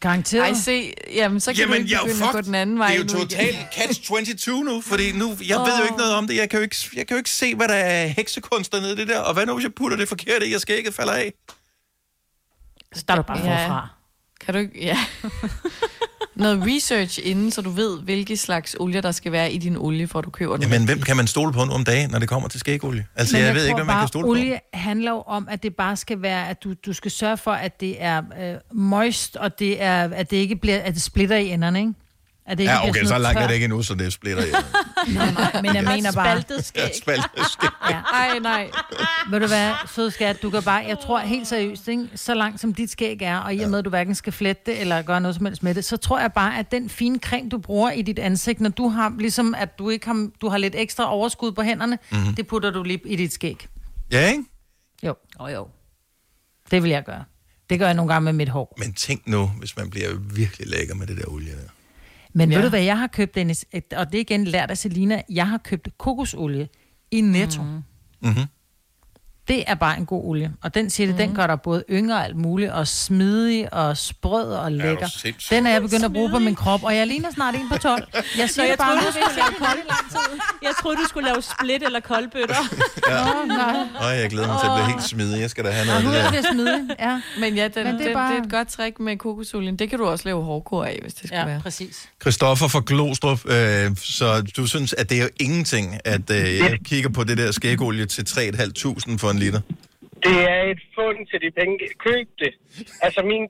Speaker 5: Garanteret.
Speaker 4: Ej, se, jamen, så kan
Speaker 1: Jamen,
Speaker 4: du ikke
Speaker 1: jeg er jo
Speaker 4: begynde at gå
Speaker 1: fucked.
Speaker 4: den anden vej
Speaker 1: Det er jo
Speaker 4: nu igen.
Speaker 1: totalt catch-22 nu, fordi nu, jeg oh. ved jo ikke noget om det. Jeg kan jo ikke, jeg kan jo ikke se, hvad der er heksekunster nede i det der. Og hvad nu, hvis jeg putter det forkert i, jeg skal ikke falde af?
Speaker 5: Så starter du bare forfra.
Speaker 4: Kan du ikke? Ja. Noget research inden, så du ved, hvilke slags olier, der skal være i din olie, for at du køber den.
Speaker 1: Jamen, hvem kan man stole på nu om dagen, når det kommer til skægolie? Altså, jeg, jeg ved
Speaker 5: tror
Speaker 1: ikke, hvad man kan
Speaker 5: bare,
Speaker 1: stole
Speaker 5: olie handler jo om, at det bare skal være, at du, du skal sørge for, at det er øh, moist, og det er, at det ikke bliver, at det splitter i enderne, ikke? At
Speaker 1: på.
Speaker 5: det ikke
Speaker 1: Ja,
Speaker 5: bliver
Speaker 1: okay,
Speaker 5: sådan
Speaker 1: så
Speaker 5: noget
Speaker 1: langt er
Speaker 5: tør.
Speaker 1: det ikke endnu, så det splitter jeg.
Speaker 5: Men jeg
Speaker 1: Ja.
Speaker 5: mener bare...
Speaker 1: Ja, spaltet skæg.
Speaker 4: Ej, nej.
Speaker 5: Ved du hvad, søde skat, du kan bare, jeg tror helt seriøst, ikke? så langt som dit skæg er, og i og med, at du hverken skal flette det eller gøre noget som helst med det, så tror jeg bare, at den fine creme, du bruger i dit ansigt, når du har, ligesom at du ikke har, du har lidt ekstra overskud på hænderne,
Speaker 1: Mhm.
Speaker 5: mm-hmm. det putter du lige i dit skæg.
Speaker 1: Ja, ikke?
Speaker 5: Jo. Oh, jo. Det vil jeg gøre. Det gør jeg nogle gange med mit hår.
Speaker 1: Men tænk nu, hvis man bliver virkelig lækker med det der olie der.
Speaker 5: Men ja.
Speaker 1: Ja.
Speaker 5: ved du hvad, jeg har købt, Dennis, Et- og det er igen lært af Selina, jeg har købt kokosolie i Netto. Mm.
Speaker 1: Mm-hmm.
Speaker 5: Det er bare en god olie. Og den siger det, den gør dig både yngre og alt muligt, og smidig og sprød og
Speaker 2: du
Speaker 5: lækker.
Speaker 2: sindssyg?
Speaker 5: den er jeg begyndt at bruge på min krop, og jeg ligner snart en på 12. Jeg
Speaker 2: Nå,
Speaker 5: siger det
Speaker 2: jeg
Speaker 5: bare,
Speaker 2: troede,
Speaker 5: nu
Speaker 2: du
Speaker 5: skal jeg
Speaker 2: skulle lave kold i lang tid. Jeg troede, du skulle lave split eller koldbøtter.
Speaker 1: Ja.
Speaker 5: nej.
Speaker 1: Øj, jeg glæder mig til at blive helt smidig. Jeg skal da have noget af det der.
Speaker 5: smidig, ja.
Speaker 4: Men ja, den,
Speaker 5: Men
Speaker 4: Men
Speaker 5: det
Speaker 4: det,
Speaker 5: er
Speaker 4: den,
Speaker 5: bare-
Speaker 4: det er et godt trick med kokosolien. Det kan du også lave hårdkår af, hvis det skal ja, være.
Speaker 5: præcis.
Speaker 1: Christoffer fra Glostrup, øh, så du synes, at det er jo ingenting, at øh, jeg kigger på det der skægolie til 3.500 for en liter?
Speaker 13: Det er et fund til de penge. Køb det. Altså, min,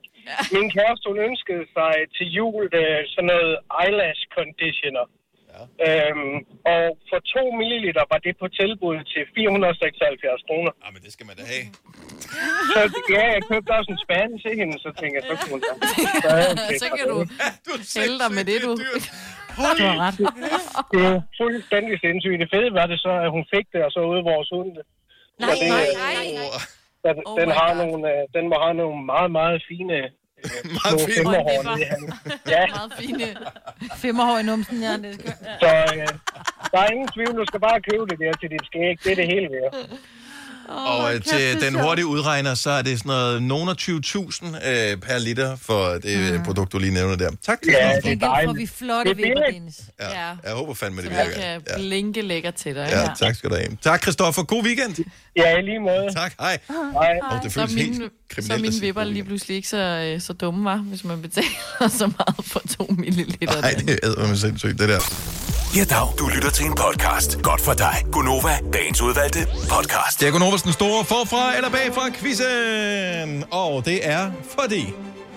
Speaker 13: min kæreste, hun ønskede sig til jul øh, sådan noget eyelash conditioner. Ja. Øhm, og for 2 ml var det på tilbud til 476 kroner.
Speaker 1: Ja, Ah, men det skal man da have.
Speaker 13: Så ja, jeg købte også en spand til hende, så tænker jeg, så kunne hun så.
Speaker 4: Så kan du hælde dig med det, du...
Speaker 13: Du har ret. Det er fuldstændig sindssygt. Det fede var det så, at hun fik det, og så ude vores hund det. Så det, øh, Den,
Speaker 2: Oh
Speaker 13: oh den,
Speaker 2: my
Speaker 13: har
Speaker 2: God.
Speaker 13: nogle, øh, den må have nogle meget, meget fine... Øh,
Speaker 1: meget
Speaker 13: fine. Femmerhår, nede i handen. ja,
Speaker 4: Meget fine.
Speaker 5: Femmerhår i numsen, ja. Det skal...
Speaker 13: så øh, der er ingen tvivl. Du skal bare købe det der til dit skæg. Det er det hele værd.
Speaker 1: Oh, og øh, til den hurtige udregner, så er det sådan noget nogen af 20.000 øh, per liter for det mm. produkt, du lige nævner der. Tak til
Speaker 2: Ja,
Speaker 1: dig.
Speaker 2: det er får vi flotte
Speaker 4: Det er
Speaker 2: vipper,
Speaker 4: billigt.
Speaker 2: Dennis.
Speaker 4: Ja.
Speaker 1: Jeg håber fandme, det
Speaker 4: Så jeg
Speaker 1: virker.
Speaker 4: kan blinke lækker til dig.
Speaker 1: Ja, tak skal du have. Tak, Christoffer. God weekend.
Speaker 13: Ja, lige måde.
Speaker 1: Tak, hej.
Speaker 13: Hej.
Speaker 1: Og det
Speaker 4: så
Speaker 1: føles helt
Speaker 4: mine-
Speaker 1: kriminelt
Speaker 4: Så
Speaker 1: at
Speaker 4: mine
Speaker 1: sige
Speaker 4: vipper
Speaker 1: god
Speaker 4: lige pludselig ikke så, øh, så dumme, var, hvis man betaler så meget for to milliliter.
Speaker 1: Nej, det er med sindssygt, det der.
Speaker 6: Ja, dag. Du lytter til en podcast. Godt for dig. Gunova, dagens udvalgte podcast.
Speaker 1: Det er Gunovas den store forfra eller bagfra quizzen. Og det er fordi,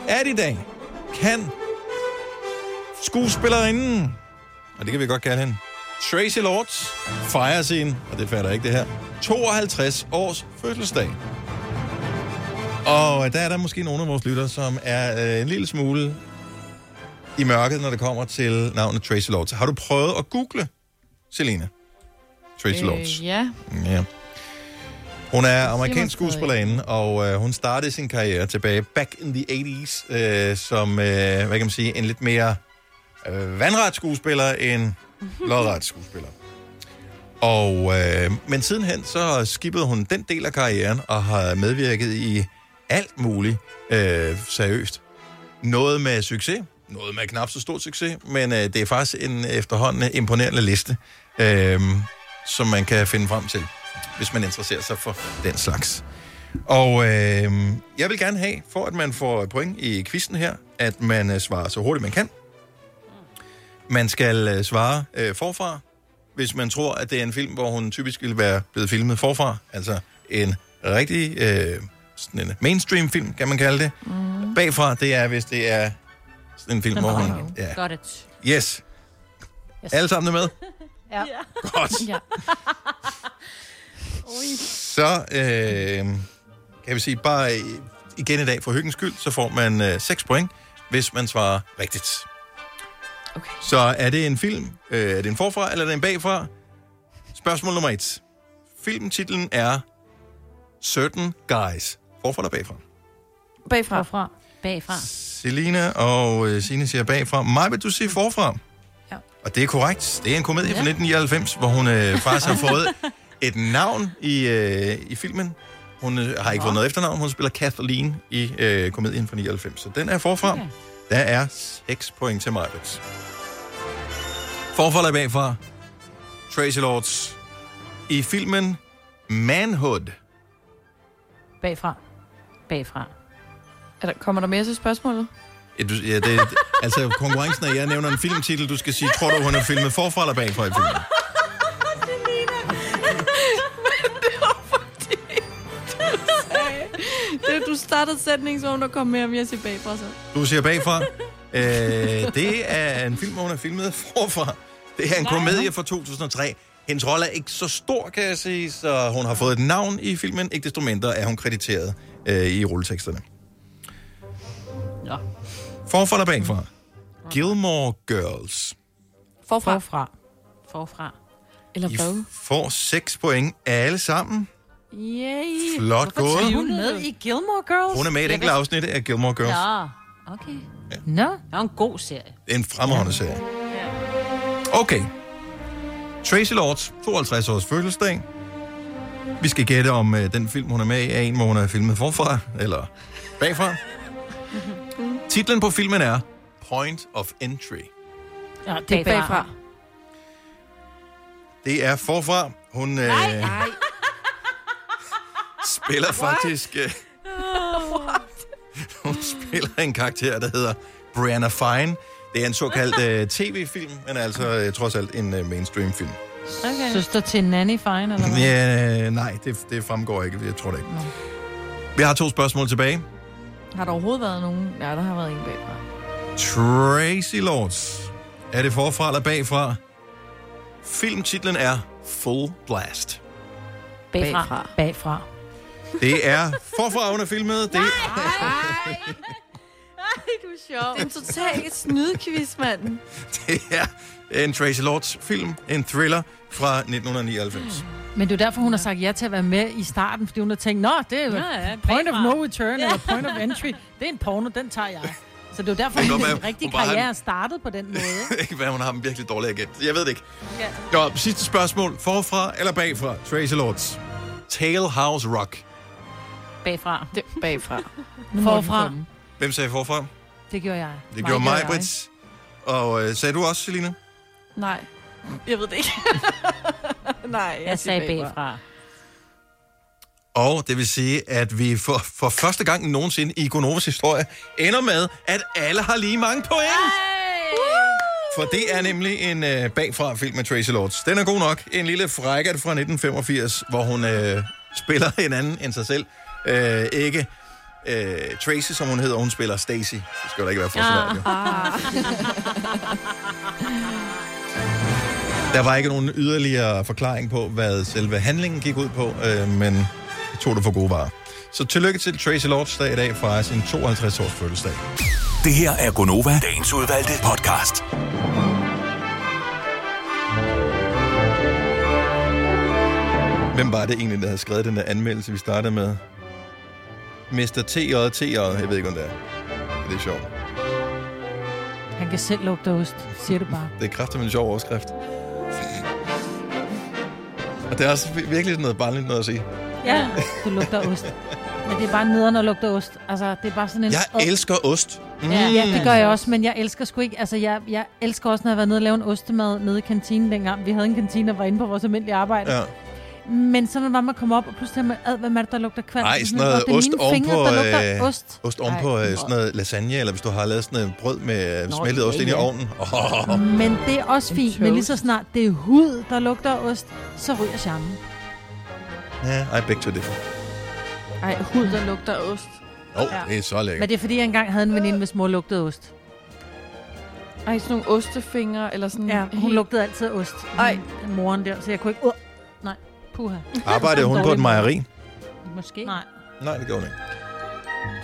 Speaker 1: at i dag kan skuespillerinden, og det kan vi godt kalde hende, Tracy Lords fejrer sin, og det fatter ikke det her, 52 års fødselsdag. Og der er der måske nogle af vores lyttere, som er øh, en lille smule i mørket, når det kommer til navnet Tracy Lords. Har du prøvet at google, Selina? Tracy Lords.
Speaker 4: Øh, ja.
Speaker 1: Ja. Hun er
Speaker 4: mig
Speaker 1: amerikansk skuespillerinde, og øh, hun startede sin karriere tilbage back in the 80s, øh, som, øh, hvad kan man sige, en lidt mere øh, vandret skuespiller end lodret skuespiller. Og, øh, men sidenhen, så skippede hun den del af karrieren, og har medvirket i alt muligt øh, seriøst. Noget med succes, noget med knap så stor succes, men øh, det er faktisk en efterhånden imponerende liste, øh, som man kan finde frem til, hvis man interesserer sig for den slags. Og øh, jeg vil gerne have, for at man får point i quizzen her, at man øh, svarer så hurtigt man kan. Man skal øh, svare øh, forfra, hvis man tror, at det er en film, hvor hun typisk ville være blevet filmet forfra. Altså en rigtig øh, sådan en mainstream-film, kan man kalde det. Mm. Bagfra, det er, hvis det er sådan en film, hvor hun... Ja.
Speaker 2: Got it.
Speaker 1: Yes. yes. Alle sammen er med?
Speaker 2: Ja.
Speaker 1: Godt.
Speaker 2: Ja.
Speaker 1: Så øh, kan vi sige, bare øh, igen i dag for hyggens skyld, så får man øh, 6 point, hvis man svarer rigtigt. Okay. Så er det en film? Øh, er det en forfra, eller er det en bagfra? Spørgsmål nummer 1. Filmtitlen er Certain Guys. Forfra eller bagfra?
Speaker 4: Bagfra.
Speaker 2: Bagfra. Bagfra.
Speaker 1: Selina og øh, Signe siger bagfra. Maj, vil du sige forfra?
Speaker 4: Ja.
Speaker 1: Og det er korrekt. Det er en komedie ja. fra 1999, hvor hun øh, faktisk har fået et navn i, øh, i filmen. Hun øh, har ikke fået noget efternavn. Hun spiller Kathleen i øh, komedien fra 99. Så den er forfra. Okay. Der er 6 point til Majbets. Forfra eller bagfra? Tracy Lords. I filmen Manhood.
Speaker 2: Bagfra. Bagfra.
Speaker 4: Er der, kommer der mere til spørgsmålet?
Speaker 1: Ja, du, ja, det, altså, konkurrencen er, jeg nævner en filmtitel, du skal sige, tror du, hun er filmet forfra eller bagfra i filmen?
Speaker 4: det, du startede sætningen, som om der kom mere og mere tilbage fra sig.
Speaker 1: Du siger bagfra. Øh, det er en film, hvor hun er filmet forfra. Det er en
Speaker 4: Nej.
Speaker 1: komedie fra 2003. Hendes rolle er ikke så stor, kan jeg sige, så hun har fået et navn i filmen. Ikke desto mindre er hun krediteret øh, i rulleteksterne.
Speaker 2: Nå.
Speaker 1: Forfra eller bagfra? Gilmore Girls.
Speaker 4: Forfra.
Speaker 2: Forfra. Forfra.
Speaker 4: Eller hvad?
Speaker 1: Får 6 point alle sammen.
Speaker 4: Yay.
Speaker 1: Flot
Speaker 2: Hvorfor
Speaker 1: gået.
Speaker 2: er hun med i Gilmore Girls?
Speaker 1: Hun er med i et
Speaker 2: Jeg
Speaker 1: enkelt
Speaker 2: vidste-
Speaker 1: afsnit af Gilmore Girls.
Speaker 2: Ja, okay. Nå, det er en god serie.
Speaker 1: Det er en fremragende serie. Okay. Tracy Lords, 52 års fødselsdag. Vi skal gætte, om øh, den film, hun er med i, er en, hvor hun er filmet forfra eller bagfra. Titlen på filmen er Point of Entry.
Speaker 2: Ja,
Speaker 4: det er bagfra.
Speaker 1: Det er forfra. Hun øh,
Speaker 4: Nej.
Speaker 1: spiller faktisk øh, hun spiller en karakter, der hedder Brianna Fine. Det er en såkaldt øh, tv-film, men altså øh, trods alt en øh, mainstream-film.
Speaker 2: Okay.
Speaker 5: Søster til Nanny Fine, eller hvad?
Speaker 1: Ja, nej, det, det fremgår ikke. Jeg tror det ikke. Vi har to spørgsmål tilbage.
Speaker 4: Har der overhovedet været nogen? Ja, der har været en bagfra.
Speaker 1: Tracy Lords. Er det forfra eller bagfra? Filmtitlen er Full Blast.
Speaker 2: Bagfra. Bagfra.
Speaker 1: Det er forfra, hun er filmet. Det
Speaker 4: Ej, du er sjov. Det er en total snydequiz, mand.
Speaker 1: Det er en Tracy Lords film, en thriller fra 1999.
Speaker 5: Men det er jo derfor, hun har sagt ja til at være med i starten, fordi hun har tænkt, nå, det er jo
Speaker 2: ja,
Speaker 5: point of no return, eller point of entry. Det er en porno, den tager jeg. Så det er jo derfor,
Speaker 1: Det kan
Speaker 5: at
Speaker 1: godt være,
Speaker 5: hendes rigtige
Speaker 1: hun bare har
Speaker 5: karriere
Speaker 1: en-
Speaker 5: startede på den måde. ikke?
Speaker 1: ikke hvad, hun har dem virkelig dårligt agent. Jeg ved det ikke. Nå, sidste spørgsmål. Forfra eller bagfra? Tracy Lords. Tail House Rock.
Speaker 5: Bagfra.
Speaker 4: Det, bagfra.
Speaker 5: Forfra.
Speaker 1: Hvem sagde forfra?
Speaker 5: Det gjorde jeg.
Speaker 1: Det gjorde mig, Brits. Og øh, sagde du også, Selina?
Speaker 4: Nej. Jeg ved det ikke. Nej, jeg,
Speaker 5: Jeg
Speaker 4: siger
Speaker 5: sagde bagfra.
Speaker 1: Og det vil sige, at vi for, for første gang nogensinde i Gonovas historie ender med, at alle har lige mange point. For det er nemlig en øh, bagfra-film med Tracy Lords. Den er god nok. En lille frækket fra 1985, hvor hun øh, spiller en anden end sig selv. Øh, ikke øh, Tracy, som hun hedder. Hun spiller Stacy. Det skal der ikke være for ah. Der var ikke nogen yderligere forklaring på, hvad selve handlingen gik ud på, øh, men det tog det for gode varer. Så tillykke til Tracy Lords dag i dag fra sin 52-års fødselsdag.
Speaker 6: Det her er Gonova, dagens udvalgte podcast.
Speaker 1: Hvem var det egentlig, der havde skrevet den der anmeldelse, vi startede med? Mr. T.J. T.J. Jeg ved ikke, om det er. Det er sjovt.
Speaker 5: Han kan selv lugte ost, siger du bare.
Speaker 1: Det er kraftigt en sjov overskrift. Og det er også vir- virkelig sådan noget barnligt noget at sige.
Speaker 5: Ja, du lugter ost. Men det er bare nederen at lugte ost. Altså, det er bare sådan en...
Speaker 1: Jeg elsker ost.
Speaker 5: Mm. Ja, ja, det gør jeg også, men jeg elsker sgu ikke... Altså, jeg, jeg elsker også, når jeg har været nede og lavet en ostemad nede i kantinen dengang. Vi havde en kantine og var inde på vores almindelige arbejde.
Speaker 1: Mm. Ja.
Speaker 5: Men så når man kommer op, og pludselig har man, ad, hvem er det, der lugter kvalm?
Speaker 1: Nej,
Speaker 5: Så
Speaker 1: sådan
Speaker 5: man, "Nå,
Speaker 1: noget
Speaker 5: det er
Speaker 1: ost
Speaker 5: mine
Speaker 1: ovenpå,
Speaker 5: fingre, der lugter
Speaker 1: øh,
Speaker 5: ost.
Speaker 1: ost ovenpå øh, sådan noget lasagne, eller hvis du har lavet sådan en brød med øh,
Speaker 5: Nå,
Speaker 1: smeltet
Speaker 5: ja,
Speaker 1: ost ind i
Speaker 5: ja.
Speaker 1: ovnen. Oh.
Speaker 5: Men det er også fint, men lige så snart det er hud, der lugter af ost, så ryger charmen.
Speaker 1: Ja, I beg to differ.
Speaker 5: Ej, hud, der lugter af ost.
Speaker 1: Åh, oh, det er så
Speaker 5: Men
Speaker 1: lækkert.
Speaker 5: det er fordi, jeg engang havde en veninde med små lugtede ost.
Speaker 4: Ej, sådan nogle ostefingre eller sådan...
Speaker 5: Ja, hun lugtede altid af ost. Ej. Moren der, så jeg kunne ikke... Uh, nej, puha.
Speaker 1: Arbejdede hun på et mejeri?
Speaker 5: Måske. Nej.
Speaker 1: Nej, det gjorde hun ikke.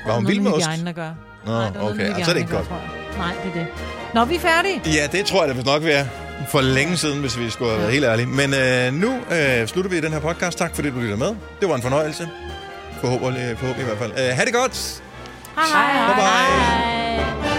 Speaker 1: Var hun vild med ost?
Speaker 5: Noget med hygiejnen at gøre.
Speaker 1: Nå,
Speaker 5: Nej, det var noget
Speaker 1: okay,
Speaker 5: med
Speaker 1: altså, det er
Speaker 5: hygiejne
Speaker 1: ikke
Speaker 5: at
Speaker 1: godt.
Speaker 5: gøre, tror jeg. Nej, det er det. Nå, vi er færdige.
Speaker 1: Ja, det tror jeg, det vil nok være for længe siden, hvis vi skulle have været helt ærlige. Men øh, nu øh, slutter vi den her podcast. Tak fordi du lytter med. Det var en fornøjelse. Øh, Forhåbentlig, forhåbentlig i hvert fald. Øh, ha' det godt!
Speaker 5: Hej. Hej. Hej.